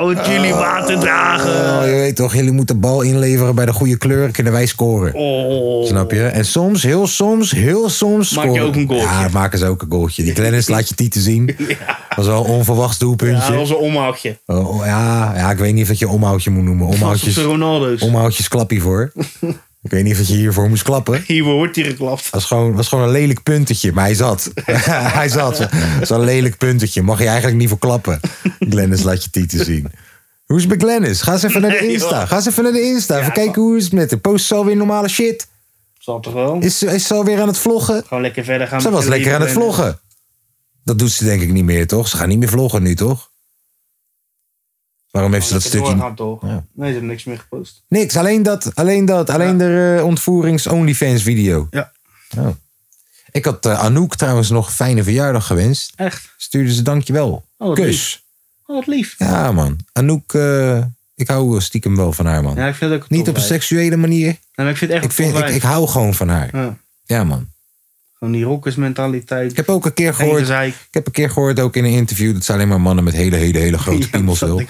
B: Oh, jullie water dragen.
A: Oh, je weet toch, jullie moeten de bal inleveren bij de goede kleur. Kunnen wij scoren.
B: Oh.
A: Snap je? En soms, heel soms, heel soms.
B: Maak je
A: scoren-
B: ook een goaltje.
A: Ja, maken ze ook een goaltje. Die Glennis laat je tieten zien. was wel een onverwachts
B: Ja,
A: doelpuntje.
B: dat was een omhoudje.
A: Oh, oh, ja, ja, ik weet niet of dat je omhoudje moet noemen.
B: Vast op
A: Omhoudjes,
B: de Ronaldo's.
A: omhoudjes klappie voor. ik weet niet of dat je hiervoor moest klappen.
B: Hier wordt hij geklapt.
A: Was gewoon, was gewoon een lelijk puntetje, maar hij zat. hij zat. Zo'n lelijk puntetje. Mag je eigenlijk niet voor klappen. Glennis laat je tieten zien. Hoe is het met Glennis? Ga eens even naar de
B: Nee,
A: Insta.
B: joh.
A: Ga eens even naar de Insta. even kijken hoe is het met de Post ze alweer normale shit.
B: Zal toch wel?
A: Is, ze- is ze alweer aan het vloggen?
B: Gewoon lekker verder gaan.
A: Ze
B: met
A: was
B: je
A: lekker aan
B: leven
A: het
B: en-
A: vloggen. Dat doet ze denk ik niet meer, toch? Ze gaan niet meer vloggen nu, toch? Waarom heeft ze dat
B: Lekker
A: stukje...
B: doorgaan, toch?
A: Ja.
B: Nee, ze hebben niks meer gepost.
A: Niks, alleen dat. Alleen dat. Alleen de eh, ontvoerings-OnlyFans-video.
B: Ja.
A: Oh. Ik had eh, Anouk trouwens nog een fijne verjaardag gewenst.
B: Echt?
A: Stuurde ze dankjewel.
B: Oh, wat
A: Kus.
B: Oh, wat lief.
A: Ja, man. Anouk, eh, ik hou stiekem wel van haar, man.
B: Ja, ik vind het ook
A: Niet op een seksuele manier.
B: Nee, maar ik vind het echt
A: ik, vind,
B: een
A: ik,
B: tof
A: ik hou gewoon van haar.
B: wijf. Ja.
A: Ja, man.
B: Gewoon die rockersmentaliteit. Ik
A: heb ook een keer gehoord- Ik heb een keer gehoord, ook in een interview, dat ze alleen maar mannen met hele, hele, hele grote piemels wil.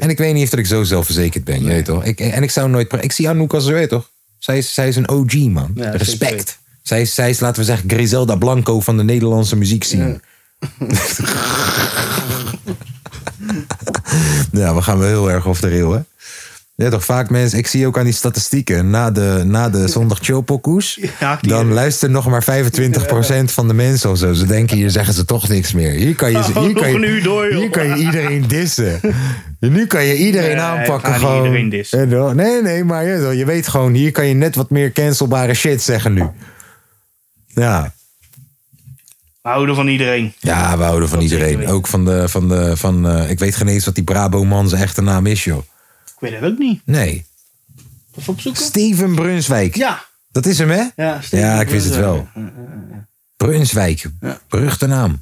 A: En ik weet niet of dat ik zo zelfverzekerd ben, je weet toch? Ik, en ik zou nooit. pra- Ik zie Anouk als ze weet toch? Zij is, zij is een OG, man.
B: Ja, zeker weten.
A: Respect. Zij is, zij is, laten we zeggen, Griselda Blanco van de Nederlandse muziek zien. Ja. we gaan wel heel erg off de rail, hè? Ja, toch vaak mensen, ik zie ook aan die statistieken. Na de, na de zondag chillpokoes, dan luistert nog maar 25% van de mensen of zo. Ze denken, hier zeggen ze toch niks meer. Hier kan
B: Oh,
A: je, hier kan je, hier kan je iedereen dissen. Nu kan je iedereen
B: Nee, ik ga
A: aanpakken.
B: niet
A: Gewoon.
B: iedereen dissen.
A: En dan- Nee, nee, maar je, je weet gewoon, hier kan je net wat meer cancelbare shit zeggen nu. Ja.
B: We houden van iedereen.
A: Ja, we houden van iedereen. Ook van de, van de, van, eh, ik weet geen eens wat die Brabo-man zijn echte naam is, joh.
B: Ik weet het ook niet.
A: Nee.
B: Even opzoeken.
A: Steven Brunswijk.
B: Ja.
A: Dat is hem, hè?
B: Ja,
A: Ja, ik wist het wel. Brunswijk. Beruchte naam.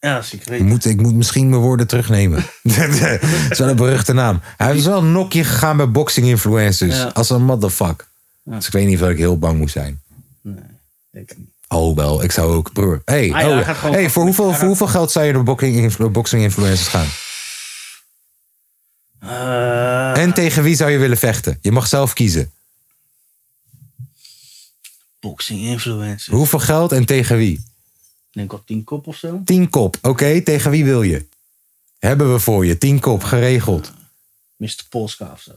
B: Ja, zeker
A: Ik moet, ik moet misschien mijn woorden terugnemen. Het is wel een beruchte naam. Hij is wel een nokje gegaan bij boxing influencers.
B: Ja.
A: Als een motherfucker. Dus ik weet niet of ik heel bang moet zijn. Oh wel, ik zou ook, broer. Hey,
B: Ah ja,
A: oh,
B: hij
A: ja.
B: gaat gewoon-
A: hey voor, hoeveel, voor hoeveel geld zou je door boxing, influ- boxing influencers gaan?
B: Eh,
A: en tegen wie zou je willen vechten? Je mag zelf kiezen.
B: Boxing influencer.
A: Hoeveel geld en tegen wie?
B: Ik denk al tien kop of zo.
A: Tien kop. Oké, tegen wie wil je? Hebben we voor je. Tien kop, geregeld.
B: Mr. Polska of zo.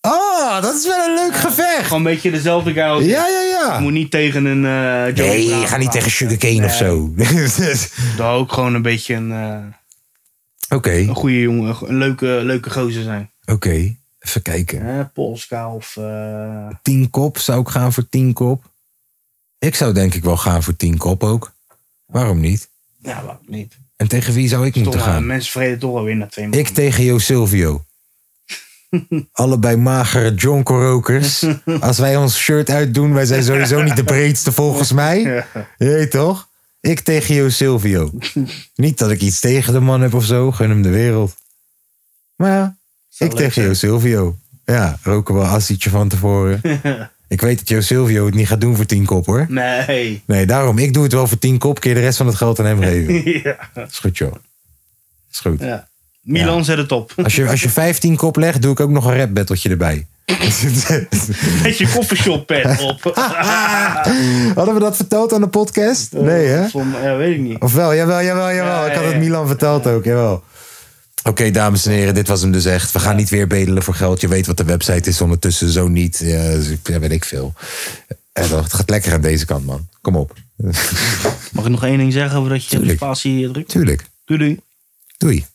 A: Oh, dat is wel een leuk gevecht.
B: Gewoon een beetje dezelfde guy. als-
A: Ja, ja, ja.
B: Je moet niet tegen een... eh Joey
A: Nee,
B: Bravo
A: ga niet
B: gaan.
A: tegen Sugarcane of zo.
B: Dat ook gewoon een beetje een... eh,
A: Oké,
B: Een goede jongen, een leuke, leuke gozer zijn.
A: oké. Even kijken.
B: Hè, Polska of... eh,
A: Tien kop zou ik gaan voor tien kop. Ik zou denk ik wel gaan voor tien kop ook. Waarom niet?
B: ja, waarom niet?
A: En tegen wie zou ik moeten
B: Toch, eh,
A: gaan?
B: mensen vreden toch alweer na twee
A: Ik tegen Jo Silvio. Allebei magere jonkorokers. Als wij ons shirt uitdoen, wij zijn sowieso niet de breedste volgens mij. Je weet toch? Ik tegen Jo Silvio. Niet dat ik iets tegen de man heb of zo. Gun hem de wereld. Maar ja, ik tegen Jo Silvio. Ja, roken we een assietje van tevoren. ik weet dat Jo Silvio het niet gaat doen voor tien kop hoor.
B: Nee.
A: Nee, daarom. Ik doe het wel voor tien kop. Keer de rest van het geld aan hem geven.
B: ja.
A: Is goed joh. Is goed.
B: ja. Milan zet het op.
A: Als je, als je 15 kop legt, doe ik ook nog een rap battletje erbij.
B: Met je koffieshop pet op.
A: Hadden we dat verteld aan de podcast? Nee, hè?
B: Van, ja, weet ik niet.
A: Of wel? Jawel, jawel, jawel. Ik had het Milan verteld ook, jawel. Oké, dames en heren, dit was hem dus echt. We gaan niet weer bedelen voor geld. Je weet wat de website is ondertussen, zo niet. Ja, ja, weet ik veel. Eh, Het gaat lekker aan deze kant, man. Kom op.
B: Mag ik nog één ding zeggen voordat je de spatie drukt?
A: Tuurlijk.
B: Doei doei.
A: Doei.